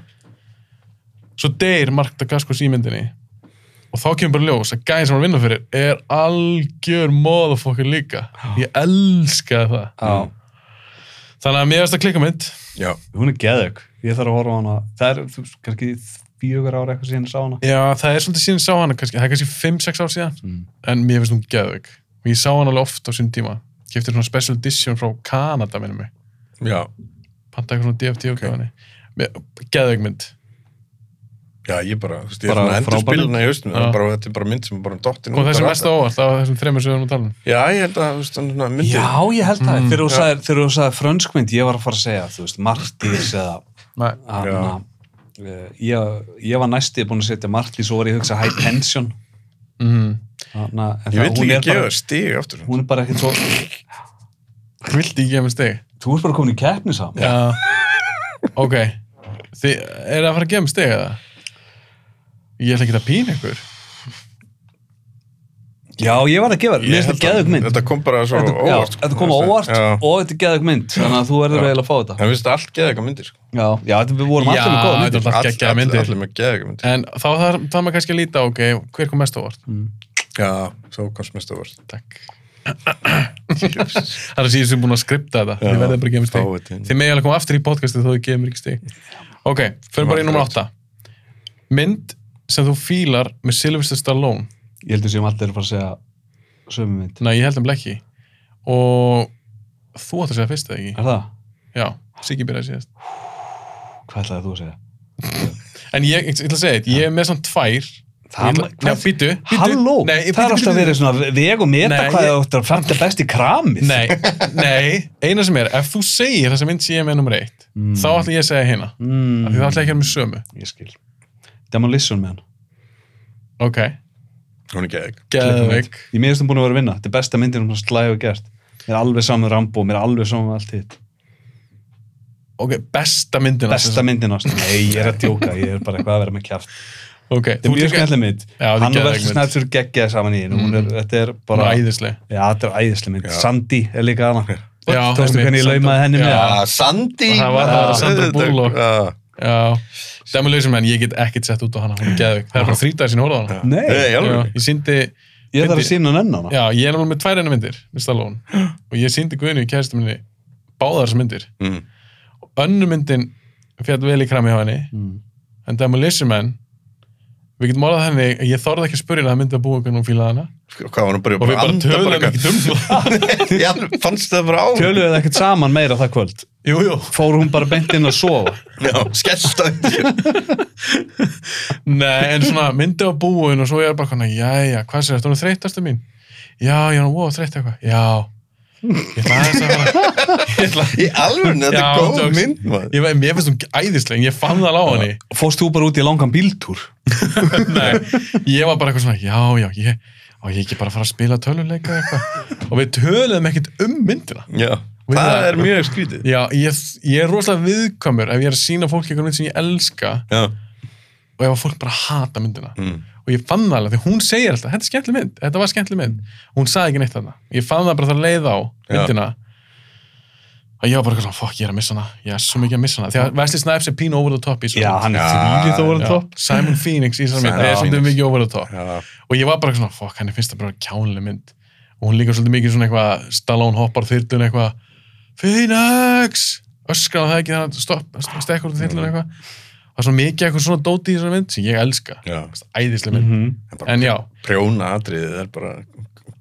S1: svo deyr Marta Gaskus í myndinni og þá kemur bara ljós að gæin sem hann er að vinna fyrir er algjör móðafokkur líka ég elska það
S2: Já,
S1: þannig að mér varst að klikka mynd
S3: Já,
S2: hún er geðug. Ég þarf að horfa á hana. Það er, þú veist, kannski fjögur ára eitthvað síðan ég sá hana.
S1: Já, það er svolítið síðan ég sá hana kannski, það er kannski 5-6 ár síðan
S2: Mm.
S1: en mér finnst hún geðveik og ég sá hana alveg oft á sínum tíma keftir svona special edition frá Kanada minnum mig,
S3: já.
S1: pantaði eitthvað svona DFT og okay. geðveik mynd
S3: Já, ég bara, þú veist, ég er
S2: Bara
S3: svona endur
S2: frábær
S3: spilna í haustum.
S1: Já.
S3: Þetta er bara mynd sem er bara dottin
S1: kom þessi
S3: bara
S1: mest á óvart af þessum þremur sem við erum að tala um
S3: Já, ég held að, þú veist, hann svona myndir.
S2: Já, ég held það.
S1: Mm.
S2: Þegar þú sagðir- þegar þú sagði frönskmynd, ég var að fara að segja, þú veist, Martís eða
S1: Nei.
S2: hana. eh, Ég, ég var næstið búin að setja Martís og var ég að hugsa High Tension.
S1: Mm.
S2: Hana, en
S3: Ég
S2: það-
S3: vill
S2: hún
S3: ekki
S2: er bara-
S3: gefa stig aftur.
S2: Hún er bara ekkert svo...
S1: Vildi ég gefa mér stig?
S2: Þú ert bara komin í keppni saman.
S1: Já Ok, Þi, er það að fara að gefa mér stig eða? Ég ætla ekki að pína ykkur
S2: Já, ég var að gefa þér, mér finnst þetta geðug mynd
S3: Þetta kom bara svo
S2: Þetta- já,
S3: óvart. sko.
S2: Þetta kom á óvart
S3: Já.
S2: og þetta er geðug mynd þannig að þú verður eiginlega að fá þetta
S3: En við veist allt geðega myndir, sko.
S2: Já, já þetta- við vorum allir með góða
S1: Já,
S2: myndir
S1: þetta var
S3: All-
S1: geggjaða
S3: all-
S1: myndir.
S3: Allir með geðega myndir.
S1: En þá þarf þarf maður kannski að líta, ok, hver kom mest á óvart?
S2: Mm.
S1: Eh.
S3: Já, svo komst mest óvart.
S1: Takk. það er að síðan sem búin að skripta þetta.
S3: Já,
S1: Þið verðið bara að gefa mér
S3: fáið
S1: stig.
S3: þetta inn.
S1: Þið megið alveg koma aftur í podcastið þó þið gefið mér ekki stig. Ok, förum bara í nummer 8. Mynd sem þú fílar með Sylvester Stallone.
S2: Ég heldur sem allir er að fara að segja sömu mynd
S1: Nei, ég held um blekki. Og þú átt að segja fyrst eða ekki?
S2: Er það?
S1: Já, Siggi byrjaði síðast.
S2: Hvað ætlaði þú að segja?
S1: En ég, ég, ég ætla að segja þetta, ég er með svona tvær.
S2: Það-
S1: Ég ætla-
S2: hvað-
S1: Nei, býtu, býtu.
S2: Halló,
S1: Nei,
S2: það er
S1: bíddu,
S2: alltaf
S1: bíddu.
S2: verið svona veg og meta
S1: Nei,
S2: hvað
S1: ég-
S2: þú ættir að fanta best í kramið
S1: Nei, nei, eina sem er, ef þú segir þessa mynd sem ég er með nummer eitt, þá ætla ég að segja hérna. Mm. Því
S2: mm,
S1: það ætla ég ekki að vera með sömu.
S2: Ég skil Demolition Man
S1: Ok,
S3: Hún er geðega.
S1: geðveik.
S2: Ég meðist um búin að vera að vinna Þetta er besta myndin um slæði og gert Mér er alveg saman Rambo, mér er alveg saman allt hitt
S1: Ok, besta myndina.
S2: Besta myndin ást Nei, ég er að djóka, ég er bara eitthvað að vera með kjart
S1: Ok,
S2: Þetta er mjög skemmtileg mynd
S1: Já, þetta er
S2: Hann og
S1: geðveik mynd.
S2: Wesley
S1: Mm.
S2: Snipes eru geggjaði saman í henni Hún er, þetta er bara
S1: Bara æðisleg.
S2: Já, þetta er æðislega mynd Sandy er líka hana
S1: Já,
S2: Tókstu
S1: einmitt,
S2: hvernig ég
S1: Sandra-
S2: laumaði henni með
S1: Já.
S2: það?
S3: Já, Ah, Sandy! Ah.
S1: Það var- það var Sandra Bullock.
S3: Já.
S1: Já, Demolition Man, ég get ekkert sett út á hana, hún er geðveik. Það er bara þrítæðir sinni hórað á hana.
S2: Nei,
S3: Nei,
S1: Já,
S3: alveg.
S1: ég síndi,
S2: ég þarf að
S1: fyndi-
S2: sína hann enn hana
S1: já, ég er alveg með tvær enna myndir, með Stallone. Og ég síndi Guðinu í kæristu minni báðar þessar myndir.
S3: Mm.
S1: Önnu myndin fjall vel í krami hjá henni,
S2: Mm.
S1: en Demolition Man, við getum orðað henni, að ég þorði ekki að spyrja henni að myndi að búa hvernig hún fílaði hana.
S3: Sko, Hvað var hann bara
S1: Og við bara töluðum ekki um það.
S3: ekki. Já, fannst það bara á.
S2: Tjöluðu þið ekkert saman meira það kvöld
S1: Jú, jú.
S2: Fór hún bara beint inn að sofa
S3: Já, skellst á.
S1: Nei, en svona myndi á búin og svo ég er bara svona, jæja, hvað sér þetta, hún er þreytastu mín? Já, ég er hún þreytt eitthvað, já. Ég ætla aðeins að fara, ég ætla,
S3: Í alveg, þetta
S1: Já,
S3: er góð
S1: jokes.
S3: mynd, maður.
S1: ég veit, mér finnst hún æðisleg, en ég fann það á henni.
S2: Fórst þú bara út í langan bíltúr
S1: Nei, ég var bara eitthvað svona, já, já, ég, og ég ekki bara að fara að spila töluleika eða eitthvað. Og við töluðum ekkert um myndina.
S3: Já,
S1: Við það-
S3: það er mjög skrítið.
S1: Já, ég, ég er rosalega viðkvæmur ef ég er að sína fólki einhvern mynd sem ég elska
S3: Já.
S1: og ef að fólk bara hata myndina.
S3: Mm.
S1: og ég fann það alveg, því hún segir alltaf þetta er skemmtileg mynd, þetta var skemmtileg mynd hún sagði ekki neitt þarna, ég fann það bara þar leið á myndina að ég var bara eitthvað svona, fokk, ég er að missa hana ég er svo mikið að missa hana, því að Wesley Snipes er pínu over the top í svo
S2: Já, hann er
S3: Já,
S2: þvílið það voru
S1: Já,
S2: topp
S1: Simon Phoenix í þessar mynd,
S3: Simon
S1: er svolítið
S3: Phoenix.
S1: mikið over the top
S3: Já.
S1: og ég var bara eitthvað svona, fokk, henni finnst það bara kjánuleg mynd og hún líka svolítið mikið svona eitthvað Stallone hoppar þyrlun eitthvað Phoenix, öskra það ekki þannig að stopp, stekkur þyrlun eitthvað það er svona mikið eitthvað svona dóti í þessar mynd sem ég elska,
S3: Já.
S1: æðislega mynd
S2: Mhm.
S3: En bara
S1: en já,
S3: Prjóna atriðið er bara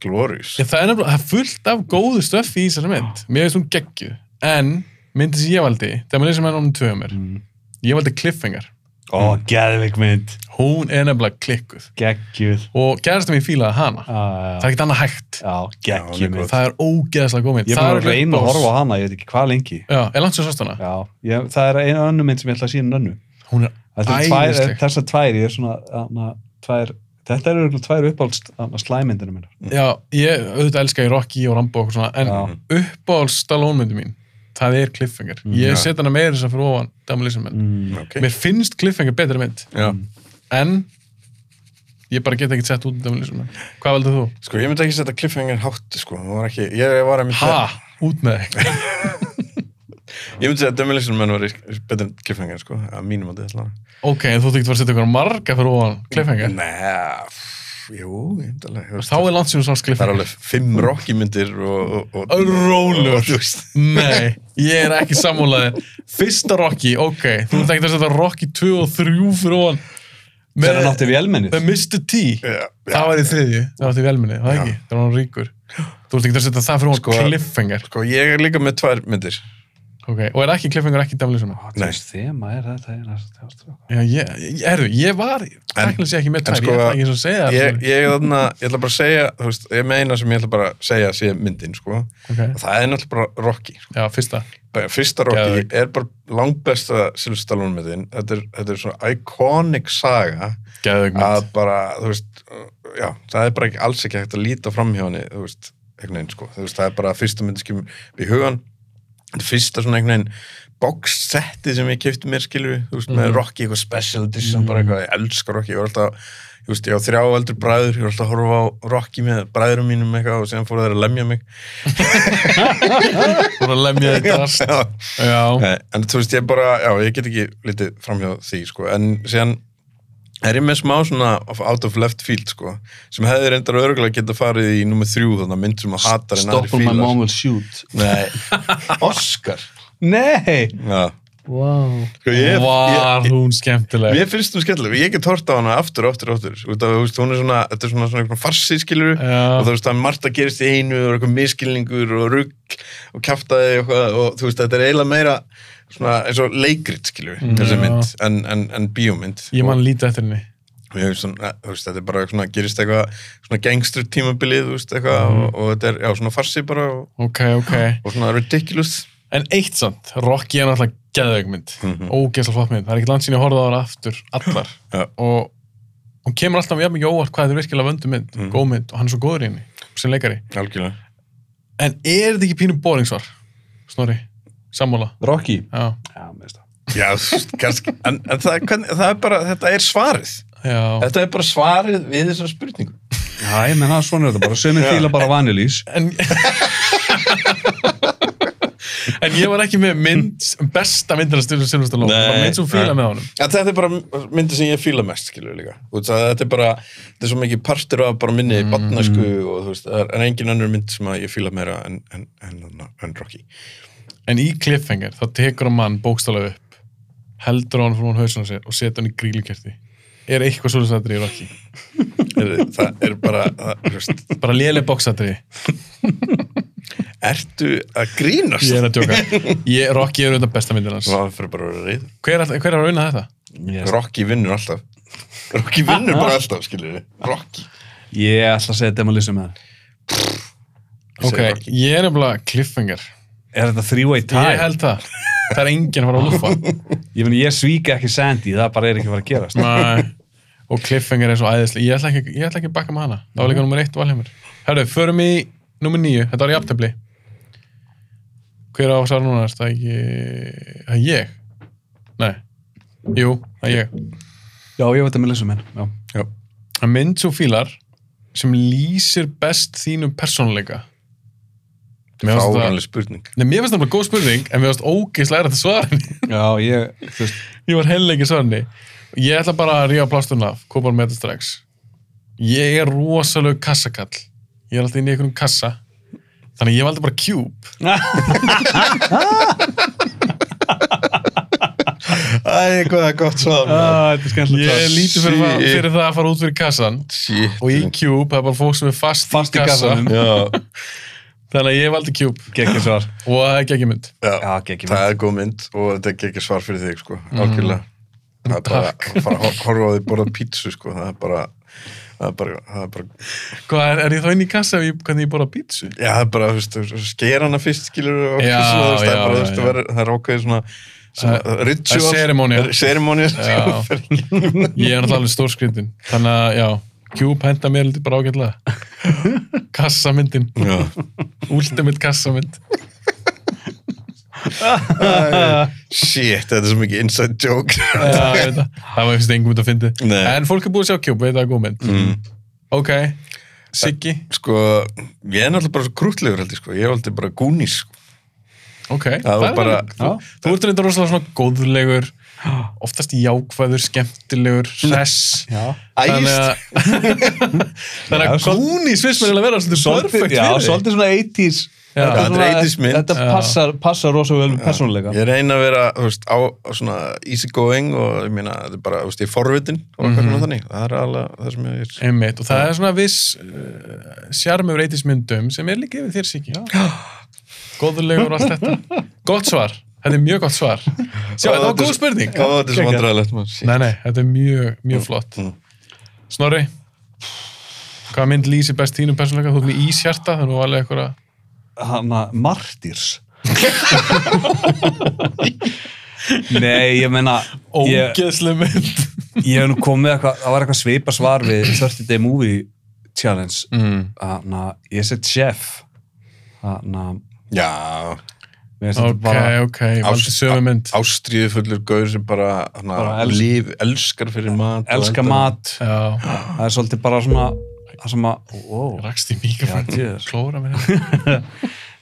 S3: glórius.
S1: Já, það er nefnilega það er fullt af góðu stöffi í þessari mynd. Mér finnst hún geggju. En myndi sem ég valdi, það er maður sem er náttúrulega tvöðum um mér. Ég valdi Cliffhanger.
S2: Ó,
S1: Mm.
S2: geðveik mynd,
S1: Hún er nefnilega klikkuð.
S2: geggjuð
S1: Og gerðastum ég fílaði hana.
S2: Ah,
S1: Það er ekkert annað hægt.
S2: Já,
S3: Já, hún er
S2: geggjuð mynd
S1: Það er ógeðslega góð mynd.
S2: Ég er
S1: það
S2: bara að reyna að horfa á hana, ég veit ekki hvað lengi
S1: Já, er langt sem sást hana.
S2: Já, ég, það er einu önnu mynd sem ég ætla að sína önnu
S1: Hún er æðisleg.
S2: Þessar tvær, ég er svona hana, tvær, Þetta eru örugglega tvær uppáldst slæmyndinu minnar
S1: Já, ég auðvitað elska í Rocky og Rambo og eitthvað svona. En uppáhalds Stallone myndi mín, það er Cliffhanger. Ég set hana meira þess að fyrir ofan Demolition
S2: Mm.
S1: Man.
S3: Ok.
S1: Mér Mm. finnst Cliffhanger betri mynd.
S3: Já.
S1: en ég bara get ekki sett út Demolition Man. Hvað valdið þú?
S3: Sko, ég myndi ekki setja cliffhanger hátt, sko. Það var ekki, ég var að
S1: Ha?
S3: mynda,
S1: Út með þig.
S3: ég myndi segja að Demolition Man var betur en cliffhanger, sko. Að mínum að þetta allavega.
S1: ok, en þú þykist var að setja eitthvað marga fyrir ofan Cliffhanger.
S3: Nei, pff, jú, ég myndi alveg. þú veist,
S1: Þá er langt sem þú sást
S3: Það er
S1: Cliffhanger.
S3: alveg fimm rockymyndir og... og, og
S1: Rólegur.
S3: og þú veist.
S1: Nei, ég er ekki sammálaðið. Fyrsta Rocky, ok, þú ert ekki að setja Rocky 2 og 3 fyrir ofan
S2: Þegar hann
S1: með,
S2: átti við elmennið
S1: með Mr. T.
S3: Já,
S1: Það var í þriðju, það var í velminni, það ekki, það var hann ríkur. Þú ert ekki að setja það fyrir ofan
S3: Sko-
S1: Cliffhanger.
S3: Sko, ég er líka með tvær myndir.
S1: Ok, og er ekki Cliffhanger ekki Demolition Man?
S3: Nei.
S2: Þema er þetta er næsta
S1: Já, ég, ég, erðu, ég var, tæknilega sé ekki með tvær,
S3: sko,
S1: ég ætla ekki eins og að segja það.
S3: Ég, ég, þarna, ég ætla bara að segja, þú veist, ég meina sem ég ætla bara að segja sé myndin, sko.
S1: Ok.
S3: Og það er náttúrulega bara Rocky. sko.
S1: Já, fyrsta.
S3: Bara Fyrsta Rocky
S1: Geðveik.
S3: er bara langbesta Silvestalón myndin. Þetta er, þetta er svona iconic saga
S1: Geðveik
S3: að bara, þú veist, já, það er bara ekki, alls ekki hægt að líta fram hjá henni, þú veist, einhvern veginn, sko. Þú veist, það er bara fyrsta myndin sem við hugan. Þetta er fyrsta svona einhvern veginn box-setti sem ég kefti mér, skilju, þú veist, með Rocky, eitthvað special edition, bara eitthvað, ég elska Rocky, ég var alltaf, ég veist, ég á þrjá eldur bræður, ég var alltaf að horfa á Rocky með bræðurum mínum eitthvað og sem fóru þeir að lemja mig
S1: Þú voru að lemja þig drast.
S3: Já.
S1: Já.
S3: Nei, Eh, en þú veist, ég bara, já, ég get ekki litið framhjá því, sko, en síðan er ég með smá svona of- out of left field, sko, sem hefði reyndar örgulega geta farið í nummer þrjú, þannig að mynd sem að hatar en aðri
S6: Stopple my mom will shoot
S3: Nei, Oscar
S2: Nei!
S3: Já,
S6: wow.
S3: sko, ég,
S1: Var
S3: ég,
S1: hún skemmtileg.
S3: Mér finnst hún skemmtileg, ég get hort á hana aftur og aftur og aftur, út af þú veist, hún er svona, þetta er svona svona einhvern farsi skilur
S1: Já.
S3: og þú veist, það er margt að gerist í einu og eitthvað miskilningur og rugg og kjaftaði og eitthvað og þú veist, þetta er eiginlega meira svona eins og leikrit skilur þessi
S1: Mm. Já.
S3: mynd, en, en, en bíómynd
S1: Ég man lítið eftir henni.
S3: og ég hef svona, eh, þú veist, þetta er bara svona, gerist eitthvað, svona gangstur tímabilið, þú veist, eitthvað
S1: Mm.
S3: og, og þetta er, já, svona farsi bara og,
S1: Ok, ok.
S3: og svona ridiculous
S1: En eitt samt, Rocky er náttúrulega geðveikmynd. Mm
S3: Mhm,
S1: -hmm. Ógeðslega flott mynd. Það er ekkert land sín ég horfði á hana aftur, allar.
S3: Já.
S1: Og hún kemur alltaf jafn mikið óvart hvað þetta er virkilega vöndu mynd,
S3: Hmm.
S1: góð mynd og hann er svo góður í henni sem leikari.
S3: algjörlega
S1: En er þetta ekki pínu boringsvar? Snorri, sammála.
S2: Rocky?
S1: Já.
S2: Já, minnst það.
S3: Já, þú veist, kannski, en, en það, hvern, það er bara, þetta er svarið.
S1: Já.
S3: Þetta er bara svarið við þessar spurningu.
S2: Já, ég menna, svona er þetta bara. Sumir fíla bara vanilís.
S1: En, en ég var ekki með mynd, besta myndina stilur Silvestur Lóð.
S3: Nei,
S1: Bara mynd sem fíla
S3: nei.
S1: með honum.
S3: En þetta er bara myndi sem ég fíla mest, skilur líka. Þú veist, að Þetta er bara, þetta er svo mikið partur af bara minni mm. batnasku og þú veist, það er- en engin önnur mynd sem að ég fíla meira en, en, en, en, en Rocky.
S1: En í Cliffhanger, þá tekur hann mann bókstálega upp, heldur hann frá hann hausinu sér og setur hann í grílukerti. Er eitthvað svolítið satri í Rocky?
S3: Er- Það er bara, það, þú veist,
S1: Bara léleg bóksatri.
S3: ertu að grínast?
S1: Ég er að djóka. Ég, Rocky er auðvitað besta myndin hans.
S3: Það fyrir bara að vera reyð.
S1: Hver, er all- hver er að Ah. rauna þetta?
S2: Yes.
S3: Rocky vinnur alltaf. Rocky vinnur bara alltaf, skilur við. Rocky.
S2: Ég ætla að segja Demolition Man.
S3: Ég
S1: Ok,
S3: segi Rocky.
S1: ég er nefnilega Cliffhanger.
S2: Er þetta three-way tie?
S1: Ég held það. Það er enginn að fara að lúfa.
S2: Ég meina, ég svíka ekki Sandy, það bara er ekki að fara að gerast.
S1: Nei. hérna, Og cliffhanger er svo æðislega. Ég ætla ekki, ég ætla ekki að bakka með hana. Það var líka nummer eitt valheimur. Herru, förum í nummer níu. Þetta var í aftefli. Hver á svar núna? Er Það ekki... Það er ég? Nei. Jú, það er ég.
S2: Já, ég veit að Melissa menn. Já.
S1: Það mynd svo fílar sem lýsir best þínum persónuleika. Mér finnst það...
S3: Fáanlega spurning.
S1: Nei, mér finnst það bara góð spurning, en mér finnst ógeðslega þetta svarin.
S2: Já, ég, þú veist,
S1: Ég var heillengi svarni. Ég ætla bara að ríða plásturna af, kópa hann með þetta strax. Ég er rosalegu kassakall. Ég er alltaf inn í einhverjum kassa. Þannig að ég valdi bara Cube.
S3: Æ, hvað er gott svar.
S2: Ah, þetta er skemmtilegt.
S1: Ég er lítið fyrir, það-
S3: Sí.
S1: fyrir það að fara út fyrir kassan.
S3: Shit.
S1: Og í Cube, það er bara fólk sem er fast,
S2: Fast í kassanum.
S3: Já,
S1: Þannig að ég valdi Cube.
S2: Gekkið svar.
S1: Og það er geggjum mynd. Mm.
S2: Já,
S3: já.
S2: gekkið
S3: það er góð mynd og þetta er ekki svar fyrir þig sko, algjörlega það er bara
S1: Takk.
S3: að fara að hor- horfa á því borða pítsu sko, það er bara það er bara, það er bara,
S1: Hvað er, er ég þá inn í kassa ef ég, hvernig ég borða pítsu?
S3: já það er bara þú veist, sker hana fyrst skilur og
S1: Já,
S3: pítsu, þú veist, það er
S1: já,
S3: bara,
S1: já,
S3: þú veist,
S1: já.
S3: það er- það er ákveðið svona, svona rituals,
S1: það er ceremonial.
S3: ceremonial
S1: Já.
S3: sko, fyrir-
S1: Ég er alltaf alveg stórskrindin. Þannig að, já, Cube henda mér lítið bara ágætlega. Kassamyndin.
S3: já.
S1: Ultimate kassamynd.
S3: shit, þetta er svo mikið inside joke
S1: Já, ég veit það Það var fyrst engum mynd að fyndi
S3: Nei.
S1: En fólk er búið að sjá Cube, veit það er góð mynd
S2: Mm.
S1: Ok, Siggi
S3: sko, ég er náttúrulega bara svo krútlegur held ég sko, ég valdi bara Goonies sko.
S1: Ok,
S3: það var
S1: er
S3: bara,
S1: alveg- Þú ert reynda rosalega svona góðlegur Oftast jákvæður, skemmtilegur Hress
S2: Já.
S1: Þannig að Þannig
S2: Já,
S1: að
S2: svol-
S1: Goonies finnst mér eiginlega að vera Svona perfekt
S2: já,
S1: fyrir þig.
S2: svolítið svona 80s.
S1: Já,
S2: Þetta er
S3: þetta er
S2: svona-
S3: 80s mynd.
S2: Þetta
S1: Já.
S2: passar, passar rosa vel persónuleika.
S3: Ég reyna að vera, þú veist, á á svona easy going og ég meina, þetta er bara, þú veist, ég er forvitin og eitthvað svona þannig. Það er alveg það sem ég er.
S1: Einmitt, og það er svona viss uh, sjarmur reytismyndum sem er líka yfir þér Siggi Góðlegur og allt þetta Gott svar, þetta er mjög gott svar Sjá, þetta var góð spurning
S3: Já, þetta er svo vandræðilegt, mann.
S1: Nei, nei, þetta er mjög, mjög
S2: Mm.
S1: flott. Snorri, hvaða mynd lýsir best þínum persónleika? Þú ert með íshjarta, þannig að þú valið eitthvað að...
S2: hana, Martyrs Nei, ég meina ég,
S1: Ógeðslega mynd.
S2: ég hef nú komið eitthvað, það var eitthvað svipa svar við 30 Day Movie Challenge
S1: Mm.
S2: hana, ég set chef hana,
S3: Já,
S2: Mér finnst
S1: ok,
S2: þetta bara-
S1: ok, valdi sömu mynd
S3: ástríðu fullur gaur sem bara, hana,
S2: Bara els-
S3: líf, elskar fyrir mat og
S2: elska
S3: þetta.
S2: mat
S1: já,
S2: það er svolítið bara svona það sem að wow.
S1: rakst í mikrofón
S2: Já, djöður.
S1: klóra mér þetta.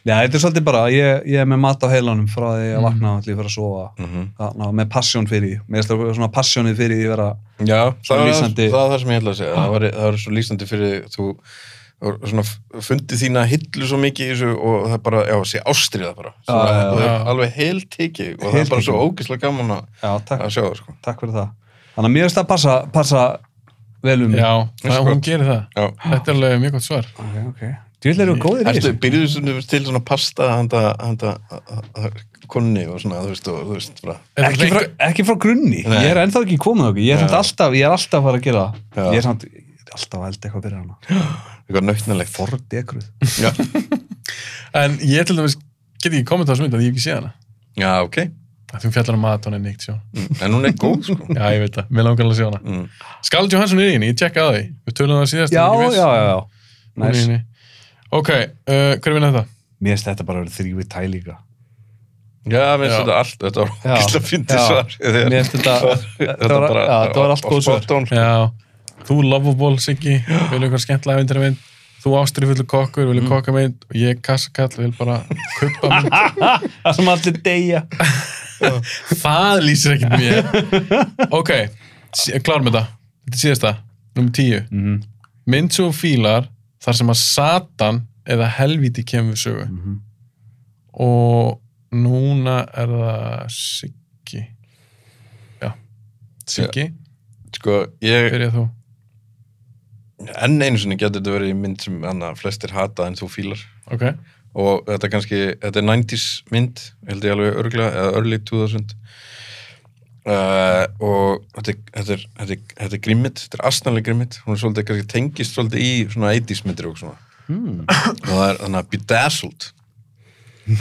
S2: Já, þetta er svolítið bara, ég, ég er með mat á heilanum frá því að vakna og allir fyrir að sofa
S3: Mhm.
S2: Þarna, með passjón fyrir því, mér finnst það svona passjónið fyrir því að vera
S3: Já, það
S2: Svona
S3: var
S2: lýsandi-
S3: það, var það sem ég ætla að segja það var, það var svo lýsandi fyrir því, þú þú svona fundið þína hillu svo mikið í þessu og það bara, já, sé ástríða bara svona,
S2: Já, já,
S3: og það
S1: já.
S3: er alveg heiltiki og það er bara
S2: Heiltekið.
S3: svo ógislega gaman að
S2: Já,
S3: að
S2: takk,
S3: sjá það, sko
S2: takk fyrir það Þannig að mér finnst það passa, passa vel um mig
S1: já, það, hún gerir það
S3: Já.
S1: þetta er alveg mjög gott svar
S2: Ok, ok, djúlega eru góðir í
S3: Ertu,
S2: þessu
S3: byrjuðu svona til svona pasta handa, handa konni og svona, þú veist, og, þú veist bara,
S1: Er
S2: ekki
S1: þetta
S2: frá, ekki frá grunni,
S3: Nei.
S2: ég er ennþá ekki komið okkur ég er, samt alltaf, ég er alltaf að fara að gera það
S3: Já.
S2: Ég er samt alltaf að elda eitthvað fyrir hana
S3: eitthvað nautnilegt
S2: Fordekruð
S1: En ég til dæmis get ekki kommentað á þessu mynd að ég hef ekki séð hana.
S3: Já, ok,
S1: Að því hún fjallar um mat, hún er neitt sjá.
S3: en hún er góð, sko
S1: Já, ég veit það. Mér langar alveg að sjá hana.
S3: Mm.
S1: Scarlett Johansson er í henni, ég tjekka á því. Við tölum það síðast.
S2: Já,
S1: ég er ekki viss.
S2: já, já, já
S1: Hún er í
S2: Næs.
S1: henni. Ok, uh, hver vinna þetta?
S2: Mér finnst þetta bara að vera þrývið tælíka
S3: Já, mér
S1: Já.
S3: finnst þetta allt, þetta var
S2: Já.
S3: ógislega fyndið
S2: Já.
S3: svar Þegar-
S2: Mér finnst þetta, þetta var, já, þetta var allt góð svar
S3: spot on, sko.
S1: Já, þú lovable, Siggi, vilja eitthvað skemmtilega vindur mynd. Þú ástrifullur kokkur, vilja mm. kokka mynd og ég kassakall, vil bara kuppa mynd.
S2: Það sem allir deyja
S1: það lýsir ekkert mér. Ok, sí- klár með þetta. Þetta er síðasta, nummer tíu.
S2: mm.
S1: mynd sem hún fílar þar sem að Satan eða helvíti kemur við sögu
S2: Mhm.
S1: og núna er það Siggi já Siggi,
S3: Sko, ég,
S1: byrja þú
S3: enn einu sinni getur þetta verið í mynd sem hana flestir hata en þú fílar
S1: ok,
S3: og þetta er kannski, þetta er 90s mynd held ég alveg örglega, eða early 2000 uh, og þetta er, þetta er, þetta er, þetta er grimmit, þetta er asnalið grimmit hún er svolítið kannski tengist svolítið í svona 80s myndir og svona
S1: Hmm.
S3: og það er þannig að bedazzled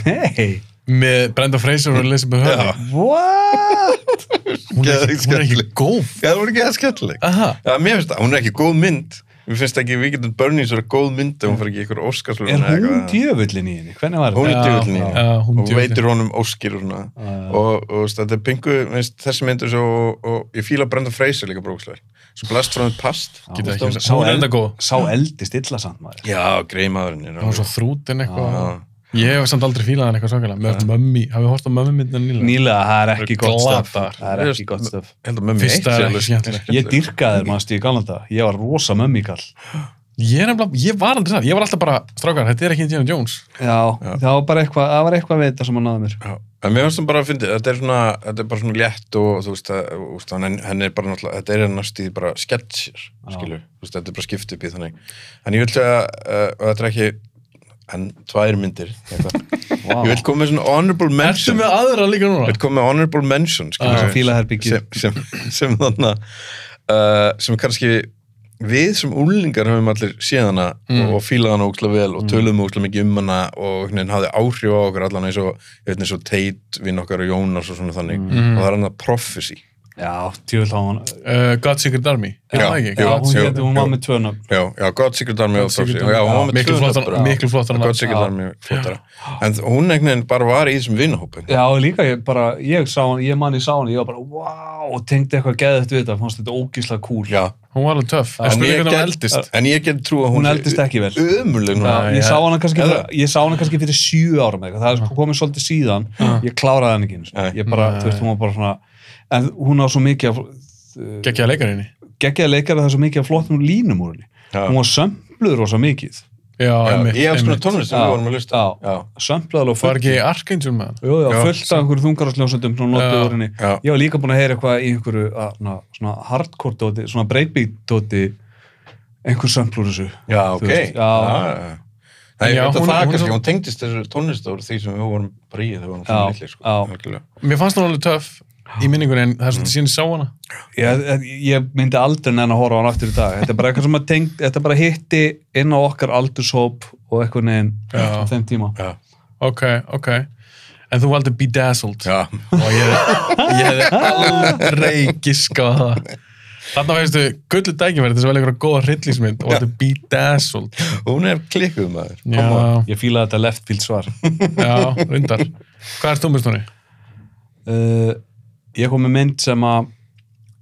S2: Nei,
S1: með Brenda Fraser og Elizabeth Hurley
S2: what?
S1: hún, er ekki-
S3: Geðveikt
S1: hún er ekki
S3: skemmtileg.
S1: góð
S3: Já, það voru ekki það skemmtileg
S1: aha,
S3: Já, mér finnst það, hún er ekki góð mynd Mér finnst ekki Weekend at Bernie's er góð mynd ef hún fyrir ekki ykkur
S2: Er
S3: Óskarsverðun
S2: hún djöfullin í henni? Hvernig var
S3: Hún
S2: þetta?
S3: er djöfullin í henni
S1: já, hún
S3: og
S1: djöfullin.
S3: veitir honum Óskir og, svona. og, og veist, þetta er pingu veist, þessi myndu svo og, og ég fíla Brenda Fraser líka brókslega svo blast frá hún past
S1: Get
S2: Já,
S1: ekki
S2: sá-
S1: sagt. Hún er
S2: eld-
S1: enda góð.
S2: Sá eldi stilla samt maður
S3: Já, greimaðurinn er
S1: hún er svo þrútin eitthvað ég hef samt aldrei fílað hann eitthvað svakalega með mömmi, hafið hort á mömmi myndin nýlega
S2: Nýlega, það er ekki gott stöf
S1: Glatar.
S2: Það er ekki gott stöf
S3: Ég held að mömmu
S1: Fyrsta er ekki skemmtileg.
S2: Ég dyrkaði þér mannst í galanda Ég var rosa mömmikall
S1: ég, er nefnilega- ég var aldrei það, ég var alltaf bara strákar, þetta er ekki Indiana Jones
S2: Já, það var bara eitthvað Það var eitthvað við þetta sem hann náði mér
S3: En mér finnst það bara að fyndi, þetta er svona þetta er bara svona létt og þú veist að, þú veist, hann, hann er bara náttúrulega, þetta er ennast í bara sketsir, skilur, þú veist, þetta er bara skipt upp í þannig. En ég vil segja uh, og þetta er ekki, en tvær myndir, þetta.
S2: Vá.
S3: Ég vil koma með svona honorable
S1: Ertu
S3: mention
S1: með aðra líka
S3: Ég
S1: núna?
S3: vil koma með honorable mention,
S1: Ah,
S3: skilur
S2: Svo fílaherbyggið.
S3: sem, sem, sem þannig uh, sem kannski við sem úlingar höfum allir séð hana
S1: Mm.
S3: og fílað hana ógslag vel og töluðum ógslag mikið um hana og hvernig hafði áhrif á okkur allan eins og, ég veit, eins og Teit, vinn okkar og Jónas og svona þannig
S1: Mm.
S3: og það er hann að prophecy
S2: Já, djúvill á hann
S1: Uh, God Secret Army, er
S3: Já,
S1: það ekki?
S2: Já,
S3: jú,
S2: hún,
S3: jú,
S2: hét, hún var
S3: jú.
S2: með tvönum
S3: Já, já, God Secret Army og
S1: Secret Army. Ah,
S3: Prophecy já, hún var með
S1: Miklu
S3: tvö
S1: flottara-
S3: nöfn, já.
S1: miklu flottara
S3: God
S1: nafn.
S3: Secret
S2: Já.
S3: Army flottara en hún einhvern veginn bara var í þessum vinnahópi
S2: Já, og líka ég bara, ég sá hann, ég manni sá hann, ég var bara, wow, og tengdi eitthvað geðið við þetta, fannst þetta ógísla kúl.
S3: já.
S1: Hún var alveg töff, en spurning hvernig hún eldist
S3: en ég get trú að
S2: Hún
S3: hún
S2: eldist ekki vel.
S3: ömuleg núna
S2: Já, ég, sá hana kannski
S3: Eða-
S2: fyrir, ég sá hana kannski fyrir sjö árum eitthvað, það er sko komið svolítið síðan ég kláraði hann ekki einu sinni.
S3: Nei.
S2: ég bara, þú veist, hún var bara svona en hún á svo mikið af
S1: Gekkjaði leikarinni
S2: geggjaði leikari það er svo mikið af flottum línum úr henni
S3: Já.
S2: hún var sömbluð rosa mikið
S1: Já,
S3: Já,
S1: einmitt,
S3: ég hef svona
S1: einmitt
S3: tónlist sem
S2: Já,
S3: við vorum að lusta
S2: já.
S3: Já.
S2: sömbluð alveg
S1: Var
S2: fullt
S1: ekki Archangel með hann?
S2: jú, já,
S3: Já.
S2: fullt af einhverju þungararsljónsöndum sem hún
S1: Já.
S2: notið úr henni
S3: Já.
S2: ég var líka búin að heyra eitthvað í einhverju að, na, svona hardcore dóti, svona breakbeat dóti einhver sömblur þessu
S3: Já,
S2: Þú
S3: ok.
S2: veist, já.
S3: já. Nei,
S1: Já,
S3: já,
S1: hún-
S3: hún, það
S1: hún-
S3: hún, kannski, hún tengdist þessu tónlist og því sem við vorum bara í þegar við vorum
S2: Já,
S3: fyrir litli, sko.
S2: já.
S3: algjörlega.
S1: Mér fannst hún alveg töff í minningunni, en það er
S3: Mm.
S1: svona síðan ég sá hana
S2: Ég, ég myndi aldrei neina að horfa á hann aftur í dag. Þetta er bara eitthvað sem að tengd, þetta bara hitti inn á okkar aldurshóp og eitthvað neginn
S1: Já.
S2: á þeim tíma.
S1: Ok, ok En þú valdi Bedazzled
S3: Já.
S1: og ég, ég hefði aldrei giskað á það Þarna fæstu gullu dækifæri til þess að velja ykkur góða hryllingsmynd og þetta er bedazzled.
S3: Hún er klikkuð maður.
S1: Já,
S2: Ég fílaði þetta left field svar.
S1: já, rundar. Hvað er stómbustóni?
S2: uh, ég kom með mynd sem að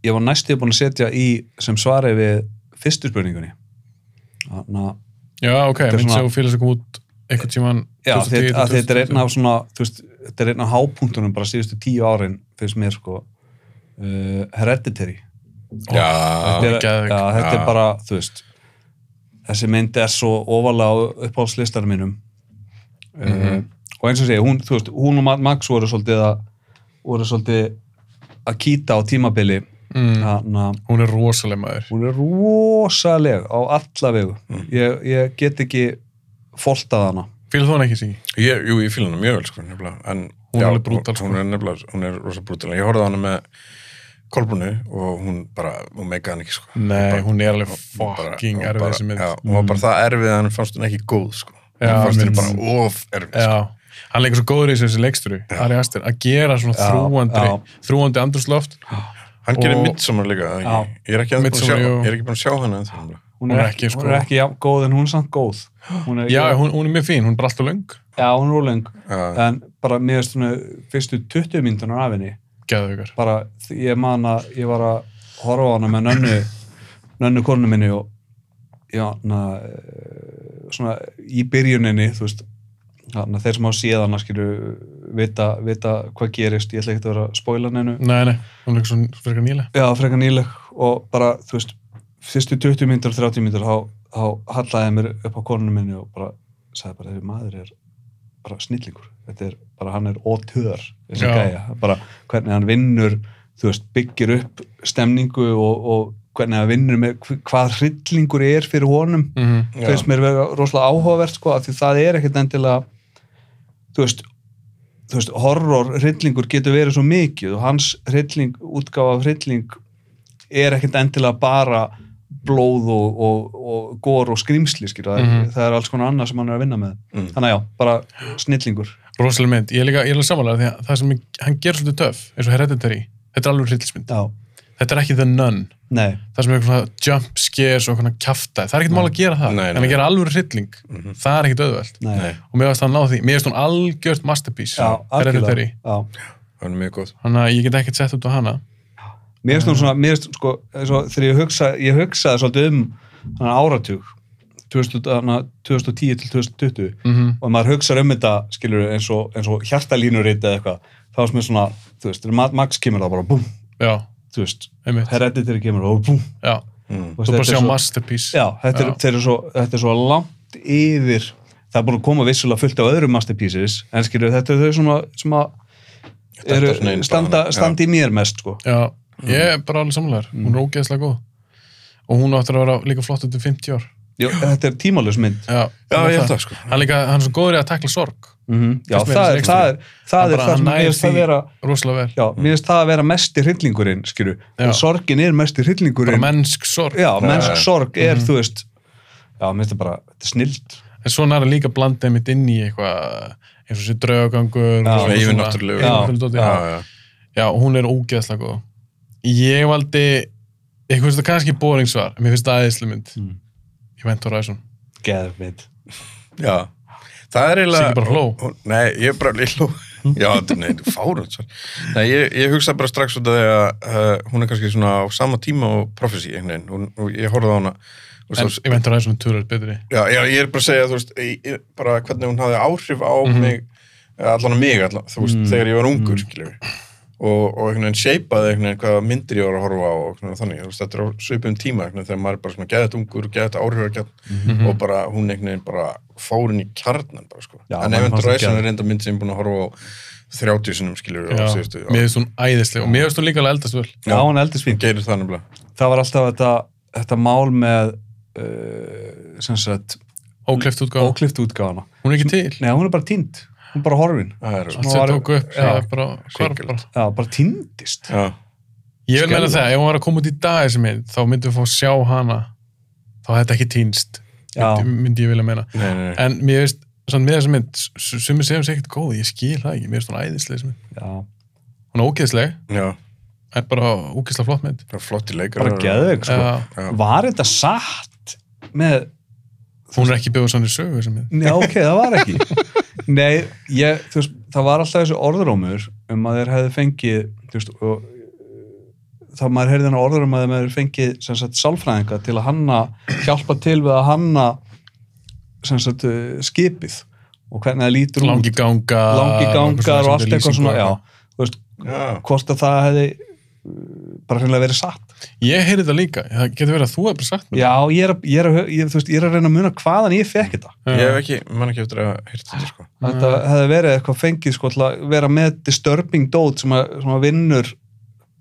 S2: ég var næstu búin að setja í sem svari við fyrstu spurningunni þannig að
S1: Já, ok,
S2: er
S1: mynd
S2: svona-
S1: sem þú félags að koma út einhvern tíman
S2: Já, þetta, að þetta er einn af svona, þú veist, þetta er einn af hápunktunum bara síðustu tíu árin, finnst mér sko, uh, hereditary.
S3: Já,
S2: þetta, er,
S1: geðveik.
S2: já, þetta er bara, þú veist, þessi mynd er svo ofalega á uppáhaldslistanum mínum. Uh, Og eins og segja, hún, þú veist, hún og Ma- Max voru svolítið að, voru svolítið að kýta á tímabili,
S1: Mm,
S2: þannig að
S1: hún er rosaleg maður.
S2: hún er rosaleg á alla vegu. Ég, ég get ekki foltað hana.
S1: Félag þú hann ekki, Siggi?
S3: ég, jú, ég fíla hana mjög vel, sko, nefnilega. En,
S1: Hún er
S3: já,
S1: alveg brútal, sko.
S3: Hún er nefnilega, hún er rosa brútal. Ég horfði á hana með kolbunu og hún bara, hún meikaði hann ekki, sko.
S1: Nei,
S3: bara-
S1: hún er alveg
S3: Hún bara-
S1: fucking
S3: hún
S1: erfið
S3: bara-
S1: þessi mynd. Mm.
S3: Já, hún var bara það erfið að hann fannst hún ekki góð, sko.
S1: Já,
S3: Hún fannst
S1: mér-
S3: henni bara of erfið, sko.
S1: Já, hann leikur svo góður í þessu- þessi leiksturi Ari Aster, að gera svona
S2: Já,
S1: þrúandi
S2: já.
S1: þrúandi andrúsloft
S3: Hann gerir
S1: Og-
S3: midsommar líka, eða
S2: Já.
S3: ekki? Ég er ekki, ennþá búin að sjá,
S1: Midsommar, jú.
S3: ég er ekki búin að sjá hana ennþá. nefnilega.
S2: Hún er ekki,
S1: sko.
S2: hún er ekki já, góð en hún er samt góð. Hún er,
S1: Já, hún, hún er mjög fín, hún er bara alltaf löng
S2: já, hún er róleng.
S3: Já.
S2: En bara mér veist svona fyrstu 20 myndunar af henni,
S1: Geðvögar
S2: bara þ- ég man að ég var að horfa á hana með nönnu, nönnu konu minni og já, na, eh, svona í byrjuninni, þú veist, já, na, þeir sem á síðan að skilju vita, vita hvað gerist, ég ætla ekki að vera að spoila neinu
S1: Nei, nei, hún leikur svona frekar nýlega
S2: Já, frekar nýleg og bara, þú veist, fyrstu 20 myndur, 30 myndur, þá, þá hallaði ég mér upp á konunum minni og bara sagði bara, þessi maður er bara snillingur þetta er, bara hann er ótöðar þessi
S1: Já.
S2: gæja, bara hvernig hann vinnur þú veist, byggir upp stemningu og, og hvernig hann vinnur með hv- hvað hryllingur er fyrir honum
S1: mm
S3: Mhm.
S2: finnst mér vera rosalega áhugavert sko, af því það er ekkert endilega þú veist, þú veist horror hryllingur getur verið svo mikið og hans hrylling, útgáfa af hrylling er ekkert endilega bara blóð og, og, og gór og skrýmsli skýr, það, er,
S1: Mhm.
S2: það er alls konar annað sem hann er að vinna með
S3: Mm.
S2: þannig að já, bara snillingur
S1: Rosaleg mynd, ég er líka, ég er alveg samanlega því að það sem ég, hann gerir svolítið töff, eins og hereditary Þetta er alveg hryllismynd,
S2: já,
S1: þetta er ekki the nun
S2: nei,
S1: Það sem er eitthvað svona jump scares og eitthvað kjafta Það er ekkert mál að gera það,
S3: Nei,
S1: en
S3: nei. Mhm.
S1: að gera alveg hrylling Það er ekkert auðvelt
S2: nei,
S3: Nei,
S1: Og mér varst hann ná því, mér varst hún algjört masterpiece
S2: já,
S1: Hereditary.
S2: algjörlega já.
S3: hann er mjög góð.
S1: Þannig að ég get ekkert sett út á hana
S2: Mér finnst hún svona, mér finnst sko, svo, þegar ég hugsa, ég hugsaði svolítið um þannig áratug, 2000, hana, 2010 til 2020
S1: Mhm.
S2: og maður hugsaði um þetta, skilur eins og, eins og hjartalínurit eða eitthvað, þá er sem er svona, þú veist, þegar Ma- Max kemur þá bara, búm,
S1: Já,
S2: þú veist,
S1: einmitt
S2: Hereditary kemur og búm.
S1: Já,
S3: Mm.
S1: þú bara sjá masterpiece
S2: Já, þetta er,
S1: Já.
S2: þeir eru svo, þetta er svo langt yfir, það er búin að koma vissulega fullt á öðrum masterpieces, en skilur þetta er þau svona, sem að
S3: er
S2: eru,
S3: svona einn bara
S2: standa,
S3: hana, já.
S2: standa í mér mest, sko.
S1: Já,
S3: Mhm.
S1: ég er bara alveg samlegar hún er ógeðslega góð og hún áttur að vera líka flott eftir 50 ár
S2: Jó, þetta er tímalus mynd.
S1: Já,
S3: Já,
S1: hún er
S3: ég held það, sko.
S1: Hann, líka, hann er svo góður í að takla sorg
S2: -hmm. Já,
S1: Mhm. Finnst mér
S2: það
S1: þessi
S2: er það, er, það,
S1: Hann bara-
S2: er það
S1: hann
S2: sem mér
S1: nær
S2: finnst það
S1: því
S2: vera
S1: rosalega vel,
S2: já, mér finnst það að vera mesti hryllingurinn skilju,
S1: Já.
S2: en sorgin er mesti hryllingurinn
S1: bara mennsk sorg
S2: já, mennsk
S3: Já, já.
S2: sorg er, Mhm. þú veist já, mér finnst það bara, þetta er snild
S1: en svona er það líka blandið mitt inn í eitthvað eins og sér draugagangur og
S3: Svona
S1: svona-
S3: yfirnáttúrulegu.
S1: Já, yfirnáttúrulegu
S3: Já,
S1: dóti.
S3: já.
S1: Já, hún er ógeðslega góð Ég valdi eitthvað finnst það kannski bóringsvar, mér finnst það aðeinslu mynd
S2: Mm.
S1: Ég vent á ræsum
S2: geðvitt
S3: Já. Það er eiginlega...
S1: Siggi bara hló. Hm?
S3: Hún- Nei, ég bara ég hló. Já, þetta er neitt fárund svo. Nei, ég, ég hugsa bara strax út af því að uh, hún er kannski svona á sama tíma og prophecy einhvern veginn. Hún- og Ég horfði á hana. og
S1: en
S3: svo-
S1: ég vent á ræsum túrar betri
S3: Já, já, ég er bara að segja, þú veist, ég, ég, bara hvernig hún hafði áhrif á
S2: Mhm.
S3: mig, allan á mig, allan, þú veist, þegar ég var ungur, mm. skiljum við. Og, og einhvern veginn seipaði einhvern veginn hvaða myndir ég var að horfa á og svona, þannig, þú veist, þetta er á svipum tíma, einhvern veginn, þegar maður er bara svona geðið ungur, geðið áhrif, geðið,
S2: Mhm.
S3: og bara hún einhvern veginn bara fór inn í kjarnan, bara sko.
S2: Já,
S3: en
S2: mann
S3: Event
S2: fannst það
S3: Horizon
S2: geðveikt.
S3: er reynda mynd sem ég er búin að horfa á 30 sinum, skiljum við, á
S1: Já,
S3: síðustu.
S1: mér finnst hún æðislega og mér finnst hún líka alveg eldast vel
S2: já, hún er eldisvín
S3: Gerir það nefnilega.
S2: það var alltaf þetta, þetta mál með uh, sem sagt
S1: Ókleft útgáð,
S2: óklift útgáfana
S1: hún er ekki til
S2: nei, hún er bara tínd, hún er bara horfin
S3: Það er,
S1: allt
S2: Nú
S1: sem
S2: var-
S1: tóku upp
S2: já.
S1: það er bara, hvarf
S3: Sýkild.
S1: bara.
S2: já, bara tíndist
S3: já,
S1: ég vil meina
S2: Skelfilegt.
S1: það, ef hún var að koma út í dag þessi mynd, þá myndum við fá að sjá hana þá hefði þetta ekki týnst
S2: Já.
S1: myndi, myndi ég vilja meina
S3: nei, nei, nei.
S1: en mér veist, svona með þessi mynd sumir segjum sér ekkert góð, ég skil það ekki, mér veist hún æðislega þessi mynd
S2: já,
S1: hún er ógeðsleg,
S3: Já,
S1: er bara úkislega flott mynd Eh,
S3: bara flotti leikar
S2: bara geðveik sko.
S1: Já.
S2: var þetta satt með
S1: hún er ekki byggðið sannir sögu þessa mynd
S2: Nei, ok, það var ekki. Nei, ég, þú veist, það var alltaf þessi orðrómur um að þeir hefðu fengið, þú veist, og þá maður heyrði þennan orður um að þeir hefðu fengið, sem sagt, sálfræðinga til að hanna, hjálpa til við að hanna, sem sagt, eh, skipið og hvernig það lítur
S1: langi
S2: út.
S1: ganga
S2: Langi gangar og allt eitthvað svona, já, þú veist,
S3: Já.
S2: hvort að það hefði eh, bara hreinlega verið satt.
S1: ég heyrði það líka, það getur verið að þú hefur bara sagt mér
S2: Já, ég er, að- ég, er, að- ég, þú veist, ég er að reyna að muna hvaðan ég fekk þetta.
S3: ég hef ekki, man ekki eftir að hýrta þetta sko
S2: Þetta hefði verið eitthvað fengið sko til að vera með disturbing dót sem að, sem að vinnur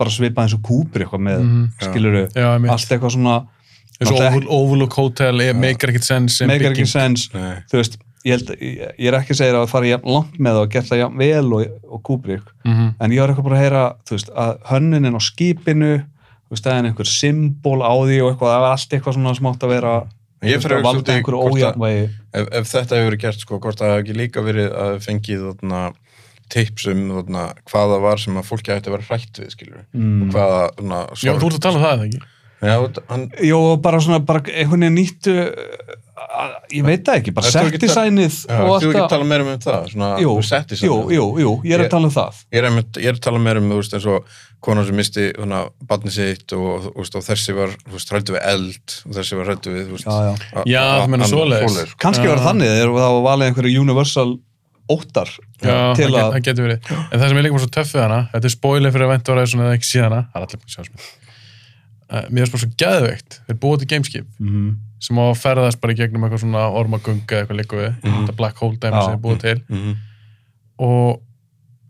S2: bara svipað eins og kúpir eitthvað með, mm.
S1: Mhm.
S2: skiluru,
S1: já, ég mynd,
S2: allt eitthvað svona
S1: eins og
S2: náttúrulega
S1: Overl- Overlook Hotel er- meikar ekkert sens sem
S2: meikar ekki
S1: bygging.
S2: sens,
S3: Nei.
S2: þú veist ég, held, ég, ég er ekki að segja að fara jafn langt með það og gert það jafn vel og, og kúbrik
S1: Mhm.
S2: en ég var eitthvað bara að heyra þú veist, að hönnunin á skipinu þú veist, það er einhver symbol á því og eitthvað, það var allt eitthvað svona smátt að vera
S3: Ég
S2: þú veist,
S3: fer að hugsa
S2: að
S3: út
S2: valda
S3: í
S2: einhverju
S3: hvort að-
S2: ójafnvegi
S3: ef, ef þetta hefur verið gert sko, hvort það hefur ekki líka verið að fengið þarna, tips um þarna, hvað það var sem að fólki ætti að vera hrætt við skilur
S2: Mm.
S3: og hvaða svona,
S1: já, þú ert að tala um það eða ekki
S3: Já, þú- hann,
S2: Jó, og bara svona, bara einhvern veginn nýttu að- ég veit það ekki, bara
S3: Ertu ekki að-
S2: settisænið
S3: já,
S2: og
S3: þú ekki að
S2: allt
S3: tala meira um það svona,
S2: Jú,
S3: setti sig
S2: jú,
S3: þarna.
S2: jú, jú, ég er
S3: Ég-
S2: að tala um það
S3: Ég er, einmitt, ég er að tala meira um þú veist, eins og konar sem misti hana, barni sitt og, og, og, og þessi var þú veist, hrættu við eld og þessi var hrættu við þú veist,
S2: Já, já.
S3: a-
S1: Já,
S3: a-
S1: þú meinar
S3: annað
S1: svoleiðis.
S3: svoleiðis, sko.
S2: kannski
S1: Já.
S2: var það þannig, þegar það var valið einhverju universal óttar
S1: Já,
S2: til
S1: það, get,
S2: að,
S1: það getur verið. En það sem er líka bara svo töffið hana, þetta er spoiler fyrir að vænta ára svona eða ekki síðana, það er allir búin að sjá sem ég. Mér er bara svo geðveikt, þeir búið til gameskip
S2: Mhm.
S1: sem á að ferðast bara í gegnum eitthvað svona ormagönga eða eitthvað líka við, þetta black hole dæmi
S2: Já.
S1: sem er búið til
S3: Mhm.
S1: og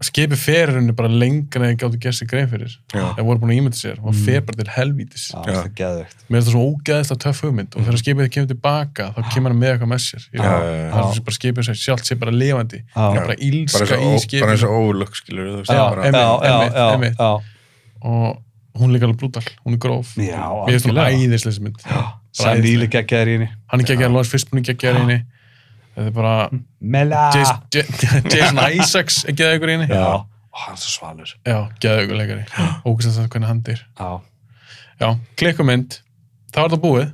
S1: skipi ferurinn er bara lengra en þeir gáttu gert sér grein fyrir.
S3: Já.
S1: Þeir voru búin að ímynda sér og
S3: Mhm.
S1: fer bara til helvítis.
S2: já, það er geðveikt
S1: Mér er þetta svo ógeðislega töff hugmynd og þegar skipið kemur tilbaka þá kemur hann með eitthvað með sér. Ég,
S3: Mhm. Já,
S1: það
S3: já,
S1: er
S3: já.
S1: svo bara skipið sem sjálft sé bara lifandi,
S2: Já.
S1: bara
S3: bara
S1: ílska í
S3: eins og- bara eins
S1: skipinu
S3: og óvölug skilur þú veist,
S2: Já,
S3: bara-
S1: einmitt,
S2: já, já,
S1: einmitt,
S2: já,
S1: einmitt.
S2: já.
S1: og hún er líka alveg blútal, hún er gróf
S2: Já,
S1: mér finnst hún
S2: algjörlega.
S1: æðislega þessi mynd
S2: Sam Neill er geggjaður í henni
S1: hann er geggjaður, Lawrence Fishburne er geggjaður í henni þetta er bara
S2: Mela
S1: Jason, Ja- Jason Isaacs er geðaugur í henni
S2: Ah. Já, Ó, hann er svo svalur
S1: já geðaugur leikari, ógæst að það hvernig hann dyr
S2: Já,
S1: já, klikkumynd, það var það búið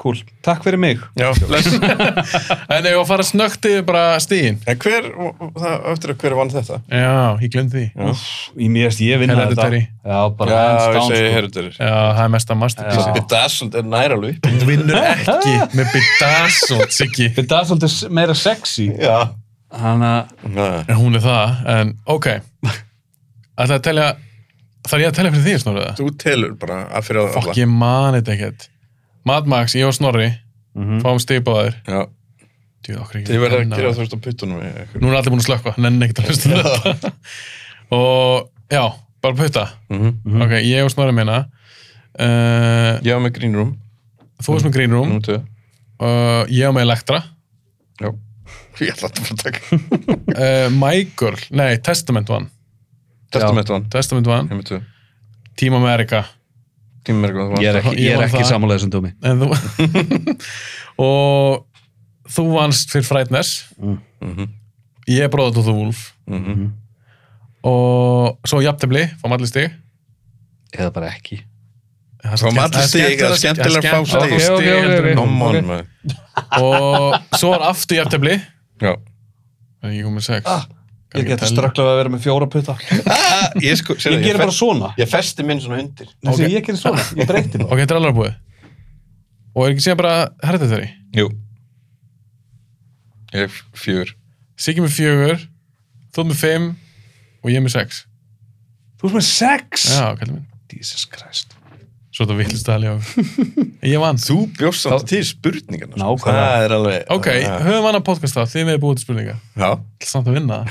S2: cool, takk fyrir mig
S3: Já, bless.
S1: en ef ég var að fara snögt yfir bara stíðin
S3: En hver, það, eftir að hver vann þetta?
S1: já, ég glemd því já,
S2: Í mér, ég vinna þetta
S1: Hereditary.
S2: Já, bara
S3: Já,
S2: hands
S3: ég
S2: down,
S3: segi
S2: sko.
S3: Hereditary
S1: það er mesta masterpiece
S2: Já.
S3: Bedazzled er nær alveg uppi.
S1: þú vinnur ekki með Bedazzled Siggi,
S2: Þetta er svolítið s- meira sexy
S3: Já
S2: Þannig að
S1: en hún er það en ok ætla að telja, þarf ég að telja fyrir því snorðið
S3: Þú telur bara að fyrir að
S1: Fuck, ég man þetta ekkert Mad Max, ég og Snorri fáum stig báðir
S3: Já,
S1: Djú, okkur ekki
S3: þið verður Mhm. að
S1: nenna.
S3: gera þú veist á puttunum í ykkur.
S1: Nú er allir búin að slökka, nenni ekkert að hlusta á þetta Og já, bara putta
S3: Mhm.
S1: Ok, ég og Snorri minna uh,
S3: Ég var með Green Room,
S1: Þú veist með Green Room
S3: nummer 2
S1: uh, Ég og með Elektra
S3: Já Ég ætla alltaf að taka
S1: uh, My Girl, nei, Testament vann
S3: Testament vann,
S1: Testament vann,
S3: nummer 2
S1: Team America
S3: Tíma er eitthvað, þú vannst
S2: Ég er ekki, ég er
S1: Ég vann
S2: ekki
S1: það.
S2: samanlega sem dómi.
S1: En þú Og þú vannst fyrir Frightness
S3: Mhm.
S1: Ég er bróðat og þú Wolf
S3: Mhm.
S1: og svo jafntefli, fáum allir stig
S2: Eða bara ekki.
S1: Það er
S3: Fáum
S1: skemmt-
S3: allir
S1: það er
S3: stig, það er skemmtilega að fá
S1: skemmt- að
S3: stig.
S1: fá
S2: Ok, ok,
S1: heldur
S2: ok,
S1: en-
S2: ok.
S3: Come on,
S2: Ok.
S3: maður
S1: og svo er aftur jafntefli
S3: Já
S1: Það er ekki komið sex
S2: Ah,
S1: Kann ekki
S2: Ég geti
S1: tella.
S2: strökklað að vera með fjóra putta.
S3: Ah, Ég sko, sérðu,
S2: Ég
S3: ég
S2: gerir
S3: fe-
S2: bara svona.
S3: Ég festi minn svona undir
S2: Þessi ég gerir svona. Ég breyti bara.
S1: ok, þetta er alveg búið og er ekki síðan bara herðetari
S3: Jú Ég er fjör
S1: Siggi með fjögur, þú með fimm og ég með sex
S2: Þú erst með sex!
S1: já, kallið minn
S2: Jesus Christ.
S1: svo þetta vittlist að alveg ég vann
S3: Þú bjóst samt til spurningarna sko.
S2: Nákvæmlega.
S3: Það er alveg
S1: ok, höfum annað podcast þá, þið með búið til spurninga
S3: Já
S1: Ætla samt að vinna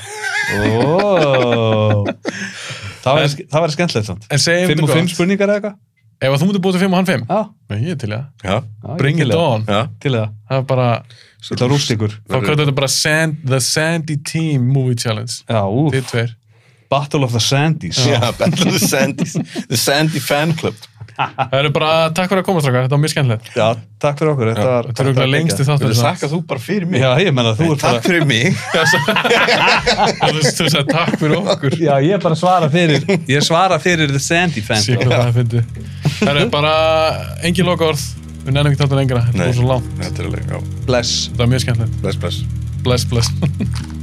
S2: Oh. það væri- það væri skemmtilegt samt.
S1: en segjum
S2: Fimm og
S1: þetta
S2: fimm
S1: gott
S2: spurningar eða eitthvað?
S1: ef að þú mútið búið til fimm og hann fimm
S2: Já.
S1: Nei, ég er til í það.
S3: Já,
S2: já, ég
S1: bring
S2: til
S1: it
S2: í það.
S1: on
S3: já
S2: Til í það.
S1: það er bara
S2: Ég ætla að rúst ykkur.
S1: Þá kallar þetta bara sand, The Sandy Team Movie Challenge.
S2: Já, úf.
S1: Þið tveir.
S2: Battle of the Sandies.
S3: Já, Battle of the Sandy The Sandy Fan Club
S1: Það eru bara, "Ah, takk fyrir að koma strákar, þetta var mjög skemmtilegt.
S2: Já, takk fyrir okkur. Þetta var,
S1: Þetta eru örugglega lengsti þáttur
S4: Þú
S1: sem-
S4: þakka þú bara fyrir mig
S2: Já, ég menna, þú ert bara...
S4: Takk fyrir mig
S1: Þú veist, þú sagði takk fyrir okkur.
S2: Já, ég er bara að svara fyrir, ég svara fyrir The Sandy fan.
S1: Sér hvað það fyndi. Það eru bara engin lokaorð, við nennum ekki þáttu lengra, þetta
S4: Nei.
S1: er svo langt.
S4: Þetta er alveg, já,
S2: Bless.
S1: Þetta var mjög skemmtilegt.
S4: bless, bless
S1: Bless, bless.